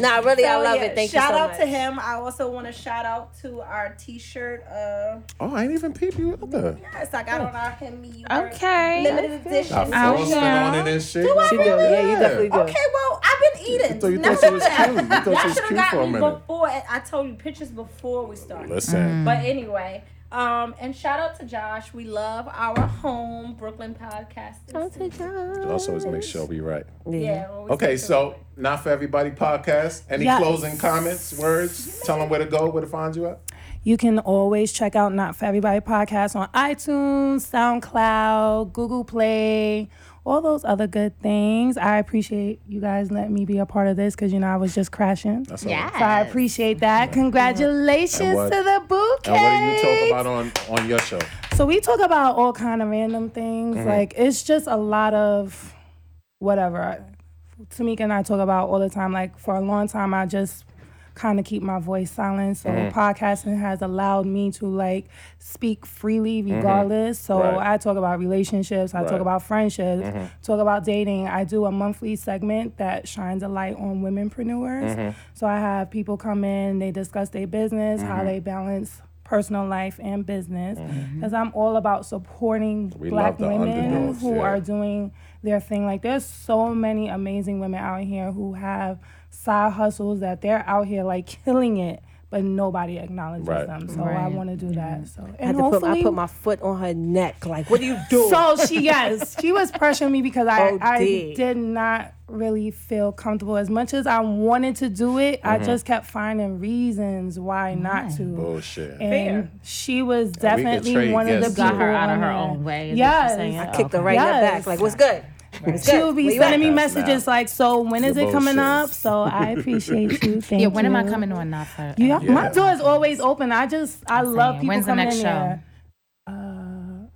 Nah, really, I love it. Thank you shout so out much. to him. I also want to shout out to our T-shirt. Uh, Oh, I ain't even peep you out there. yes, I Oh. got on our him. Me, you Okay. Limited edition. I frosted on it and shit. Do I She do, really? yeah, you definitely do. Okay, well, I've been eating. So you thought she was [LAUGHS] cute. You thought she was should cute have for a got me minute. before. I told you pictures before we started. Listen. Mm. But anyway, um, and shout out to Josh. We love our home Brooklyn podcast. Shout to It Josh. also always make sure we right. Yeah, well, we Okay, so not for everybody podcast. Any Yes. closing comments, words? Tell them where to go, where to find you at. You can always check out Not For Everybody podcast on iTunes, SoundCloud, Google Play, all those other good things. I appreciate you guys letting me be a part of this because you know I was just crashing. That's all right. So I appreciate that. Congratulations And what- to the bouquet. And what do you talk about on on your show? So we talk about all kind of random things. Mhm. Like it's just a lot of whatever. Tamika and I talk about all the time. Like for a long time, I just kind of keep my voice silent. So Mm-hmm. Mhm. podcasting has allowed me to like speak freely Mm-hmm. Mhm. regardless. So Right. I talk about relationships. I Right. talk about friendships. Mhm. Talk about dating. I do a monthly segment that shines a light on womenpreneurs. Mhm. So I have people come in. They discuss their business, how Mhm. they balance personal life and business Mm-hmm. because I'm all about supporting Mm-hmm. We love black the women underdogs, who yeah. are doing their thing. Like there's so many amazing women out here who have side hustles that they're out here like killing it, but nobody acknowledges Right. them. So I Right. want to do that. So I had and to put, I hopefully- put my foot on her neck. Like, what are you doing? So she yes, she was pressuring me because I Oh, I dang. did not really feel comfortable as much as I wanted to do it. I Mhm. just kept finding reasons why not to. Bullshit. And she And was we could definitely trade one of the guests, people too. Got her out of on her there. own way, is what Yes, you're saying? I kicked her right in the back. Like, what's good? What's she good? Where would be you at? sending me messages like, "So when is Your it coming bullshit. up?" So I appreciate [LAUGHS] you. Thank Yeah, when am I you. coming on? Not for. Yeah, my Yeah. door is always open. I just I love saying, people when's the coming next in show? there. Uh,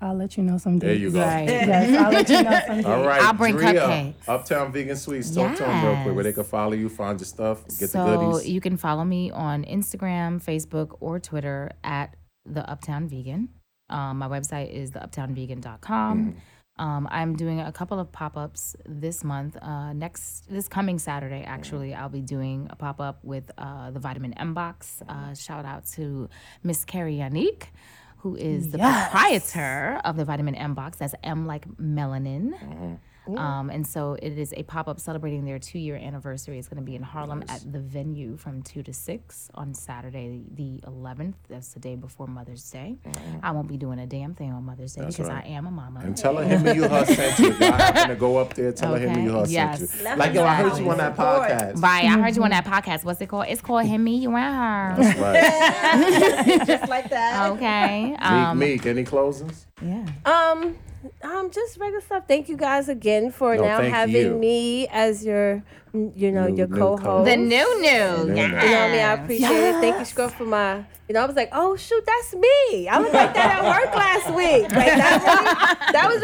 I'll let you know someday. There you go. Right. yes, I'll let you know someday. All right, I'll bring Drea, cupcakes. Uptown Vegan Sweets. Talk to them real quick where they can follow you, find your stuff, get the goodies. you can follow me on Instagram, Facebook, or Twitter at the Uptown Vegan. Um, my website is theuptownvegan.com. Mm-hmm. Um, I'm doing a couple of pop-ups this month. Uh, next, this coming Saturday, Mm-hmm. actually, I'll be doing a pop-up with uh, the Vitamin M Box. Uh, shout out to Miss Carrie Yannick, who is the Yes. Oh, proprietor of the Vitamin M Box. That's M like melanin. Um, and so it is a pop up celebrating their two year anniversary. It's going to be in Harlem at the venue from 2 to 6 on Saturday, the 11th. That's the day before Mother's Day. I won't be doing a damn thing on Mother's Day Mm-hmm. That's because right. I am a mama. And tell her him and you her sent you. Y'all happen to go up there, tell her him and you her Yes. sent you. Like, yo, I heard you on that podcast. Right, I heard you on that podcast. What's it called? It's called Him, Me, You, and Her. [LAUGHS] That's [LAUGHS] right. Just like that. Okay. Um, Meek, Meek, any closings? Um, um, just regular stuff. Thank you guys again for No, now thank having you. me as your, you know, New- your new co-host. co-host. The new new, You know what I mean? I yes. appreciate it. Thank you, Scrub, for my. You know, I was like, oh shoot, that's me. I was like that at work last week. Like that, really, that was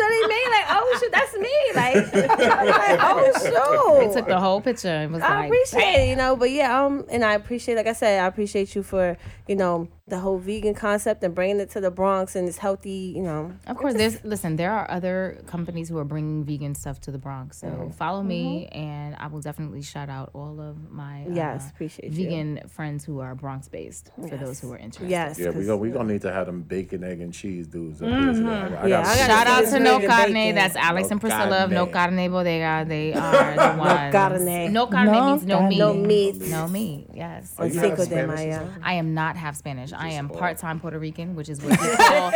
really me. Like oh shoot, that's me. Like, [LAUGHS] like oh shoot. They took the whole picture and was I like, appreciate it, you know, but yeah, um, and I appreciate, like I said, I appreciate you for, you know, the whole vegan concept and bringing it to the Bronx and this healthy, you know. Of course, there's listen. There are other companies who are bringing vegan stuff to the Bronx. So Mm-hmm. follow me, and I will definitely shout out all of my uh, Yes, appreciate you. vegan friends who are Bronx based for those who are interested. Yeah, we go. We gonna need to have them bacon, egg, and cheese dudes. Up here. Mhm. I gotta- Yeah, I gotta Shout out to No Carne. That's Alex No and Priscilla of No Carne. Carne Bodega. [LAUGHS] They are the ones. carne. No Carne No means no carne. meat. No meat. No meat. Yes. Are you half Cinco de Spanish or Mayo. something? I am not half Spanish. I am part time Puerto Rican, which is what we [LAUGHS] call,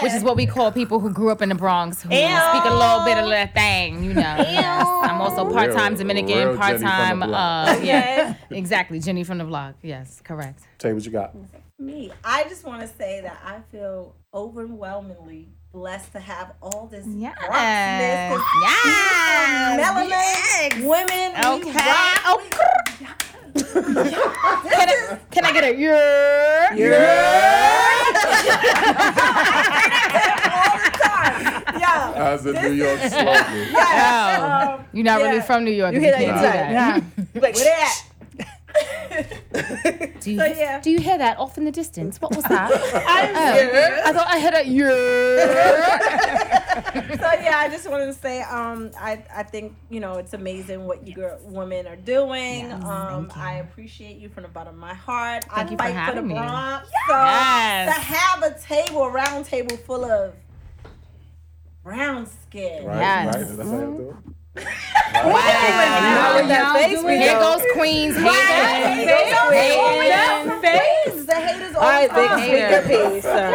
which is what we call people who grew up in the Bronx who Ew. speak a little bit of that thing. You know. Yes. I'm also Real- part time real Dominican, Jenny from part the time. block. [LAUGHS] Uh, yeah. Exactly. Jenny from the block. Yes. Correct. Tay, what you got? Me, I just want to say that I feel overwhelmingly blessed to have all this yes. Yes. yes. melanin women. Okay. Oh, can, I, can I get a yeah? As a New York slogan. [LAUGHS] Oh, you're not really from New York. You if hear that? can't It's do like, Like, um, where they at? Do you, do you hear that off in the distance? What [LAUGHS] was that? I- Oh, I thought I heard a yeah. [LAUGHS] so yeah, I just wanted to say, um, I I think you know it's amazing what you girl, women are doing. um, I appreciate you from the bottom of my heart. Thank I you for fight for, the having me. Bronx. Yes. So to have a table, a round table full of brown skin. Right, Yes. right. Mm-hmm. That's how you do it. Wow. Y'all doing- Here goes Queens. Here Right? They goes don't Queens. know that face. The haters all right, the time. big speaker piece. All right.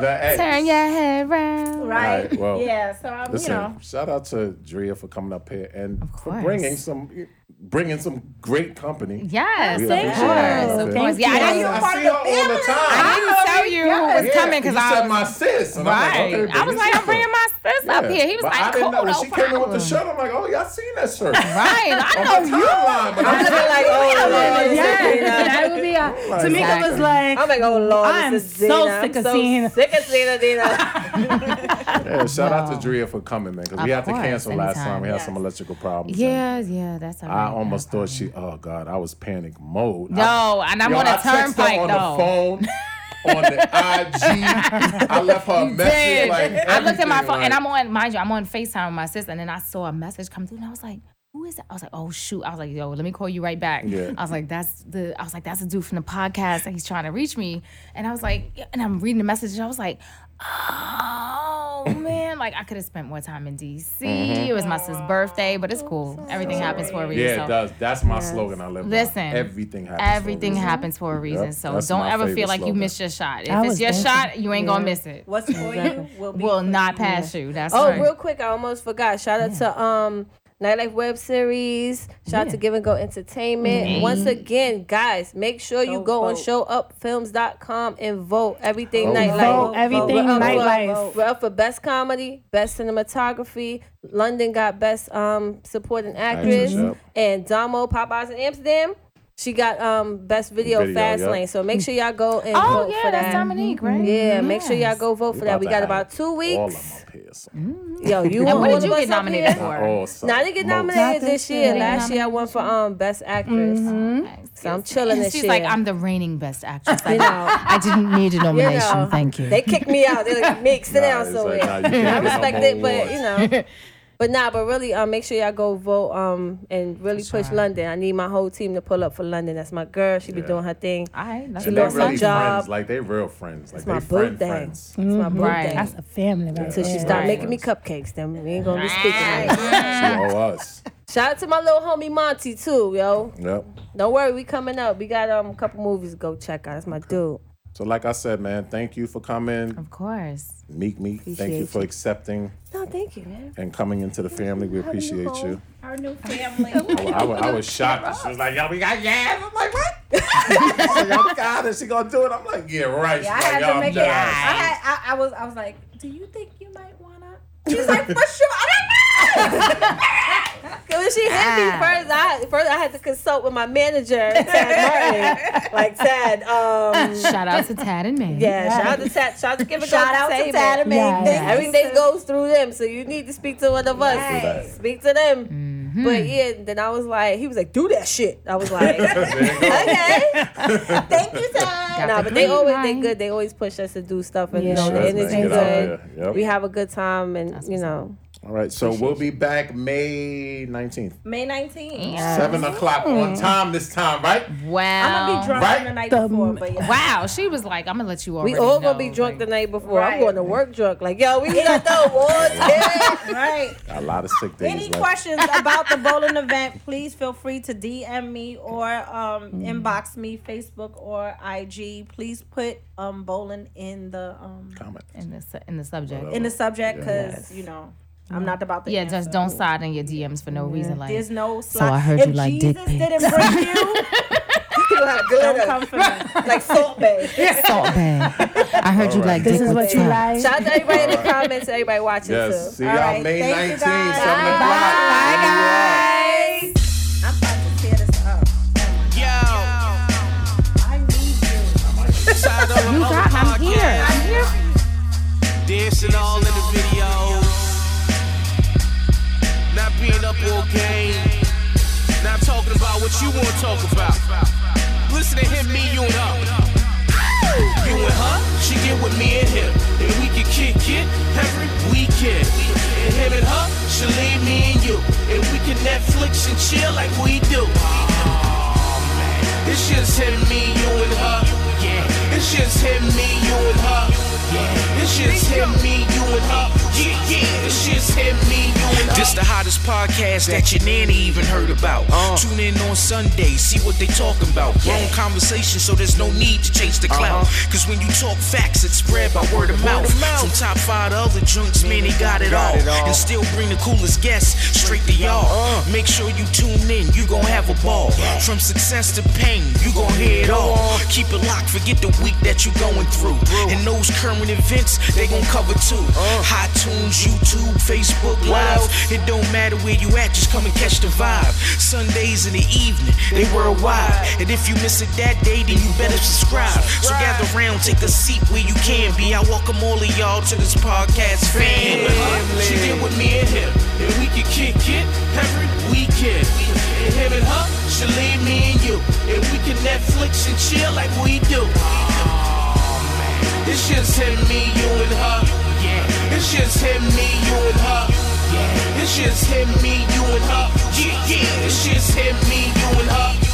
The egg. Turn your head round. Right. Right, well, yeah. So I'm, Listen, you know. shout out to Drea for coming up here and for bringing some bringing some great company. Yes, We of appreciate course, that. of course. Yeah, I, I didn't- I see her all the time. I didn't tell you who was Yeah, coming because you I said my sis. And I'm Right. like, okay, I bring was your like, I'm sister. bringing my sis up Yeah, here. He was but like, I didn't know. cool, When no she came in with the problem. shirt, I'm like, oh, y'all seen that shirt. [LAUGHS] Right, I On my know you. timeline, but I'm I like, was like, oh, Lord, Yes, that would be. A, Like, Tamika Exactly. was like, I'm like, oh lord, I'm this is so Zena. sick I'm of so seeing sick of Zena, Zena. yeah, shout out to Drea for coming, man, because we Of had to course, cancel last anytime, time. We had yes. some electrical problems. Yeah, yeah, that's all right. I almost thought she. Oh God, I was panic mode. No, I, and I'm Yo, on a I text her turnpike, on though. the [LAUGHS] phone, on the IG. I left her a message. Dead. Like [LAUGHS] I looked at my everything, phone and like- I'm on, mind you, I'm on FaceTime with my sister, and then I saw a message come through, and I was like, "Who is that?" I was like, "Oh shoot!" I was like, "Yo, let me call you right back." Yeah. I was like, "That's the," I was like, "That's a dude from the podcast, and he's trying to reach me," and I was like, yeah, and I'm reading the message, and I was like. [LAUGHS] Oh man, like I could have spent more time in DC. Mhm. It was my sister's birthday, but it's cool. Everything happens for a reason. Yeah, so- it does. That's my slogan. I live. by. Listen, everything happens. Everything for a reason. happens for a reason. Yep, so that's don't my ever favorite feel like you slogan. missed your shot. I If it's was your thinking- shot, you ain't gonna Yeah. miss it. [LAUGHS] What's for you will be will not pass you. That's oh, right. real quick, I almost forgot. Shout out to um Nightlife Web Series. Shout out to Give and Go Entertainment. Mm-hmm. Mhm. Once again, guys, make sure you Go go on vote. showupfilms.com and vote everything Vote. nightlife. Vote everything We're up for- nightlife. We're up for best comedy, best cinematography. London got best um supporting Actress, actress, yep. and Damo Popeyes in Amsterdam. She got um best video, Video, fast yep. lane. So make sure y'all go and Oh, vote yeah, for that's that. Dominique, right? Yeah, make sure y'all Yes. go vote We for that. We about got to about two weeks. All of my peers. Yo, you And want what all did you of us get up nominated here? for? Oh, Now I didn't get nominated this year. Last year I won for um best actress. So I'm chilling this Mm-hmm. She's year. like, I'm the reigning best actress. [LAUGHS] I, You know. I didn't [LAUGHS] need a nomination. know, Thank you. They kicked me out. They're like, Mick, sit Nah, down it's somewhere. like, nah, you can't I get no respect more it, but [LAUGHS] awards. you know. But nah, but really, um, make sure y'all go vote um and really push London. I need my whole team to pull up for London. That's my girl. She be Yeah. doing her thing. I she lost her job. friends. Like they real friends. Like It's they my friend birthday. friends. It's my Mhm. Mm-hmm. birthday. Right. That's a family right Until she there. start Right. making me cupcakes, then we ain't gonna be speaking. She owe us. Shout out to my little homie Monty too, yo. Yep. Don't worry, we coming up. We got um a couple movies to go check out. That's my dude. So like I said, man, thank you for coming. Of course. Meek Meek, thank you Appreciate for accepting No, thank you, man. and coming into the family. We appreciate you. Our new [LAUGHS] family. I, wa- I, wa- I was shocked. She was like, "Yo, we got yeah." I'm like, [LAUGHS] "What?" She's like, "Oh God, is she gonna do it?" I'm like, "Yeah, right." Yeah, I She's like, had "Yo, to I'm make it. I, jealous." had, I, I was I was like, do you think you might wanna? She's like, [LAUGHS] for sure. I don't know. [LAUGHS] When she hit me Ah. first, I first I had to consult with my manager, Tad [LAUGHS] Martin. Like Tad, um, Shout out to Tad and Meg. Yeah, shout out to Tad. Shout out to give a Shout out to Tad and Meg. Yes. Everything goes through them, so you need to speak to one of us. Yes. Speak to them. But yeah, then I was like, he was like, do that shit. I was like, nah, but they always they good. They always push us to do stuff, and you Yeah. know Sure, the man. energy Get out good. there. Yep. We have a good time, and you know, All right, so we'll be back May 19th, May 19th. seven o'clock on time this time, right? Wow. I'm gonna be drunk Right? Um, the night before, but yeah. Wow, she was like, I'm gonna let you already we all know. gonna be drunk the night before. Right. I'm going to work drunk. Like yo, we got the awards. [LAUGHS] right. Got a lot of sick days. Any left. questions about the bowling event, please feel free to DM me or um, inbox me, Facebook or IG. Please put um, bowling in the um, comment in the in the subject. in the subject because Oh, Yes. you know I'm not about the yeah, answer. just don't slide in your DMs for no reason. Like, There's no slide. so I heard if you like Jesus dick pics. didn't bring [LAUGHS] you, don't come for me. like salt bay. Salt bag. I heard you like dick with trap. Shout out to everybody in the comments, everybody watching Yes. too. See All y'all right, May thank you, 19th, guys. 7 o'clock. I'm about to tear this up. Yo. Tired of You other got- I'm here. podcasts. I'm Dancing all in the videos. Not being up all game. Not talking about what you want to talk about. Listen to him, me, you and her. You and her, she get with me and him. And we can kick it every weekend. And him and her, she leave me and you. And we can Netflix and chill like we do. It's just him, me, you and her. Yeah. It's just him, me, you and her. Yeah. It's just him, me, you and her. Yeah, yeah. It's just him, me, you and her. This the hottest podcast that your nanny even heard about. Tune in on Sunday, see what they talking about. Wrong conversation, so there's no need to chase the clout. Cause when you talk facts, it's spread by Uh-huh. word of mouth. From top five to other junks, man, they got it all. Uh. And still bring the coolest guests straight to y'all. Make sure you tune in, you gon' have a ball. From success to pain, you gon' hear it all. Keep it locked, forget the week that you going through. And those current events, they gon' cover too. iTunes, YouTube, Facebook Live. It don't matter where you at, just come and catch the vibe. Sundays in the evening, they worldwide. And if you miss it that day, then you better subscribe. So gather round, take a seat where you can be. I welcome all of y'all to this podcast family. She get with me and him, and we can kick it every weekend. And him and her, she leave me and you, and we can Netflix and chill like we do. It's just him, me, you and her. Yeah. It's just him, me, you and her. Yeah. It's just him, me, you and her. Yeah, yeah. It's just him, me, you and her.